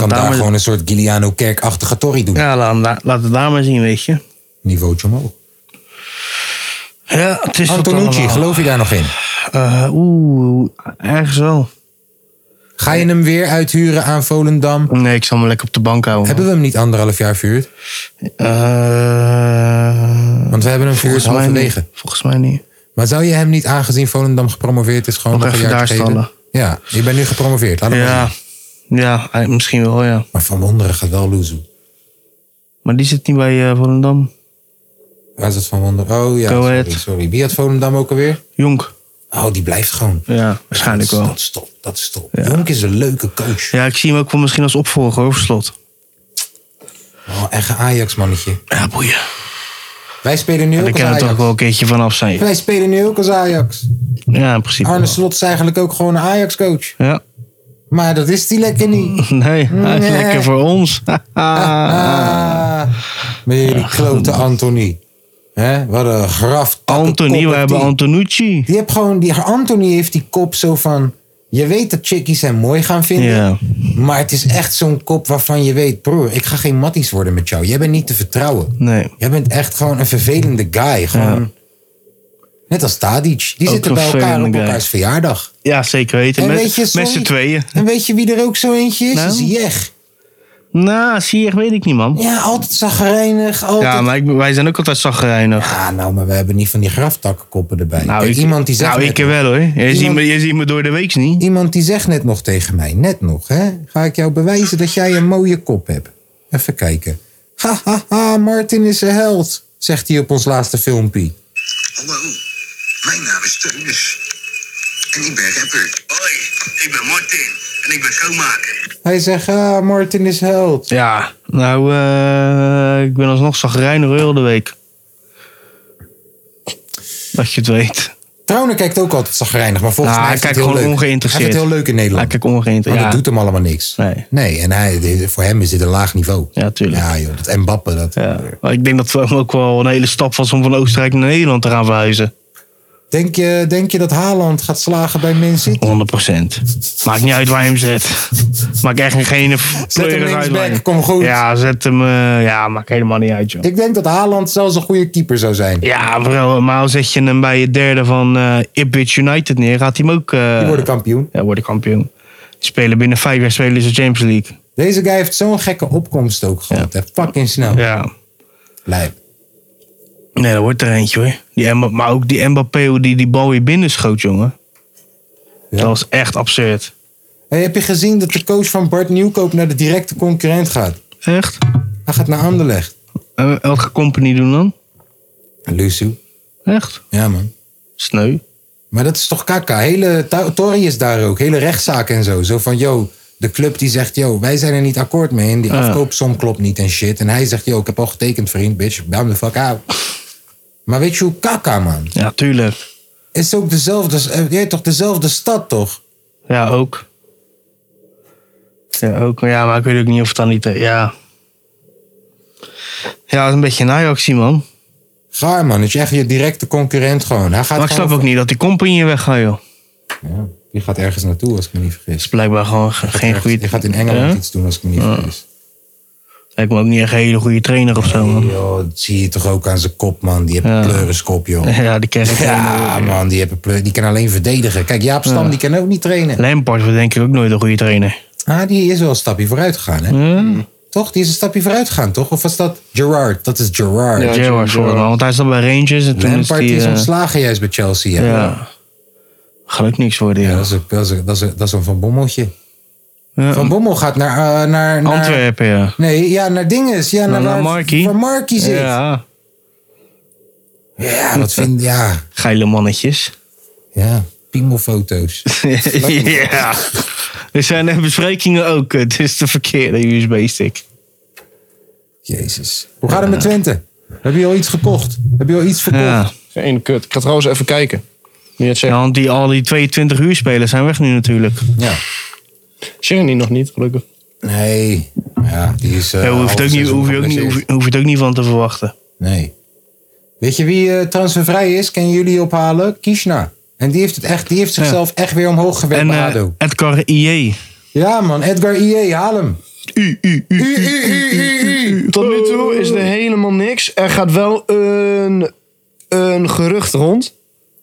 Speaker 1: Kan
Speaker 2: het
Speaker 1: daar
Speaker 2: maar-
Speaker 1: gewoon een soort Giuliano Kerkachtige torrie doen.
Speaker 2: Ah, Ja, laat, hem daar- laat het daar maar zien, weet je.
Speaker 1: Niveautje omhoog.
Speaker 2: Ja, het is wat
Speaker 1: Antonucci,
Speaker 2: allemaal.
Speaker 1: geloof je daar nog in?
Speaker 2: Eh, Oeh, ergens wel.
Speaker 1: Ga je hem weer uithuren aan Volendam?
Speaker 2: Nee, ik zal hem lekker op de bank houden. man.
Speaker 1: Hebben we hem niet anderhalf jaar verhuurd?
Speaker 2: Eh,
Speaker 1: Want we hebben hem verhuurd
Speaker 2: volgens mij
Speaker 1: halverwege.
Speaker 2: niet. Volgens mij niet.
Speaker 1: Maar zou je hem niet, aangezien Volendam gepromoveerd is, gewoon
Speaker 2: Nog
Speaker 1: nog, een
Speaker 2: even
Speaker 1: jaar
Speaker 2: daar
Speaker 1: geven?
Speaker 2: stallen.
Speaker 1: Ja, je bent nu gepromoveerd. Laat hem maar
Speaker 2: Ja,
Speaker 1: zien.
Speaker 2: ja, eh, misschien wel, ja.
Speaker 1: Maar Van Wonderen gaat wel loezoe.
Speaker 2: Maar die zit niet bij eh Volendam.
Speaker 1: Waar is het Van Wonderen? Oh ja,
Speaker 2: Go
Speaker 1: sorry,
Speaker 2: ahead.
Speaker 1: sorry. Wie had Volendam ook alweer?
Speaker 2: Jonk.
Speaker 1: Oh, die blijft gewoon.
Speaker 2: Ja, waarschijnlijk
Speaker 1: dat, is-
Speaker 2: wel.
Speaker 1: Dat is top, dat is top. Jonk is een leuke coach.
Speaker 2: Ja, ik zie hem ook wel misschien als opvolger over slot.
Speaker 1: Oh, echt een Ajax-mannetje.
Speaker 2: Ja, boeien.
Speaker 1: Wij spelen nu
Speaker 2: Daar
Speaker 1: ook als
Speaker 2: kan er
Speaker 1: Ajax.
Speaker 2: toch wel een keertje vanaf zijn.
Speaker 1: Wij spelen nu ook als Ajax.
Speaker 2: Ja, in principe.
Speaker 1: Arne
Speaker 2: wel.
Speaker 1: Slot is eigenlijk ook gewoon een Ajax-coach.
Speaker 2: Ja.
Speaker 1: Maar dat is die lekker niet.
Speaker 2: Nee, hij is
Speaker 1: Nee.
Speaker 2: lekker voor ons.
Speaker 1: Ah. Met jullie klote Anthony. hè? Wat een graf.
Speaker 2: Anthony, we hebben
Speaker 1: Anthony.
Speaker 2: Antonucci.
Speaker 1: Die, hebt gewoon, die Anthony heeft die kop zo van... Je weet dat chickies hem mooi gaan vinden.
Speaker 2: Ja.
Speaker 1: Maar het is echt zo'n kop waarvan je weet... Broer, ik ga geen matties worden met jou. Jij bent niet te vertrouwen.
Speaker 2: Nee.
Speaker 1: Jij bent echt gewoon een vervelende guy. Gewoon, Net als Tadic. Die
Speaker 2: Ook
Speaker 1: zitten bij
Speaker 2: een
Speaker 1: elkaar op
Speaker 2: vervelende guy.
Speaker 1: elkaars verjaardag.
Speaker 2: Ja, zeker weten.
Speaker 1: En
Speaker 2: Met,
Speaker 1: weet je,
Speaker 2: met
Speaker 1: sorry-
Speaker 2: z'n tweeën.
Speaker 1: En weet je wie er ook zo eentje is?
Speaker 2: Nou?
Speaker 1: Ziyech.
Speaker 2: Nou, zie je, weet ik niet, man.
Speaker 1: Ja, altijd zagrijnig. Altijd...
Speaker 2: Ja, maar ik- wij zijn ook altijd zagrijnig.
Speaker 1: Ah, nou, maar we hebben niet van die graftakkenkoppen erbij.
Speaker 2: Nou,
Speaker 1: Kijk,
Speaker 2: ik,
Speaker 1: iemand, die zegt
Speaker 2: nou,
Speaker 1: net
Speaker 2: ik wel hoor. Je, ziet me, je ziet me door de week niet.
Speaker 1: iemand die zegt net nog tegen mij, net nog, hè? Ga ik jou bewijzen dat jij een mooie kop hebt? Even kijken. Ha, ha, ha, Martin is een held, zegt hij op ons laatste filmpje.
Speaker 5: Hallo, mijn naam is Teunus. En ik ben rapper. Hoi, ik ben Martin. En ik ben schoonmaker.
Speaker 1: Hij zegt, ah, Martin is held.
Speaker 2: Ja, nou, eh, ik ben alsnog zagrijnig hoor, heel de week. Dat je het weet.
Speaker 1: Trouwen kijkt ook altijd zagrijnig, maar volgens
Speaker 2: Nou,
Speaker 1: mij
Speaker 2: hij
Speaker 1: is het
Speaker 2: kijkt
Speaker 1: heel
Speaker 2: gewoon
Speaker 1: leuk.
Speaker 2: ongeïnteresseerd.
Speaker 1: Hij vindt het heel leuk in Nederland.
Speaker 2: Ah, kijk,
Speaker 1: Maar dat
Speaker 2: ongeïnteresseerd.
Speaker 1: doet hem allemaal niks.
Speaker 2: Nee.
Speaker 1: en hij, dit- voor hem is dit een laag niveau.
Speaker 2: Ja, tuurlijk.
Speaker 1: Ja, joh, dat Mbappe, dat...
Speaker 2: Ja, ja. Maar ik denk dat het ook wel een hele stap was om van Oostenrijk naar Nederland te gaan verhuizen.
Speaker 1: Denk, je, denk je dat Haaland gaat slagen bij Man City?
Speaker 2: 100%. Maakt niet uit waar je hem zet. Maakt echt geen pleuris uit
Speaker 1: linksback,
Speaker 2: waar je-
Speaker 1: kom goed.
Speaker 2: Ja, zet hem. eh, ja, maakt helemaal niet uit, joh.
Speaker 1: Ik denk dat Haaland zelfs een goede keeper zou zijn.
Speaker 2: Ja, bro, maar zet je hem bij je derde van eh Ipswich United neer, gaat hij hem ook... eh,
Speaker 1: Die worden kampioen.
Speaker 2: ja, worden kampioen. Die spelen binnen vijf jaar spelen ze Champions League.
Speaker 1: Deze guy heeft zo'n gekke opkomst ook gehad. hè. Fucking snel.
Speaker 2: Ja.
Speaker 1: Lijp.
Speaker 2: Nee, dat wordt er eentje hoor. Die Mba- maar ook die Mbappé hoe die die bal weer binnen schoot, jongen.
Speaker 1: Ja.
Speaker 2: Dat was echt absurd.
Speaker 1: Hey, heb je gezien dat de coach van Bart Nieuwkoop naar de directe concurrent gaat?
Speaker 2: Echt?
Speaker 1: Hij gaat naar Anderlecht.
Speaker 2: En wat gaat Eh, company doen dan?
Speaker 1: Lucu.
Speaker 2: Echt?
Speaker 1: Ja, man.
Speaker 2: Sneu.
Speaker 1: Maar dat is toch kaka. Hele to- Tory is daar ook. Hele rechtszaak en zo. Zo van, yo, de club die zegt, yo, wij zijn er niet akkoord mee. En die
Speaker 2: Ja.
Speaker 1: afkoopsom klopt niet en shit. En hij zegt, yo, ik heb al getekend, vriend, bitch. Bam the fuck out. Maar weet je hoe kaka, man?
Speaker 2: Ja, tuurlijk.
Speaker 1: Is ook dezelfde, eh, je hebt toch dezelfde stad, toch?
Speaker 2: Ja, ook. Ja, ook. Ja, maar ik weet ook niet of het dan niet... eh, Ja. Ja, dat is een beetje een Ajaxie, man.
Speaker 1: Gaar, man. Het is echt je directe concurrent gewoon. Hij gaat
Speaker 2: Maar ik
Speaker 1: gewoon
Speaker 2: snap ook niet dat die company weggaat, joh.
Speaker 1: Ja, die gaat ergens naartoe, als ik me niet vergis.
Speaker 2: is blijkbaar gewoon ge- geen goede...
Speaker 1: Die gaat in Engeland
Speaker 2: Ja?
Speaker 1: iets doen, als ik me niet vergis.
Speaker 2: Lijkt me ook niet echt een hele goede trainer of zo, man.
Speaker 1: Yo, dat zie je toch ook aan zijn kop, man. Die heeft een pleurenskop, joh.
Speaker 2: Ja, die kerk.
Speaker 1: Ja, man, die, heeft een pleur- die kan alleen verdedigen. Kijk, Jaap Stam, die kan ook niet trainen.
Speaker 2: Lampard wordt denk ik ook nooit een goede trainer.
Speaker 1: Ah, die is wel een stapje vooruit gegaan, hè? Toch? Die is een stapje vooruit gegaan, toch? Of was dat Gerard? Dat is Gerard.
Speaker 3: Ja, Jim
Speaker 2: Gerrard voor
Speaker 3: Gerrard.
Speaker 2: want hij zat bij Rangers en toen
Speaker 1: Lampard die
Speaker 2: is die...
Speaker 1: is
Speaker 2: eh,
Speaker 1: ontslagen juist bij Chelsea. hè?
Speaker 2: ja. Gaat ook niks worden,
Speaker 1: Ja,
Speaker 2: ja.
Speaker 1: dat, is een, dat, is een, dat, is een, dat is een Van Bommeltje.
Speaker 2: Ja,
Speaker 1: Van Bommel gaat naar... eh, naar, naar
Speaker 2: Antwerpen, ja.
Speaker 1: Nee, ja, naar dinges. Ja, naar,
Speaker 2: naar
Speaker 1: waar-
Speaker 2: Markie.
Speaker 1: Waar Markie zit. Ja,
Speaker 2: Ja,
Speaker 1: dat vind Ja,
Speaker 2: geile mannetjes.
Speaker 1: ja. Piemelfoto's.
Speaker 2: ja. Er zijn er besprekingen ook. eh, Het is de verkeerde USB-stick.
Speaker 1: Jezus. Hoe gaat het met Twente? Heb je al iets gekocht? Heb je al iets verkocht?
Speaker 2: Ja.
Speaker 3: Geen kut. Ik ga trouwens even kijken. Nu je het
Speaker 2: Ja,
Speaker 3: zegt.
Speaker 2: want die, al die 22 uur spelers zijn weg nu natuurlijk.
Speaker 1: Ja.
Speaker 3: Sherry nog niet, gelukkig.
Speaker 1: Nee. Ja, die is. eh,
Speaker 2: Daar hoef je
Speaker 1: half
Speaker 2: het ook niet-
Speaker 1: seizoen
Speaker 2: hoef je ook niet- hoef je-
Speaker 1: geblesseerd.
Speaker 2: hoef je het ook niet van te verwachten.
Speaker 1: Nee. Weet je wie eh, transfervrij is? Kunnen jullie ophalen? Kishna. En die heeft, het echt, die heeft zichzelf echt weer omhoog gewerkt
Speaker 2: En
Speaker 1: bij
Speaker 2: eh
Speaker 1: ADO.
Speaker 2: Edgar IE.
Speaker 1: Ja man, Edgar IE, haal hem. U, u, u, u, u.
Speaker 3: Tot nu toe is er helemaal niks. Er gaat wel een, een gerucht rond.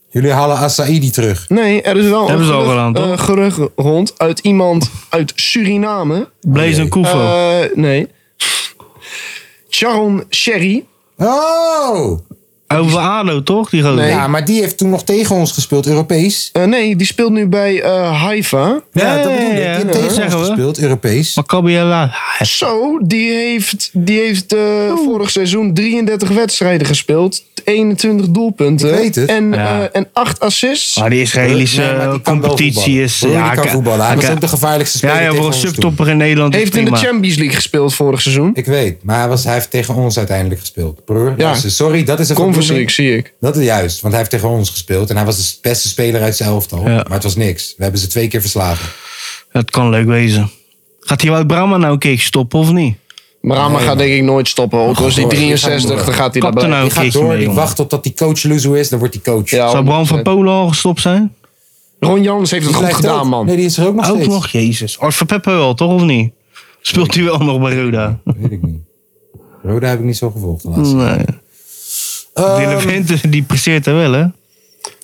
Speaker 1: Jullie halen Asaidi terug.
Speaker 3: Nee, er is wel
Speaker 2: Hebben
Speaker 3: een
Speaker 2: ze al
Speaker 3: gerucht,
Speaker 2: gedaan, toch?
Speaker 3: eh, gerucht rond uit iemand uit Suriname.
Speaker 1: Oh.
Speaker 2: Blaze en Koevo.
Speaker 3: Eh, nee. Sharon Sherry.
Speaker 1: Oh!
Speaker 2: Over ADO toch, die gozer?
Speaker 3: Nee.
Speaker 1: Ja, maar die heeft toen nog tegen ons gespeeld, Europees.
Speaker 3: Eh, nee, die speelt nu bij eh Haifa.
Speaker 1: Ja, dat bedoel ik. Die
Speaker 2: ja,
Speaker 1: heeft
Speaker 2: ja,
Speaker 1: tegen ons
Speaker 2: zeggen we.
Speaker 1: gespeeld, Europees.
Speaker 2: Maccabi Haifa.
Speaker 3: Zo, die heeft, die heeft eh, vorig seizoen 33 wedstrijden gespeeld. 21 doelpunten.
Speaker 1: Ik weet het.
Speaker 3: En,
Speaker 2: Ja.
Speaker 3: eh, en 8 assists.
Speaker 2: Maar die Israëlische
Speaker 1: eh,
Speaker 2: eh,
Speaker 1: Nee, maar die kan wel
Speaker 2: competitie
Speaker 1: voetballen.
Speaker 2: is...
Speaker 1: Broer, die kan
Speaker 2: ka-
Speaker 1: voetballen. Hij
Speaker 2: ka-
Speaker 1: was ook de gevaarlijkste speler
Speaker 2: Ja, ja,
Speaker 1: tegen
Speaker 2: voor een
Speaker 1: ons toen.
Speaker 2: subtopper in Nederland is
Speaker 3: heeft in de
Speaker 2: prima.
Speaker 3: Champions League gespeeld vorig seizoen.
Speaker 1: Ik weet, maar hij, was, hij heeft tegen ons uiteindelijk gespeeld. Broer,
Speaker 3: Ja.
Speaker 1: luister, sorry, dat is een
Speaker 3: Conference
Speaker 1: verbloeming.
Speaker 3: League, zie ik.
Speaker 1: Dat is juist, want hij heeft tegen ons gespeeld. En hij was de beste speler uit zijn elftal. Maar het was niks. We hebben ze twee keer verslagen.
Speaker 2: Dat kan leuk wezen. Gaat die Wout Brama nou een keertje stoppen of niet?
Speaker 3: Brahma gaat denk ik nooit stoppen. Ook als die
Speaker 1: hoor, Oh, die gaat
Speaker 3: 63, dan
Speaker 1: door.
Speaker 3: gaat
Speaker 2: Kapte
Speaker 3: hij daarbij.
Speaker 2: nou.
Speaker 1: Die
Speaker 2: Oké,
Speaker 1: gaat
Speaker 2: ik
Speaker 1: door,
Speaker 2: mee,
Speaker 1: die
Speaker 2: jongen.
Speaker 1: wacht totdat die coach Luzu is. Dan wordt die coach.
Speaker 3: Ja,
Speaker 2: Zou Bram van
Speaker 3: 100%.
Speaker 2: Polen al gestopt zijn?
Speaker 3: Ron Jans heeft het
Speaker 1: Die
Speaker 3: goed
Speaker 1: blijft
Speaker 3: gedaan,
Speaker 1: ook.
Speaker 3: man.
Speaker 1: Nee, die is er ook nog
Speaker 2: Ook
Speaker 1: steeds.
Speaker 2: nog, jezus. Ors van Peppe wel, toch of niet? Speelt hij wel nog bij Roda?
Speaker 1: Weet ik niet. Roda heb ik niet zo gevolgd de laatste.
Speaker 3: Hmm.
Speaker 2: Nee. Die
Speaker 1: Ehm,
Speaker 2: Levente, die presteert er wel, hè?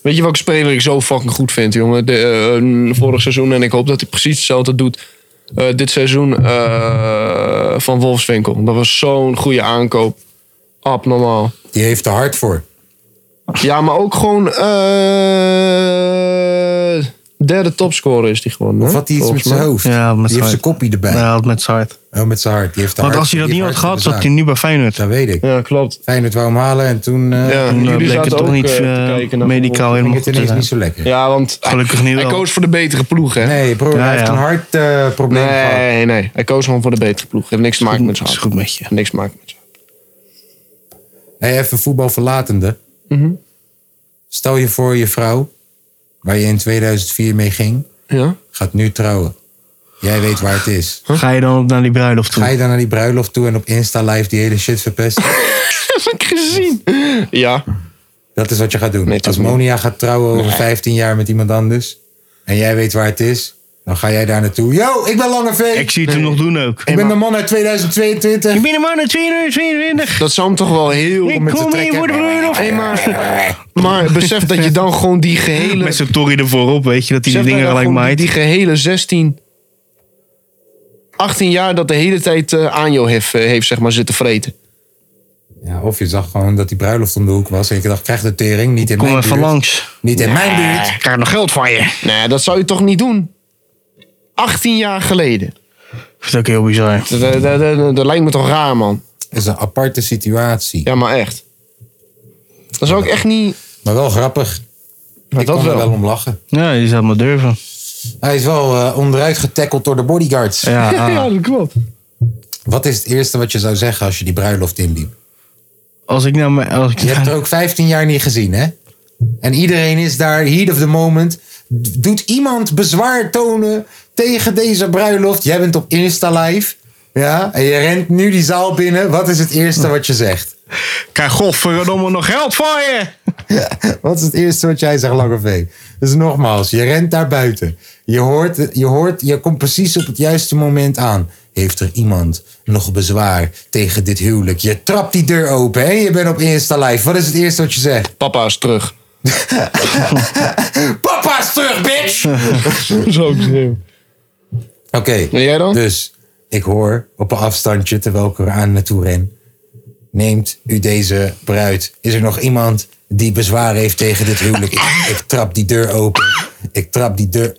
Speaker 3: Weet je welke speler ik zo fucking goed vind, jongen? De, eh, vorig seizoen. En ik hoop dat hij precies hetzelfde doet. eh, dit seizoen eh, van Wolfswinkel. Dat was zo'n goede aankoop. Abnormaal.
Speaker 1: die heeft er hard voor.
Speaker 3: Ja, maar ook gewoon... eh, derde topscorer is die gewoon.
Speaker 1: Of had hij iets met zijn hoofd?
Speaker 2: Ja, met
Speaker 1: die
Speaker 2: zijn
Speaker 1: heeft zijn
Speaker 2: hart.
Speaker 1: kopie erbij.
Speaker 2: Ja, had met zijn hart.
Speaker 1: Oh, met zijn hart. Die heeft de
Speaker 2: Want
Speaker 1: hart-
Speaker 2: als hij dat
Speaker 1: die
Speaker 2: niet had
Speaker 1: heeft hart
Speaker 2: gehad,
Speaker 1: voor
Speaker 2: zat
Speaker 1: de
Speaker 2: hij nu bij Feyenoord.
Speaker 1: zaak. Dat weet ik.
Speaker 3: Ja, klopt.
Speaker 1: Feyenoord wou hem halen en toen eh
Speaker 3: Ja,
Speaker 2: Toen eh,
Speaker 3: jullie
Speaker 2: bleek
Speaker 3: zaten
Speaker 2: het toch
Speaker 3: ook,
Speaker 2: niet
Speaker 3: eh, te
Speaker 2: eh,
Speaker 3: kijken naar
Speaker 2: medicaal
Speaker 3: voetbal.
Speaker 1: ging
Speaker 2: helemaal
Speaker 1: het
Speaker 2: goed te
Speaker 1: ineens
Speaker 2: zijn.
Speaker 1: niet zo lekker.
Speaker 3: Ja, want
Speaker 2: Gelukkig
Speaker 3: hij,
Speaker 2: niet
Speaker 3: hij
Speaker 2: wel.
Speaker 3: koos voor de betere ploeg, hè?
Speaker 1: Nee, broer,
Speaker 2: Ja,
Speaker 1: hij heeft
Speaker 2: ja.
Speaker 1: een hartprobleem
Speaker 3: Nee,
Speaker 1: gehad.
Speaker 3: nee, nee. Hij koos gewoon voor de betere ploeg. Heeft niks te maken met zijn
Speaker 2: Is
Speaker 3: hart.
Speaker 2: goed met je.
Speaker 3: Niks te maken met zijn hart.
Speaker 1: Hey, even voetbal verlatende.
Speaker 2: Mhm.
Speaker 1: Stel je voor je vrouw, waar je in 2004 mee ging,
Speaker 3: Ja?
Speaker 1: gaat nu trouwen. Jij weet waar het is.
Speaker 2: Ga je dan op naar die bruiloft toe?
Speaker 1: Ga je dan naar die bruiloft toe en op Insta live die hele shit verpesten?
Speaker 3: Heb ik gezien. Ja.
Speaker 1: Dat is wat je gaat doen.
Speaker 3: Nee, toch
Speaker 1: Als Monia gaat trouwen over 15 jaar met iemand anders en jij weet waar het is, dan ga jij daar naartoe. Yo, ik ben Lange V.
Speaker 2: Ik
Speaker 1: Ik,
Speaker 2: zie het hem nog doen ook.
Speaker 1: ben de man uit 2022.
Speaker 2: Ik ben een man uit 2022.
Speaker 3: Dat zou hem toch wel heel...
Speaker 2: Ik
Speaker 1: met z'n
Speaker 2: kom hier
Speaker 1: trekken.
Speaker 2: voor de bruiloft.
Speaker 3: Hey, maar, maar besef dat je dan gewoon die gehele...
Speaker 2: Met zijn torrie ervoor op, weet je, dat hij
Speaker 1: nou
Speaker 2: die
Speaker 3: besef dat
Speaker 2: dingen
Speaker 3: dan
Speaker 2: gelijk
Speaker 3: gewoon die,
Speaker 2: maait.
Speaker 3: die gehele 16... 18 jaar dat de hele tijd eh, aan jou hef, eh, heeft zeg maar, zitten vreten.
Speaker 1: Ja, of je zag gewoon dat die bruiloft om de hoek was en je dacht, krijg de tering, niet in
Speaker 2: Kom
Speaker 1: mijn
Speaker 2: even
Speaker 1: buurt.
Speaker 2: langs.
Speaker 1: Niet in mijn
Speaker 2: Eh,
Speaker 1: buurt.
Speaker 3: ik krijg nog geld van je. Nee, dat zou je toch niet doen? 18 jaar geleden.
Speaker 2: Dat is ook heel bizar.
Speaker 3: Dat, dat, dat, dat- dat lijkt me toch raar, man.
Speaker 1: is een aparte situatie.
Speaker 3: Ja, maar echt. Dat zou ik echt niet...
Speaker 1: Maar wel grappig. ik
Speaker 3: dat
Speaker 1: kon er
Speaker 3: wel.
Speaker 1: wel om lachen.
Speaker 2: Ja, je zou het maar durven.
Speaker 1: Hij is wel eh, onderuit getackeld door de bodyguards.
Speaker 2: Ja, ah.
Speaker 3: dat klopt.
Speaker 1: Wat is het eerste wat je zou zeggen als je die bruiloft inliep?
Speaker 2: als ik nou... maar- Als ik,
Speaker 1: Je hebt er ook 15 jaar niet gezien, hè? En iedereen is daar, heat of the moment. D- Doet iemand bezwaar tonen tegen deze bruiloft? Jij bent op Insta live. Ja, en je rent nu die zaal binnen. Wat is het eerste wat je zegt?
Speaker 2: Krijg godverdomme nog geld van je!
Speaker 1: Wat is het eerste wat jij zegt, Lange V? Dus nogmaals, je rent daar buiten. Je hoort, je hoort, je komt precies op het juiste moment aan. Heeft er iemand nog bezwaar tegen dit huwelijk? Je trapt die deur open en je bent op Insta Live. Wat is het eerste wat je zegt?
Speaker 3: Papa is terug.
Speaker 1: Papa is terug, bitch!
Speaker 3: Zo gezien.
Speaker 1: Oké,
Speaker 3: En jij dan?
Speaker 1: dus ik hoor op een afstandje terwijl ik eraan naartoe ren. Neemt u deze bruid? Is er nog iemand die bezwaar heeft tegen dit huwelijk? Ik, ik trap die deur open. Ik trap die deur.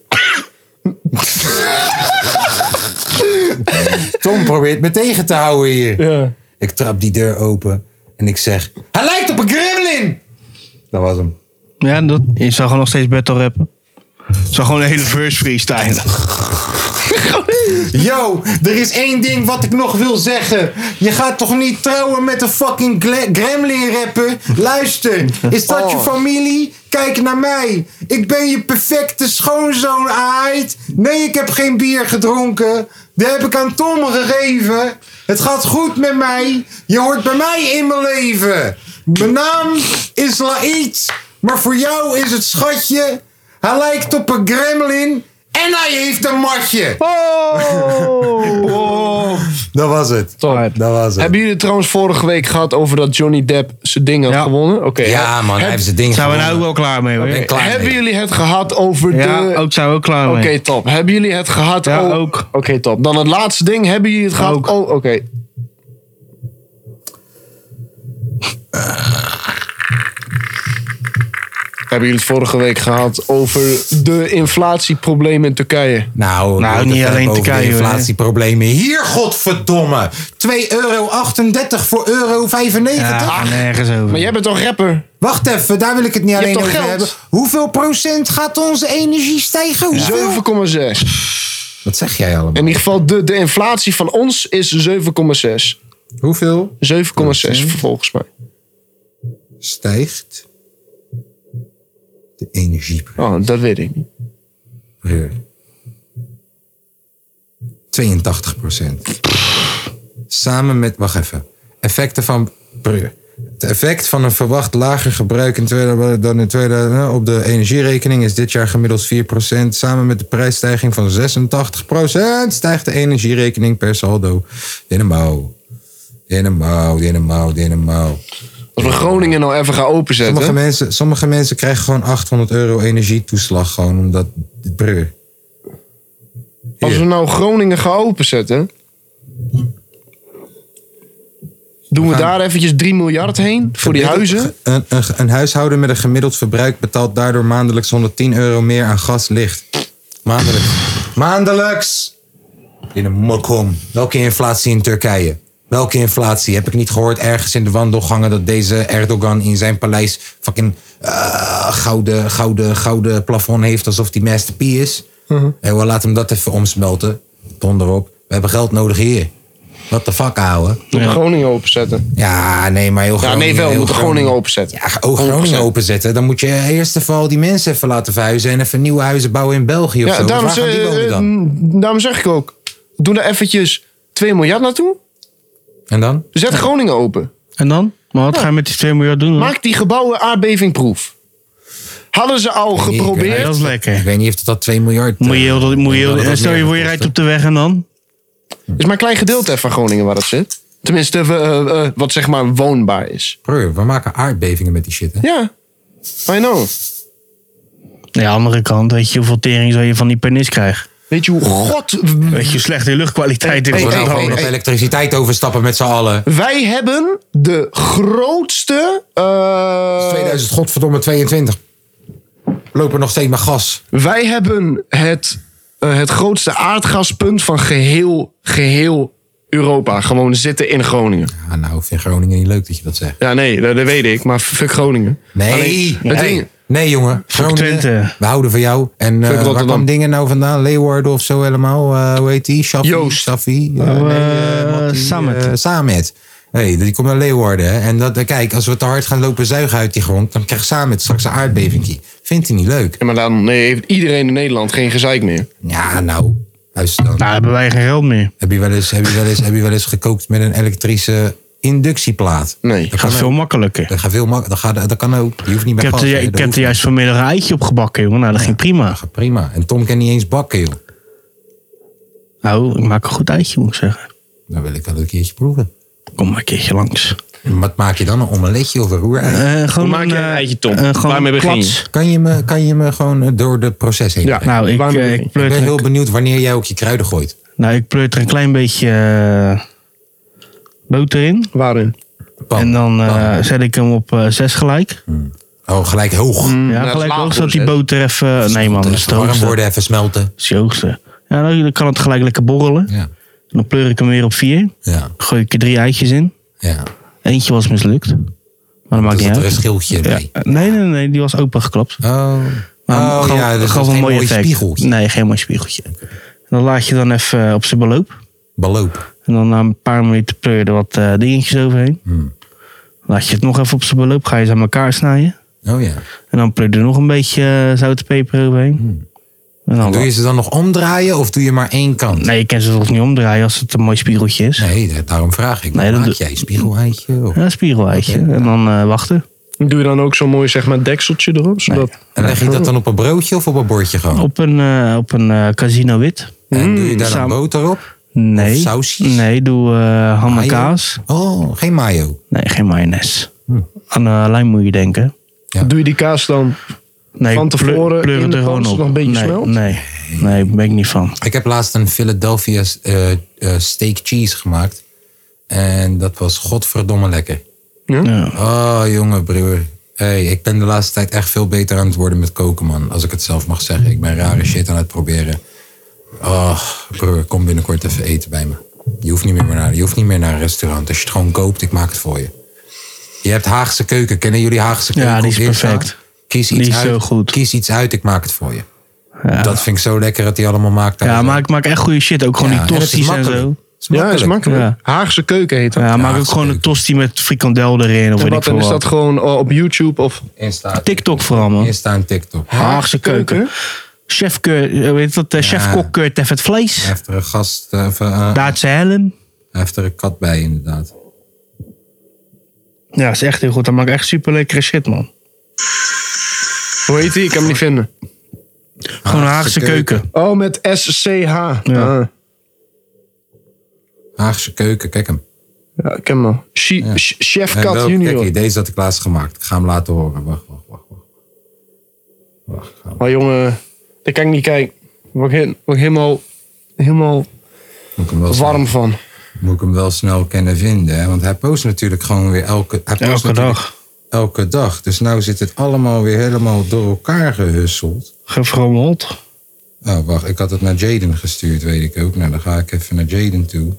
Speaker 1: Tom probeert me tegen te houden hier.
Speaker 3: Ja.
Speaker 1: Ik trap die deur open en ik zeg: Hij lijkt op een gremlin! Dat was hem.
Speaker 2: Ja, dat, je zou gewoon nog steeds battle rappen. Het zou gewoon een hele verse freestyle.
Speaker 1: Yo, er is één ding wat ik nog wil zeggen. Je gaat toch niet trouwen met een fucking gle- gremlin rapper? Luister, is dat je familie? Kijk naar mij. Ik ben je perfecte schoonzoon, aait. Nee, ik heb geen bier gedronken. Die heb ik aan Tom gegeven. Het gaat goed met mij. Je hoort bij mij in mijn leven. Mijn naam is Laït, maar voor jou is het schatje. Hij lijkt op een gremlin en hij heeft een matje.
Speaker 3: Oh!
Speaker 2: Oh!
Speaker 1: Dat was het. Dat was het.
Speaker 3: Hebben jullie het trouwens vorige week gehad over dat Johnny Depp zijn ding had
Speaker 2: Ja.
Speaker 3: gewonnen? Oké.
Speaker 1: ja, man, hij heeft zijn ding
Speaker 2: Zijn we nou ook
Speaker 1: gewonnen.
Speaker 2: wel klaar mee? hoor.
Speaker 1: Ik ben klaar
Speaker 3: Hebben
Speaker 1: mee.
Speaker 3: jullie het gehad over
Speaker 2: Ja,
Speaker 3: de...
Speaker 2: ook zijn we ook klaar
Speaker 3: Oké,
Speaker 2: mee.
Speaker 3: top. Hebben jullie het gehad
Speaker 2: Oh, Ja,
Speaker 3: o-
Speaker 2: ook.
Speaker 3: Oké, top. Dan het laatste ding. Hebben jullie het gehad?
Speaker 2: Ook.
Speaker 3: Oh, oké. Hebben jullie het vorige week gehad over de inflatieproblemen in Turkije?
Speaker 1: Nou,
Speaker 2: Nou, niet alleen Turkije,
Speaker 1: De
Speaker 2: hoor, hè.
Speaker 1: inflatieproblemen. Hier, godverdomme. 2,38 euro voor euro 95.
Speaker 2: Ja, nergens over.
Speaker 3: Maar jij bent toch rapper?
Speaker 1: Wacht even, daar wil ik het niet alleen
Speaker 3: hebt
Speaker 1: over
Speaker 3: toch geld?
Speaker 1: hebben. Hoeveel procent gaat onze energie stijgen? Hoeveel?
Speaker 3: 7,6.
Speaker 1: Wat zeg jij allemaal?
Speaker 3: In ieder geval, de, de inflatie van ons is 7,6.
Speaker 1: Hoeveel
Speaker 3: 7,6 volgens mij.
Speaker 1: stijgt de energieprijs?
Speaker 3: Oh, dat weet ik niet.
Speaker 1: 82 procent. Samen met, wacht even, effecten van. brr. Het effect van een verwacht lager gebruik in 2000 dan in 2000 op de energierekening is dit jaar gemiddeld 4 procent. Samen met de prijsstijging van 86 procent stijgt de energierekening per saldo. Dinamo. Dinamo, dinamo, dinamo.
Speaker 3: Als we Groningen nou even gaan openzetten.
Speaker 1: Sommige mensen, sommige mensen krijgen gewoon 800 euro energietoeslag gewoon omdat... Brr.
Speaker 3: Als we nou Groningen gaan openzetten. Doen we daar eventjes 3 miljard heen voor die huizen?
Speaker 1: Een, een, een huishouden met een gemiddeld verbruik betaalt daardoor maandelijks 110 euro meer aan gas, licht. Maandelijks. Maandelijks! In een mokkom. Welke inflatie in Turkije? Welke inflatie? Heb ik niet gehoord ergens in de wandelgangen dat deze Erdogan in zijn paleis fucking eh, gouden, gouden, gouden plafond heeft alsof die Master P is?
Speaker 3: Mhm.
Speaker 1: Hé, hoor, laat hem dat even omsmelten. Donder op. We hebben geld nodig hier. What the fuck, ouwe?
Speaker 3: Doen we Groningen openzetten?
Speaker 1: Ja, nee, maar heel
Speaker 3: Ja,
Speaker 1: Groningen,
Speaker 3: nee, wel. We
Speaker 1: heel
Speaker 3: moeten Groningen openzetten.
Speaker 1: ja, ook Groningen openzetten. Dan moet je eerst even al die mensen even laten verhuizen. En even nieuwe huizen bouwen in België of
Speaker 3: Ja,
Speaker 1: zo. Dus
Speaker 3: daarom,
Speaker 1: waar gaan die
Speaker 3: ze-
Speaker 1: wonen dan?
Speaker 3: eh, daarom zeg ik ook. Doe daar eventjes 2 miljard naartoe.
Speaker 1: En dan?
Speaker 3: Zet Groningen open.
Speaker 2: En dan? Maar wat ga je met die 2 miljard doen? dan?
Speaker 3: Maak die gebouwen aardbevingproef. Hadden ze al
Speaker 1: weet niet, ik
Speaker 2: Ja,
Speaker 3: geprobeerd?
Speaker 2: dat is lekker.
Speaker 1: Ik weet niet of dat 2 miljard...
Speaker 2: Moet je
Speaker 1: eh,
Speaker 2: heel dat, moet je heel-
Speaker 1: dat dat
Speaker 2: stel
Speaker 1: meer
Speaker 2: je voor
Speaker 1: gaat
Speaker 2: je rijdt
Speaker 1: kosten.
Speaker 2: op de weg en dan?
Speaker 3: Is maar een klein gedeelte van Groningen waar dat zit. Tenminste, eh, eh, eh, wat zeg maar woonbaar is.
Speaker 1: Broer, we maken aardbevingen met die shit, hè?
Speaker 3: Ja, I know.
Speaker 2: Ja, de andere kant, weet je hoeveel tering zou je van die penis krijgen?
Speaker 3: Weet je hoe god...
Speaker 2: Weet je, slechte luchtkwaliteit in
Speaker 3: Hey,
Speaker 1: We
Speaker 3: hey,
Speaker 1: gaan
Speaker 3: hey,
Speaker 1: gewoon op
Speaker 3: hey.
Speaker 1: elektriciteit overstappen met z'n allen.
Speaker 3: Wij hebben de grootste... eh,
Speaker 1: 2000, godverdomme, 22. Lopen nog steeds met gas.
Speaker 3: wij hebben het, eh, het grootste aardgaspunt van geheel, geheel Europa. Gewoon zitten in Groningen.
Speaker 1: Ja, nou, vind Groningen niet leuk dat je dat zegt.
Speaker 3: Ja, nee, dat, dat weet ik. Maar fuck Groningen.
Speaker 1: Nee,
Speaker 3: Alleen, het
Speaker 1: nee.
Speaker 3: ding-
Speaker 1: Nee, jongen. Groningen,
Speaker 2: Twente.
Speaker 1: we houden van jou. En eh waar
Speaker 3: Rotterdam.
Speaker 1: kwam dingen nou vandaan? Leeuwarden of zo helemaal? Eh, hoe heet die? Shaffi?
Speaker 3: Joost.
Speaker 1: Shaffi?
Speaker 2: Oh,
Speaker 1: Eh, eh, Mattie, eh,
Speaker 2: Samet. Nou,
Speaker 1: Samet. hey, die komt naar Leeuwarden. hè. En dat, eh, kijk, als we te hard gaan lopen zuigen uit die grond... dan krijgt Samet straks een aardbevingje. Vindt hij niet leuk?
Speaker 3: Ja, maar dan nee, heeft iedereen in Nederland geen gezeik meer.
Speaker 1: Ja, nou... Luister dan.
Speaker 2: Nou, hebben wij geen geld meer.
Speaker 1: Heb, je wel eens, heb, je wel eens, heb je wel eens gekookt met een elektrische inductieplaat?
Speaker 3: Nee.
Speaker 1: Dat
Speaker 2: Gaat
Speaker 1: kan
Speaker 2: veel
Speaker 1: ook.
Speaker 2: makkelijker.
Speaker 1: Dat, gaat veel mak- dat, gaat, dat kan ook. Je hoeft niet
Speaker 2: Ik
Speaker 1: bij
Speaker 2: heb,
Speaker 1: gas,
Speaker 2: er,
Speaker 1: hè.
Speaker 2: ik
Speaker 1: Dat
Speaker 2: heb
Speaker 1: hoeft
Speaker 2: er
Speaker 1: niet.
Speaker 2: juist vanmiddag een eitje op gebakken, jongen. Nou, dat ging prima.
Speaker 1: Gaat prima. En Tom kan niet eens bakken, joh.
Speaker 2: Nou, ik maak een goed eitje, moet ik zeggen.
Speaker 1: Dan wil ik wel een keertje proeven.
Speaker 2: Kom maar een keertje langs.
Speaker 1: En Wat maak je dan? Een omeletje of een roer?
Speaker 2: Eh, gewoon
Speaker 3: maak je een
Speaker 2: eh,
Speaker 3: eitje, Tom?
Speaker 2: eh, gewoon
Speaker 3: Waarmee
Speaker 2: een
Speaker 3: begin je?
Speaker 2: klats.
Speaker 1: Kan, je me, kan je me gewoon eh, door de proces heen?
Speaker 3: Ja.
Speaker 1: brengen?
Speaker 2: Nou, ik,
Speaker 3: Waarmee
Speaker 2: eh,
Speaker 3: begin je?
Speaker 2: ik
Speaker 1: ik
Speaker 2: pleur
Speaker 1: ben
Speaker 2: het-
Speaker 1: heel benieuwd wanneer jij ook je kruiden gooit.
Speaker 2: nou, ik pleur er een klein beetje eh, boter in.
Speaker 3: Waarin?
Speaker 1: Pan.
Speaker 2: En dan eh, zet ik hem op eh, zes gelijk.
Speaker 1: Oh, gelijk hoog.
Speaker 3: Mm. dat
Speaker 2: Ja,
Speaker 3: is
Speaker 2: gelijk
Speaker 3: laag
Speaker 2: ook,
Speaker 3: voor
Speaker 2: zodat
Speaker 3: de
Speaker 2: die
Speaker 3: zes.
Speaker 2: boter even... Nee man, dat is
Speaker 1: Even
Speaker 2: de
Speaker 1: warm
Speaker 2: hoogste.
Speaker 1: worden, even smelten.
Speaker 2: Dat is de hoogste. Ja, dan dan kan het gelijk lekker borrelen.
Speaker 1: Ja.
Speaker 2: Dan pleur ik hem weer op vier.
Speaker 1: Ja,
Speaker 2: Gooi ik er drie eitjes in.
Speaker 1: ja.
Speaker 2: Eentje was mislukt. Maar dat maakt
Speaker 1: Dus
Speaker 2: niet
Speaker 1: dat er een
Speaker 2: uit.
Speaker 1: schildje
Speaker 2: Ja.
Speaker 1: bij.
Speaker 2: Nee, nee, nee, die was opengeklapt.
Speaker 1: Oh,
Speaker 2: Maar
Speaker 1: oh
Speaker 2: gewoon,
Speaker 1: ja, dus
Speaker 2: gewoon
Speaker 1: dat is
Speaker 2: een
Speaker 1: geen
Speaker 2: mooi
Speaker 1: mooi
Speaker 2: effect.
Speaker 1: spiegeltje.
Speaker 2: Nee, geen mooi spiegeltje. En Dan laat je dan even eh, op zijn beloop.
Speaker 1: Beloop.
Speaker 2: En dan na een paar minuten pleur je er wat eh, dingetjes overheen.
Speaker 1: Hmm.
Speaker 2: Laat je het nog even op zijn beloop. Ga je ze aan elkaar snijden.
Speaker 1: Oh ja.
Speaker 2: En dan pleur je er nog een beetje eh, zout en peper overheen. En dan
Speaker 1: Doe je ze Hmm. dan nog omdraaien of doe je maar één kant?
Speaker 2: Nee, je kan ze toch niet omdraaien als het een mooi spiegeltje is.
Speaker 1: Nee, da- daarom vraag ik.
Speaker 2: Nee, dan
Speaker 1: Maak
Speaker 2: doe-
Speaker 1: jij een spiegeleitje? Of...
Speaker 2: Ja, een spiegeleitje. En dan eh, wachten.
Speaker 3: Doe je dan ook zo'n mooi zeg maar, dekseltje erop? Zodat...
Speaker 1: En leg je dat dan op een broodje of op een bordje gewoon?
Speaker 2: Op een, eh, op een eh, casino wit.
Speaker 1: en doe je daar dan
Speaker 2: Mm, samen-
Speaker 1: boter op?
Speaker 2: Nee.
Speaker 1: Of sausjes?
Speaker 2: Nee, doe eh ham en
Speaker 1: Mayo?
Speaker 2: kaas.
Speaker 1: Oh, geen mayo.
Speaker 2: Nee, geen mayonaise.
Speaker 3: Hm.
Speaker 2: Aan eh lijn moet je denken.
Speaker 3: Doe je die kaas dan...
Speaker 2: Nee,
Speaker 3: Van
Speaker 2: pleur-
Speaker 3: tevoren
Speaker 2: pleur het
Speaker 3: in de
Speaker 2: er
Speaker 3: pan,
Speaker 2: gewoon
Speaker 3: zodat
Speaker 2: op.
Speaker 3: het nog een beetje
Speaker 2: nee,
Speaker 3: smelt?
Speaker 2: Nee, nee, ben ik niet van.
Speaker 1: Ik heb laatst een Philadelphia eh, eh, steak cheese gemaakt. En dat was godverdomme lekker.
Speaker 2: Ja.
Speaker 1: Oh, jongen, broer. Hey, ik ben de laatste tijd echt veel beter aan het worden met koken, man. Als ik het zelf mag zeggen. Ik ben rare shit aan het proberen. Oh, broer, kom binnenkort even eten bij me. Je hoeft niet meer naar, je hoeft niet meer naar een restaurant. Als je het gewoon koopt, ik maak het voor je. Je hebt Haagse keuken. Kennen jullie Haagse keuken?
Speaker 2: die
Speaker 1: op
Speaker 2: is
Speaker 1: Insta?
Speaker 2: perfect.
Speaker 1: Kies
Speaker 2: Die
Speaker 1: iets,
Speaker 2: is
Speaker 1: uit,
Speaker 2: zo goed.
Speaker 1: kies iets uit, ik maak het voor je. Dat vind ik zo lekker dat hij allemaal maakt.
Speaker 2: Ja, maar ik maak echt goede shit. Ook gewoon
Speaker 1: Ja,
Speaker 2: die
Speaker 1: en het is
Speaker 2: tosties en
Speaker 1: makkelijk.
Speaker 2: zo.
Speaker 1: Het is
Speaker 3: Ja, is makkelijk.
Speaker 2: Ja.
Speaker 3: Haagse keuken heet dat.
Speaker 2: Ja, maak
Speaker 1: dat
Speaker 2: ook
Speaker 1: is
Speaker 2: gewoon een
Speaker 1: leuk.
Speaker 2: tosti met frikandel erin. Of
Speaker 3: en
Speaker 2: weet ik
Speaker 3: wat, dan
Speaker 2: veel
Speaker 3: is dat
Speaker 2: wat.
Speaker 3: gewoon oh, op YouTube of...
Speaker 1: Insta,
Speaker 2: TikTok vooral, man.
Speaker 1: Insta en TikTok.
Speaker 2: Haagse keuken. Chef, keur, eh, weet je dat, eh, chefkok keurt even het vlees.
Speaker 1: Heftige gast, eh, of, eh,
Speaker 2: Duitse helm.
Speaker 1: heftige kat bij inderdaad.
Speaker 2: Ja, is echt heel goed. Dat maakt echt super lekkere shit, man.
Speaker 3: Hoe heet die? Ik kan hem niet vinden.
Speaker 2: Gewoon
Speaker 1: Ah,
Speaker 2: een Haagse keuken.
Speaker 3: Oh, met SCH. Ja. Ah,
Speaker 1: Haagse keuken, kijk hem.
Speaker 3: ja, ik ken hem al. Chi- Ch- Chef
Speaker 1: En
Speaker 3: Kat
Speaker 1: welke- Kijk
Speaker 3: Junior.
Speaker 1: hier, deze had ik laatst gemaakt. Ik ga hem laten horen. Wacht, wacht, wacht. wacht. Wacht, ga hem-
Speaker 3: Maar jongen, daar kan ik niet kijken. Daar word ik he- word ik helemaal, helemaal
Speaker 1: moet ik hem wel snel-
Speaker 3: warm van.
Speaker 1: moet ik hem wel snel kennen vinden. Hè? Want hij post natuurlijk gewoon weer elke, hij post
Speaker 2: Elke
Speaker 1: natuurlijk
Speaker 2: dag.
Speaker 1: Elke dag. Dus nou zit het allemaal weer helemaal door elkaar gehusseld.
Speaker 2: Gefrommeld.
Speaker 1: Oh, wacht. Ik had het naar Jaden gestuurd, weet ik ook. Nou, dan ga ik even naar Jaden toe. Ik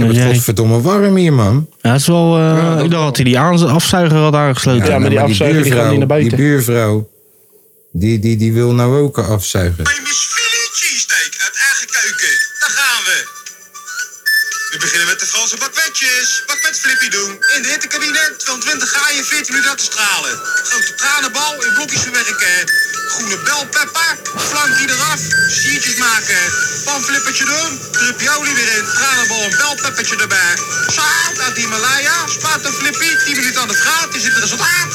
Speaker 1: heb
Speaker 2: dan
Speaker 1: het
Speaker 2: zeg ik-
Speaker 1: godverdomme warm hier, man.
Speaker 2: Ja, het is wel. eh, ik dacht dat hij die aanz- afzuiger had aangesloten.
Speaker 3: Ja, maar die afzuiger, die gaat
Speaker 1: buurvrouw-
Speaker 3: niet naar buiten.
Speaker 1: Die buurvrouw, die, die, die wil nou ook een afzuiger.
Speaker 8: Famous Philly cheesesteak uit eigen keuken. Daar gaan we. We beginnen met de Franse bakwetjes. Bakwet Flippy doen. In de hittekabine, 22 graaien, 14 minuten uit te stralen. Grote tranenbal in blokjes verwerken. Groene belpepper, flankie eraf, siertjes maken. Panflippertje doen, drupje olie weer in, tranenbal en belpeppertje erbij. Zout uit de Himalaya, spaat een flippy, 10 minuten aan de straat, is het resultaat.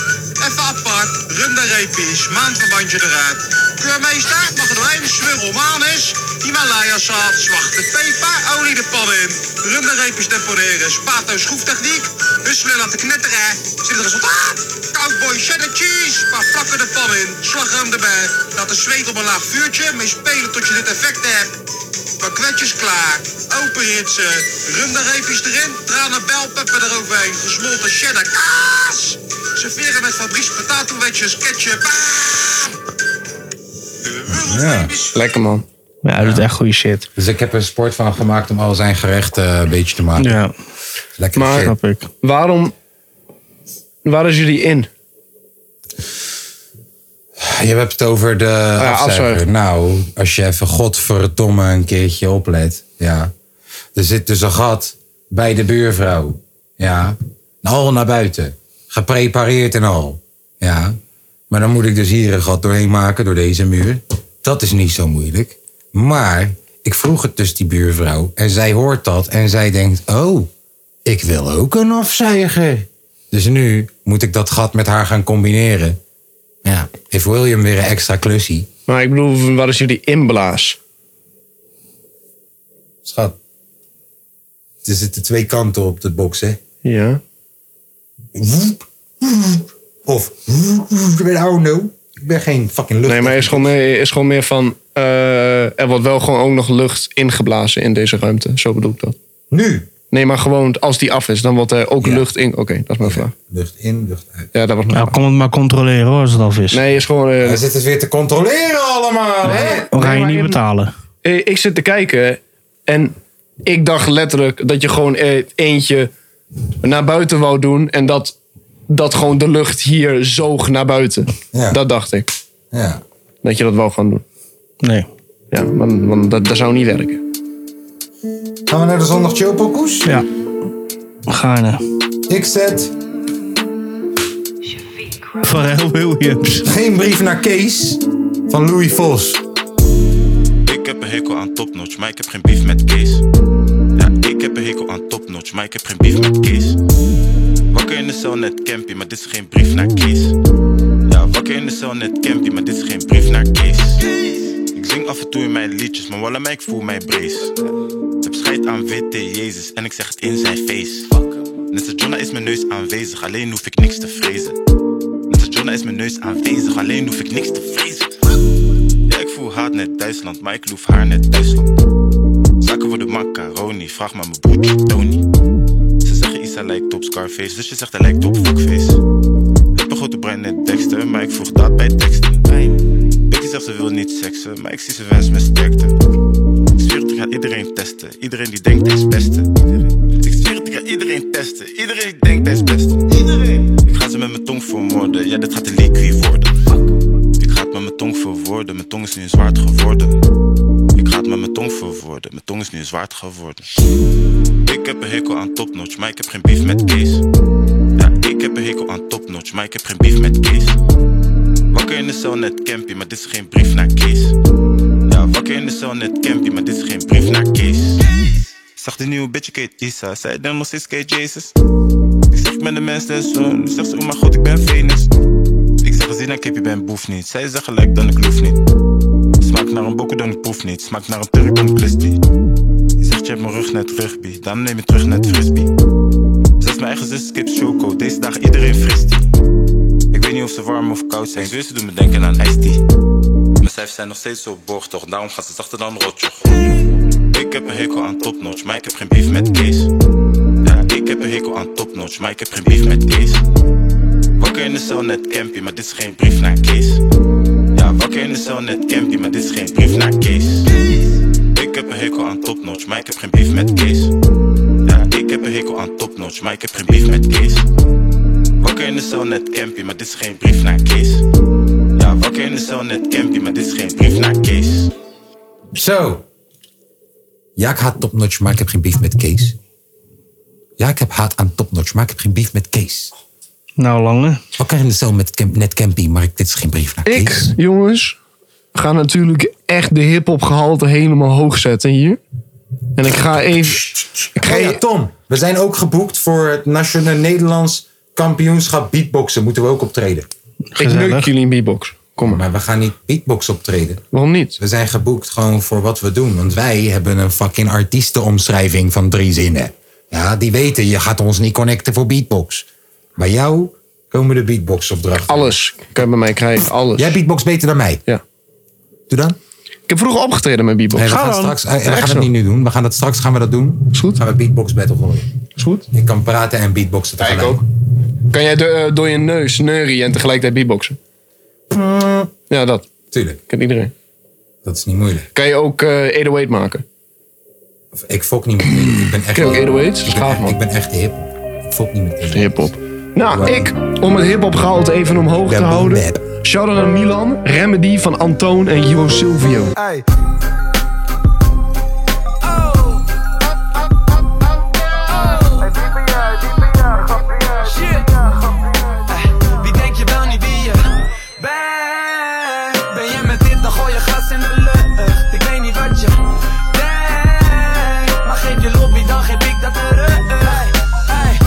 Speaker 8: Even apart, rum de reepjes, maandverbandje eruit. Keurmeester, mag er doorheen, swirl manus, Himalaya zaad, zwarte peper, olie de pan in. Rum de reepjes deponeren, spato schroeftechniek, husselen laten knetteren. Zit het resultaat? Cowboy cheddar cheese, maar plakken de pan in, slagroom erbij. Laat de zweet op een laag vuurtje, mee spelen tot je dit effect hebt. Bakwetjes klaar. Open ritsen. Runderreepjes erin. Tranenbelpeppen eroverheen. Gesmolten cheddar kaas. Serveren met Fabrice patatowetjes. Ketchup.
Speaker 1: Ja.
Speaker 8: Ja.
Speaker 3: Lekker man.
Speaker 2: Ja, hij doet echt goede shit.
Speaker 1: Dus ik heb er een sport van gemaakt om al zijn gerechten een beetje te maken.
Speaker 2: Ja,
Speaker 1: Lekker
Speaker 3: Maar-
Speaker 1: shit.
Speaker 2: snap ik.
Speaker 3: Waarom... Waar is jullie in?
Speaker 1: Je hebt het over de afzuiger.
Speaker 3: afzuiger.
Speaker 1: Nou, als je even godverdomme een keertje oplet. Ja. Er zit dus een gat bij de buurvrouw. Ja. Al naar buiten. Geprepareerd en al. Ja. Maar dan moet ik dus hier een gat doorheen maken door deze muur. Dat is niet zo moeilijk. Maar ik vroeg het dus die buurvrouw. En zij hoort dat. En zij denkt, oh, ik wil ook een afzuiger. Dus nu moet ik dat gat met haar gaan combineren. Ja, heeft William weer een extra klusje.
Speaker 3: Maar ik bedoel, waar is jullie inblaas?
Speaker 1: Schat. Er zitten twee kanten op de box, hè?
Speaker 3: Ja.
Speaker 1: Of. Ik ben Arno. Ik ben geen fucking lucht.
Speaker 3: Nee, maar er is gewoon meer, is gewoon meer van... eh, er wordt wel gewoon ook nog lucht ingeblazen in deze ruimte. Zo bedoel ik dat.
Speaker 1: Nu!
Speaker 3: Nee, maar gewoon als die af is, dan wordt er ook lucht in... Oké, dat is mijn vraag.
Speaker 1: Lucht in, lucht uit.
Speaker 3: Ja, dat was mijn
Speaker 2: Nou,
Speaker 3: vraag.
Speaker 2: kom het maar controleren hoor, als het af is.
Speaker 3: Nee, is gewoon... eh,
Speaker 1: Hij zit het weer te controleren allemaal, hè?
Speaker 2: we gaan je
Speaker 3: maar
Speaker 2: niet
Speaker 3: je-
Speaker 2: betalen.
Speaker 3: eh, ik zit te kijken en ik dacht letterlijk dat je gewoon eh, eentje naar buiten wou doen en dat, dat gewoon de lucht hier zoog naar buiten.
Speaker 1: Ja.
Speaker 3: Dat dacht ik.
Speaker 1: Ja.
Speaker 3: Dat je dat wou gaan doen.
Speaker 2: Nee.
Speaker 3: Ja, want, want dat, dat zou niet werken.
Speaker 1: Gaan we naar de zondag Chopokoes?
Speaker 2: Ja. eh. Gaarne.
Speaker 1: Ik zet
Speaker 2: Pharrell Williams.
Speaker 1: geen brief naar Kees van Louis Vos.
Speaker 5: Ik heb een hekel aan topnotch, maar ik heb geen beef met Kees. Ja, ik heb een hekel aan topnotch, maar ik heb geen beef met Kees. Wakker in de cel net campy, maar dit is geen brief naar Kees. Ja, wakker in de cel net campy, maar dit is geen brief naar Kees. Ik zing af en toe in mijn liedjes, maar wallah, mij, ik voel mij brace. Heb scheid aan WT Jezus en ik zeg het in zijn face. Net als Jonah is mijn neus aanwezig, alleen hoef ik niks te vrezen. Net als Jonah is mijn neus aanwezig, alleen hoef ik niks te vrezen. Ja, ik voel haat net Duitsland, maar ik loef haar net Duitsland. Zaken worden macaroni, vraag maar mijn broertje Tony. Ze zeggen Isa lijkt op Scarface, dus je zegt hij lijkt op Fuckface. Heb een grote brein net Dexter, maar ik vroeg dat bij teksten. Becky zegt ze wil niet seksen, maar ik zie ze wens met sterkte. Ik zweer het, ik ga iedereen testen, iedereen die denkt hij is beste. Ik zweer het, ik ga iedereen testen, iedereen die denkt hij is beste. Iedereen. Ik ga ze met mijn tong vermoorden, ja dit gaat een liquid worden. Ik ga het met mijn tong verwoorden, mijn tong is nu een zwaard geworden. Ik ga het met mijn tong verwoorden, mijn tong is nu een zwaard geworden. Ik heb een hekel aan topnotch, maar ik heb geen beef met Kees. Ja, ik heb een hekel aan topnotch, maar ik heb geen beef met Kees. Wakker in de cel net campy, maar dit is geen brief naar Kees. Ja, wakker in de cel net campy, maar dit is geen brief naar Kees. Zag die nieuwe bitch, ik heet Isa, zij dan nog steeds Kate Jesus. Ik zeg ik ben de mens des zoon, zegt ze oh mijn god ik ben Venus. Ik zeg gezien ik heb je ben boef niet, zij zeggen gelijk dan ik loef niet. Smaakt naar een bokken dan ik proef niet, smaakt naar een turk dan ik lust die. Je zegt je hebt mijn rug net rugby, dan neem je terug net frisbee. Zelfs mijn eigen zus skip choco, deze dag iedereen frist die. Ik weet niet of ze warm of koud zijn, Zwitser doen me denken aan ijstie. Mijn cijfers zijn nog steeds zo borg toch, daarom gaat ze zachter dan rotjoch. Ik heb een hekel aan topnotch, maar ik heb geen beef met Kees. Ja, ik heb een hekel aan topnotch, maar ik heb geen beef met Kees. Wakker in de cel net campy, maar dit is geen brief naar Kees. Ja, wakker in de cel net campy, maar dit is geen brief naar Kees. Ik heb een hekel aan topnotch, maar ik heb geen beef met Kees. Ja, ik heb een hekel aan topnotch, maar ik heb geen beef met Kees. Wakker in de cel net campy, maar dit is geen brief naar Kees. Ja, wakker in de cel net campy, maar dit is geen brief naar Kees.
Speaker 1: Zo. Ja, ik haat topnotch, maar ik heb geen beef met Kees. Ja, ik heb haat aan topnotch, maar ik heb geen beef met Kees.
Speaker 2: Nou, lange.
Speaker 1: Wakker in de cel met camp, net campy, maar ik, dit is geen brief naar Kees.
Speaker 3: Ik, jongens, ga natuurlijk echt de hip-hop gehalte helemaal hoog zetten hier. En ik ga even. Ik ga Oh
Speaker 1: Hey, ja, Tom, we zijn ook geboekt voor het Nationaal Nederlands Kampioenschap Beatboxen. Moeten we ook optreden.
Speaker 3: ik neuk
Speaker 2: gezellig.
Speaker 3: jullie in beatbox. Kom maar.
Speaker 1: Maar we gaan niet beatbox optreden.
Speaker 3: Waarom niet?
Speaker 1: We zijn geboekt gewoon voor wat we doen. Want wij hebben een fucking artiestenomschrijving van drie zinnen. Ja, die weten, je gaat ons niet connecten voor beatbox. Bij jou komen de beatboxopdrachten.
Speaker 3: Alles kan je bij mij krijgen. Alles.
Speaker 1: Jij beatbox beter dan mij.
Speaker 3: Oh. Ja.
Speaker 1: Doe dan.
Speaker 3: Ik heb vroeger opgetreden met beatbox.
Speaker 1: Nee, we
Speaker 3: Ga
Speaker 1: gaan,
Speaker 3: dan.
Speaker 1: straks, eh, we
Speaker 3: Echt
Speaker 1: gaan
Speaker 3: zo.
Speaker 1: het niet nu doen. We gaan dat straks gaan we dat doen.
Speaker 3: Is goed.
Speaker 1: Gaan we beatbox battle gooien.
Speaker 3: Is goed.
Speaker 1: Ik kan praten en beatboxen
Speaker 3: Ja, ik
Speaker 1: tegelijk.
Speaker 3: ook. Kan jij door- eh, door je neus neurie en tegelijkertijd beatboxen? Ja, dat.
Speaker 1: Tuurlijk,
Speaker 3: Kan iedereen.
Speaker 1: dat is niet moeilijk.
Speaker 3: Kan je ook eh 808 maken?
Speaker 1: Of Ik fok niet met Ik ben echt,
Speaker 3: Kan je ook 808's?
Speaker 1: ik ben,
Speaker 3: Gaaf,
Speaker 1: echt-
Speaker 3: man.
Speaker 1: ik ben echt hip. Ik fok niet met
Speaker 3: Hip-hop. Nou, ik, om het hip-hop gehalte even omhoog te
Speaker 1: Rebel
Speaker 3: houden.
Speaker 1: Map.
Speaker 3: Shout-out aan Milan, Remedy van Antoon en Jo Silvio.
Speaker 7: Hey.
Speaker 8: Wie denk je wel niet wie je bent? Ben je met dit, dan gooi je gas in de lucht. Ik weet niet wat je denkt, maar geef je lobby, dan geef ik dat terug. Hey, hey.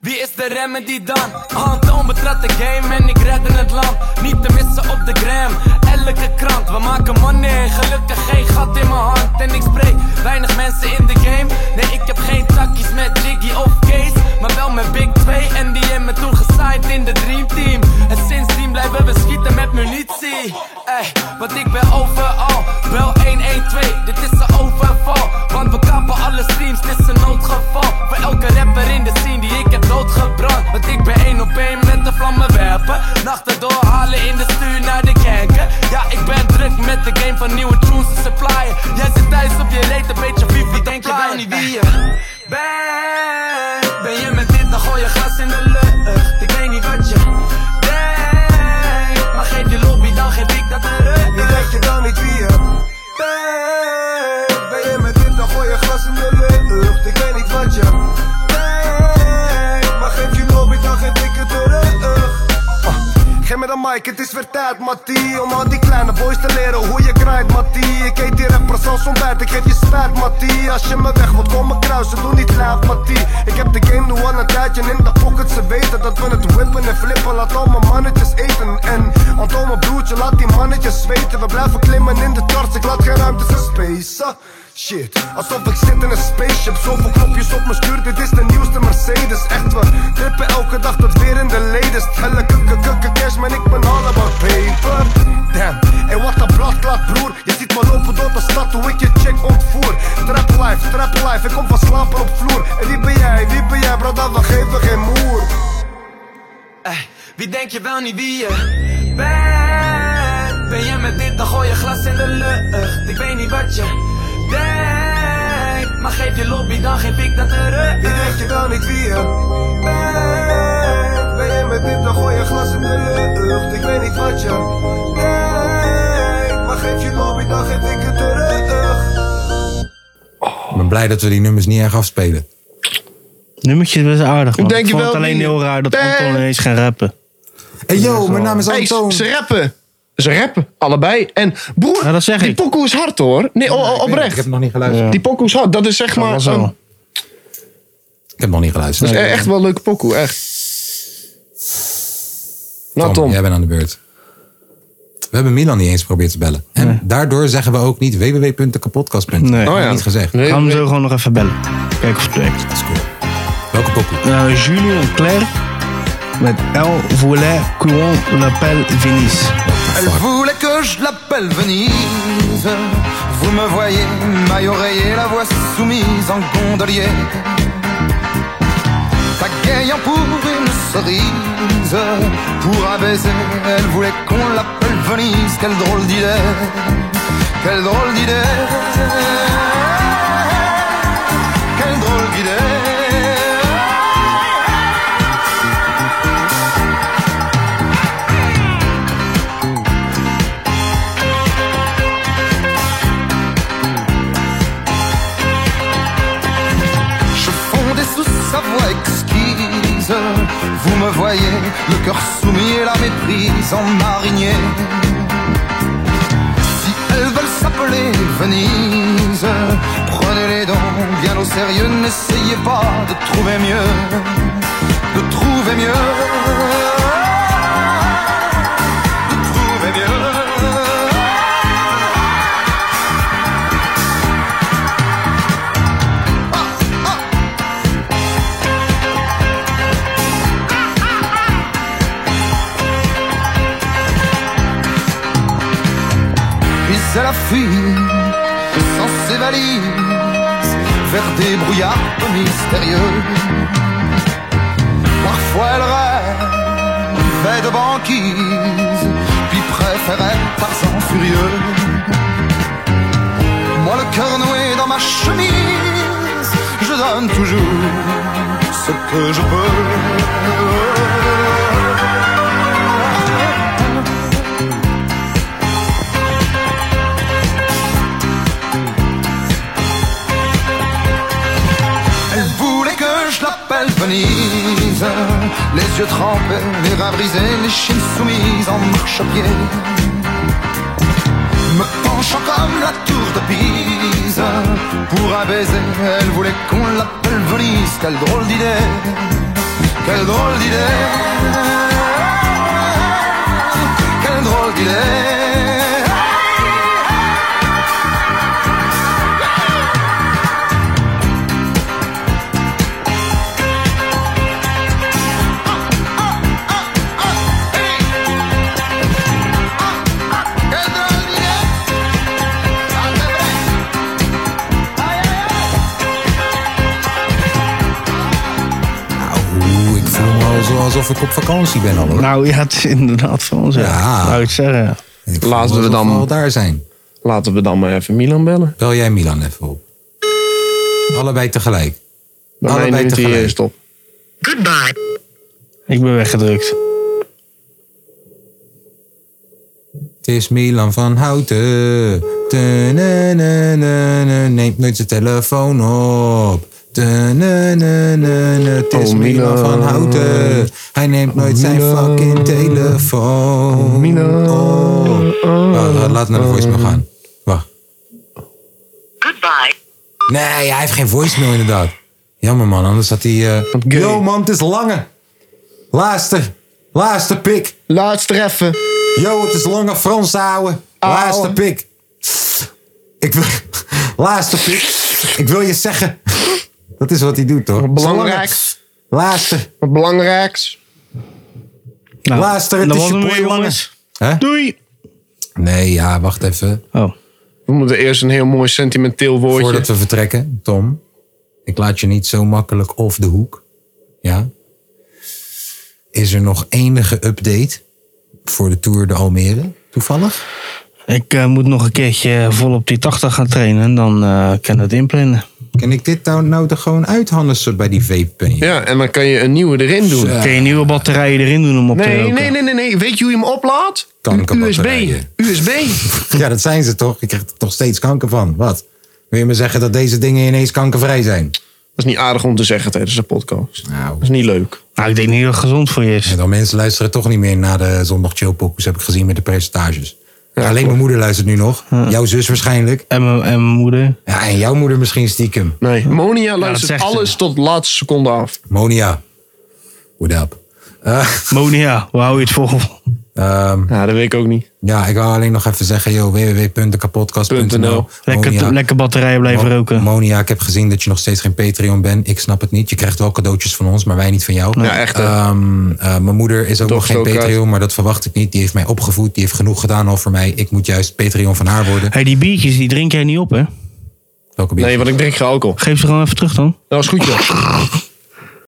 Speaker 8: Wie is de remedy dan? Anton betrad de game en ik redde het land. Niet te missen op de gram, elke krant. We maken money, gelukkig geen gat in mijn hand. En ik spreek weinig mensen in de game. Nee, ik heb geen takkies met Jiggy of Kees. Maar wel met Big 2 en die hebben me toen gezaaid in de Dream Team. En sindsdien blijven we schieten met munitie. Ey, want ik ben overal. Bel 112, dit is een overval. Want we kappen alle streams, dit is een noodgeval. Voor elke rapper in de scene die ik heb doodgebrand. Want ik ben één op één met de vlammen werpen. Nachten doorhalen in de stuur naar de kanker. Ja, ik ben druk met de game van nieuwe tunes te supplyen. Jij zit thuis op je reet, een beetje wie denk je wel niet wie je bent. Ben je Ah, mic, het is weer tijd, Mattie Om aan die kleine boys te leren hoe je grindt, Mattie Ik eet die rappers als ontbijt, ik geef je spijt, Mattie Als je me weg wilt, kom me kruisen, doe niet laat, Mattie Ik heb de game nu al een tijdje in de pocket Ze weten dat we het whippen en flippen Laat al mijn mannetjes eten en Anton mijn broertje, laat die mannetjes zweten We blijven klimmen in de tars, ik laat geen ruimte in space ah. Shit, alsof ik zit in een spaceship Zoveel knopjes op mijn stuur, dit is de nieuwste Mercedes Echt, we trippen elke dag tot weer in de latest Helle kukke kukke cash, man, ik ben allemaal paper Damn, en wat een bladklaat broer Je ziet me lopen door de stad hoe ik je check ontvoer Trap life, trap life, ik kom van slapen op vloer En wie ben jij, wie ben jij, bro, dat we geven geen moer
Speaker 9: Wie denk je wel niet wie je bent? Ben jij met dit, dan gooi je glas in de lucht. Ik weet niet wat je denkt, maar geef je lobby, dan geef ik dat terug. Wie denk je wel niet wie je
Speaker 8: bent? Ben jij met dit, dan
Speaker 5: נכון
Speaker 8: gooi je glas in de lucht Ik weet niet wat je
Speaker 5: כן,
Speaker 8: denkt Maar geef je
Speaker 5: לא
Speaker 8: lobby, dan geef ik het terug
Speaker 1: Ik ben blij dat we die nummers niet erg afspelen.
Speaker 2: Nummertje is best aardig. Man.
Speaker 1: Denk
Speaker 2: ik
Speaker 1: je
Speaker 2: vond
Speaker 1: wel
Speaker 2: het alleen
Speaker 1: wie-
Speaker 2: heel raar dat
Speaker 1: Ben-
Speaker 2: Anton ineens gaat rappen.
Speaker 1: Hey yo, mijn naam is
Speaker 3: Hey,
Speaker 1: Anton.
Speaker 3: ze rappen. Ze rappen, allebei. En broer, die pokoe is hard hoor. Nee, o- o- oprecht. Ik heb
Speaker 1: nog niet geluisterd.
Speaker 3: Die pokoe is hard. Dat is zeg maar... een-
Speaker 1: Ik heb nog niet
Speaker 3: dat
Speaker 1: geluisterd.
Speaker 3: is e- echt wel een leuke pokoe, echt. Nou Tom.
Speaker 1: Jij bent aan de beurt. We hebben Milan niet eens geprobeerd te bellen. En daardoor zeggen we ook niet www.dekapodcast.nl.
Speaker 2: Nee.
Speaker 3: Oh
Speaker 1: Dat heb ik niet gezegd.
Speaker 2: Gaan we hem zo gewoon nog even bellen. Kijken of het werkt.
Speaker 1: Welke pokoe?
Speaker 2: Nou, Julien Clerc met El Voulet Courant L'Appel Venise.
Speaker 5: Elle voulait que je l'appelle Venise. Vous me voyez, maille oreiller, la voix soumise en gondolier. Pagayant pour une cerise, pour un baiser, elle voulait qu'on l'appelle Venise. Quelle drôle d'idée, quelle drôle d'idée, quelle drôle d'idée. Je fondais sous sa voix exquise. Vous me voyez, le cœur soumis et la méprise en marinier. Si elles veulent s'appeler Venise, prenez les dents bien au sérieux. N'essayez pas de trouver mieux, de trouver mieux. de trouver mieux. Puis elle a fui sans ses valises vers des brouillards peu mystérieux. Parfois elle rêvait de banquise, puis préférait Tarzan furieux. Moi le cœur noué dans ma chemise, je donne toujours ce que je peux. Elle voulait que je l'appelle Venise. Les yeux trempés, les reins brisés, les chines soumises en marche-pied. Me penchant comme la tour de Pise. Pour un baiser, elle voulait qu'on l'appelle Venise. Quelle drôle d'idée! Quelle drôle d'idée! Quelle drôle d'idée!
Speaker 1: Nou, Oeh, ik voel me al zo alsof ik op vakantie ben al hoor.
Speaker 2: Nou ja, het is inderdaad van ons. Ja. Zou ik het zeggen.
Speaker 3: nou, Laten we dan... daar
Speaker 1: zijn.
Speaker 3: Laten we dan maar even Milan bellen.
Speaker 1: Bel jij Milan even op. Allebei tegelijk.
Speaker 3: Bij mij eh,
Speaker 1: Allebei
Speaker 3: neemt hij
Speaker 1: tegelijk.
Speaker 3: eerst op.
Speaker 10: Goodbye.
Speaker 2: Ik ben weggedrukt.
Speaker 1: Het is Milan van Houten. Tenenenenen, Neemt nooit zijn telefoon op. Na, na, na, na, Het is
Speaker 3: Oh,
Speaker 1: Milan
Speaker 3: Milan. Oh,
Speaker 1: van Houten. Hij neemt nooit zijn fucking telefoon. Milan. laat naar de voicemail gaan. Wacht. Goodbye. Nee, hij heeft geen voicemail inderdaad. Jammer man, anders had hij... eh, Yo man, het is Lange. Laatste. Laatste pik.
Speaker 3: Laatste even.
Speaker 1: Yo, het is Lange Frans ouwe. Laatste pik. Ik wil... Laatste pik. Ik wil je zeggen... Dat is wat hij doet, toch?
Speaker 3: Belangrijk.
Speaker 1: Laatste.
Speaker 3: Belangrijks.
Speaker 1: Nou, Laatste, het
Speaker 3: dat
Speaker 1: is
Speaker 3: was
Speaker 1: je
Speaker 3: hem
Speaker 1: boy,
Speaker 3: weer,
Speaker 1: jongen.
Speaker 3: jongens.
Speaker 1: Hè?
Speaker 3: Doei.
Speaker 1: Nee, ja, wacht even.
Speaker 2: Oh.
Speaker 3: We moeten eerst een heel mooi sentimenteel woordje.
Speaker 1: Voordat we vertrekken, Tom. Ik laat je niet zo makkelijk off de hoek. Ja? Is er nog enige update voor de Tour de Almere? Toevallig?
Speaker 2: Ik eh, moet nog een keertje vol op die 80 gaan trainen. En dan eh, kan het inplannen.
Speaker 1: Kan ik dit nou, nou er gewoon uithannissen bij die vape
Speaker 3: Ja, en dan kan je een nieuwe erin doen.
Speaker 2: Kun je nieuwe batterijen erin doen om op te
Speaker 3: Nee,
Speaker 2: roken?
Speaker 3: nee, nee, nee, nee. Weet je hoe je hem oplaadt? USB.
Speaker 1: Kankerbatterijen.
Speaker 3: USB.
Speaker 1: Ja, dat zijn ze toch? Ik krijg er toch steeds kanker van. Wat? Wil je me zeggen dat deze dingen ineens kankervrij zijn?
Speaker 3: Dat is niet aardig om te zeggen tijdens een podcast.
Speaker 1: Nou,
Speaker 3: Dat is niet leuk.
Speaker 2: Nou, ik denk niet dat het gezond voor je is.
Speaker 1: En dan mensen luisteren toch niet meer naar de zondag chillpokus, heb ik gezien met de percentages. Alleen mijn moeder luistert nu nog. Jouw zus waarschijnlijk.
Speaker 2: En mijn, en mijn moeder.
Speaker 1: Ja, en jouw moeder misschien stiekem.
Speaker 3: Nee. Monia
Speaker 2: zegt
Speaker 3: luistert
Speaker 2: ze.
Speaker 3: alles tot de laatste seconde af.
Speaker 1: Monia. What up? Eh,
Speaker 2: Monia, hoe hou je het vol?
Speaker 1: ehm,
Speaker 3: Ja, dat weet ik ook niet.
Speaker 1: ja, ik wou alleen nog even zeggen, yo, www.dekapodcast.nl.
Speaker 2: Lekker, lekker batterijen blijven
Speaker 1: Mo-
Speaker 2: roken.
Speaker 1: Monia, ik heb gezien dat je nog steeds geen Patreon bent. Ik snap het niet. Je krijgt wel cadeautjes van ons, maar wij niet van jou.
Speaker 3: Ja, echt, hè?
Speaker 1: Ehm, eh, mijn moeder is ook
Speaker 3: Toch
Speaker 1: nog geen
Speaker 3: zo kruis.
Speaker 1: Patreon, maar dat verwacht ik niet. Die heeft mij opgevoed. Die heeft genoeg gedaan al voor mij. Ik moet juist Patreon van haar worden.
Speaker 2: Hey, die biertjes, die drink jij niet op, hè?
Speaker 1: Welke bier?
Speaker 3: Nee, want ik drink geen alcohol.
Speaker 2: Geef ze gewoon even terug dan.
Speaker 3: Dat is goed, joh.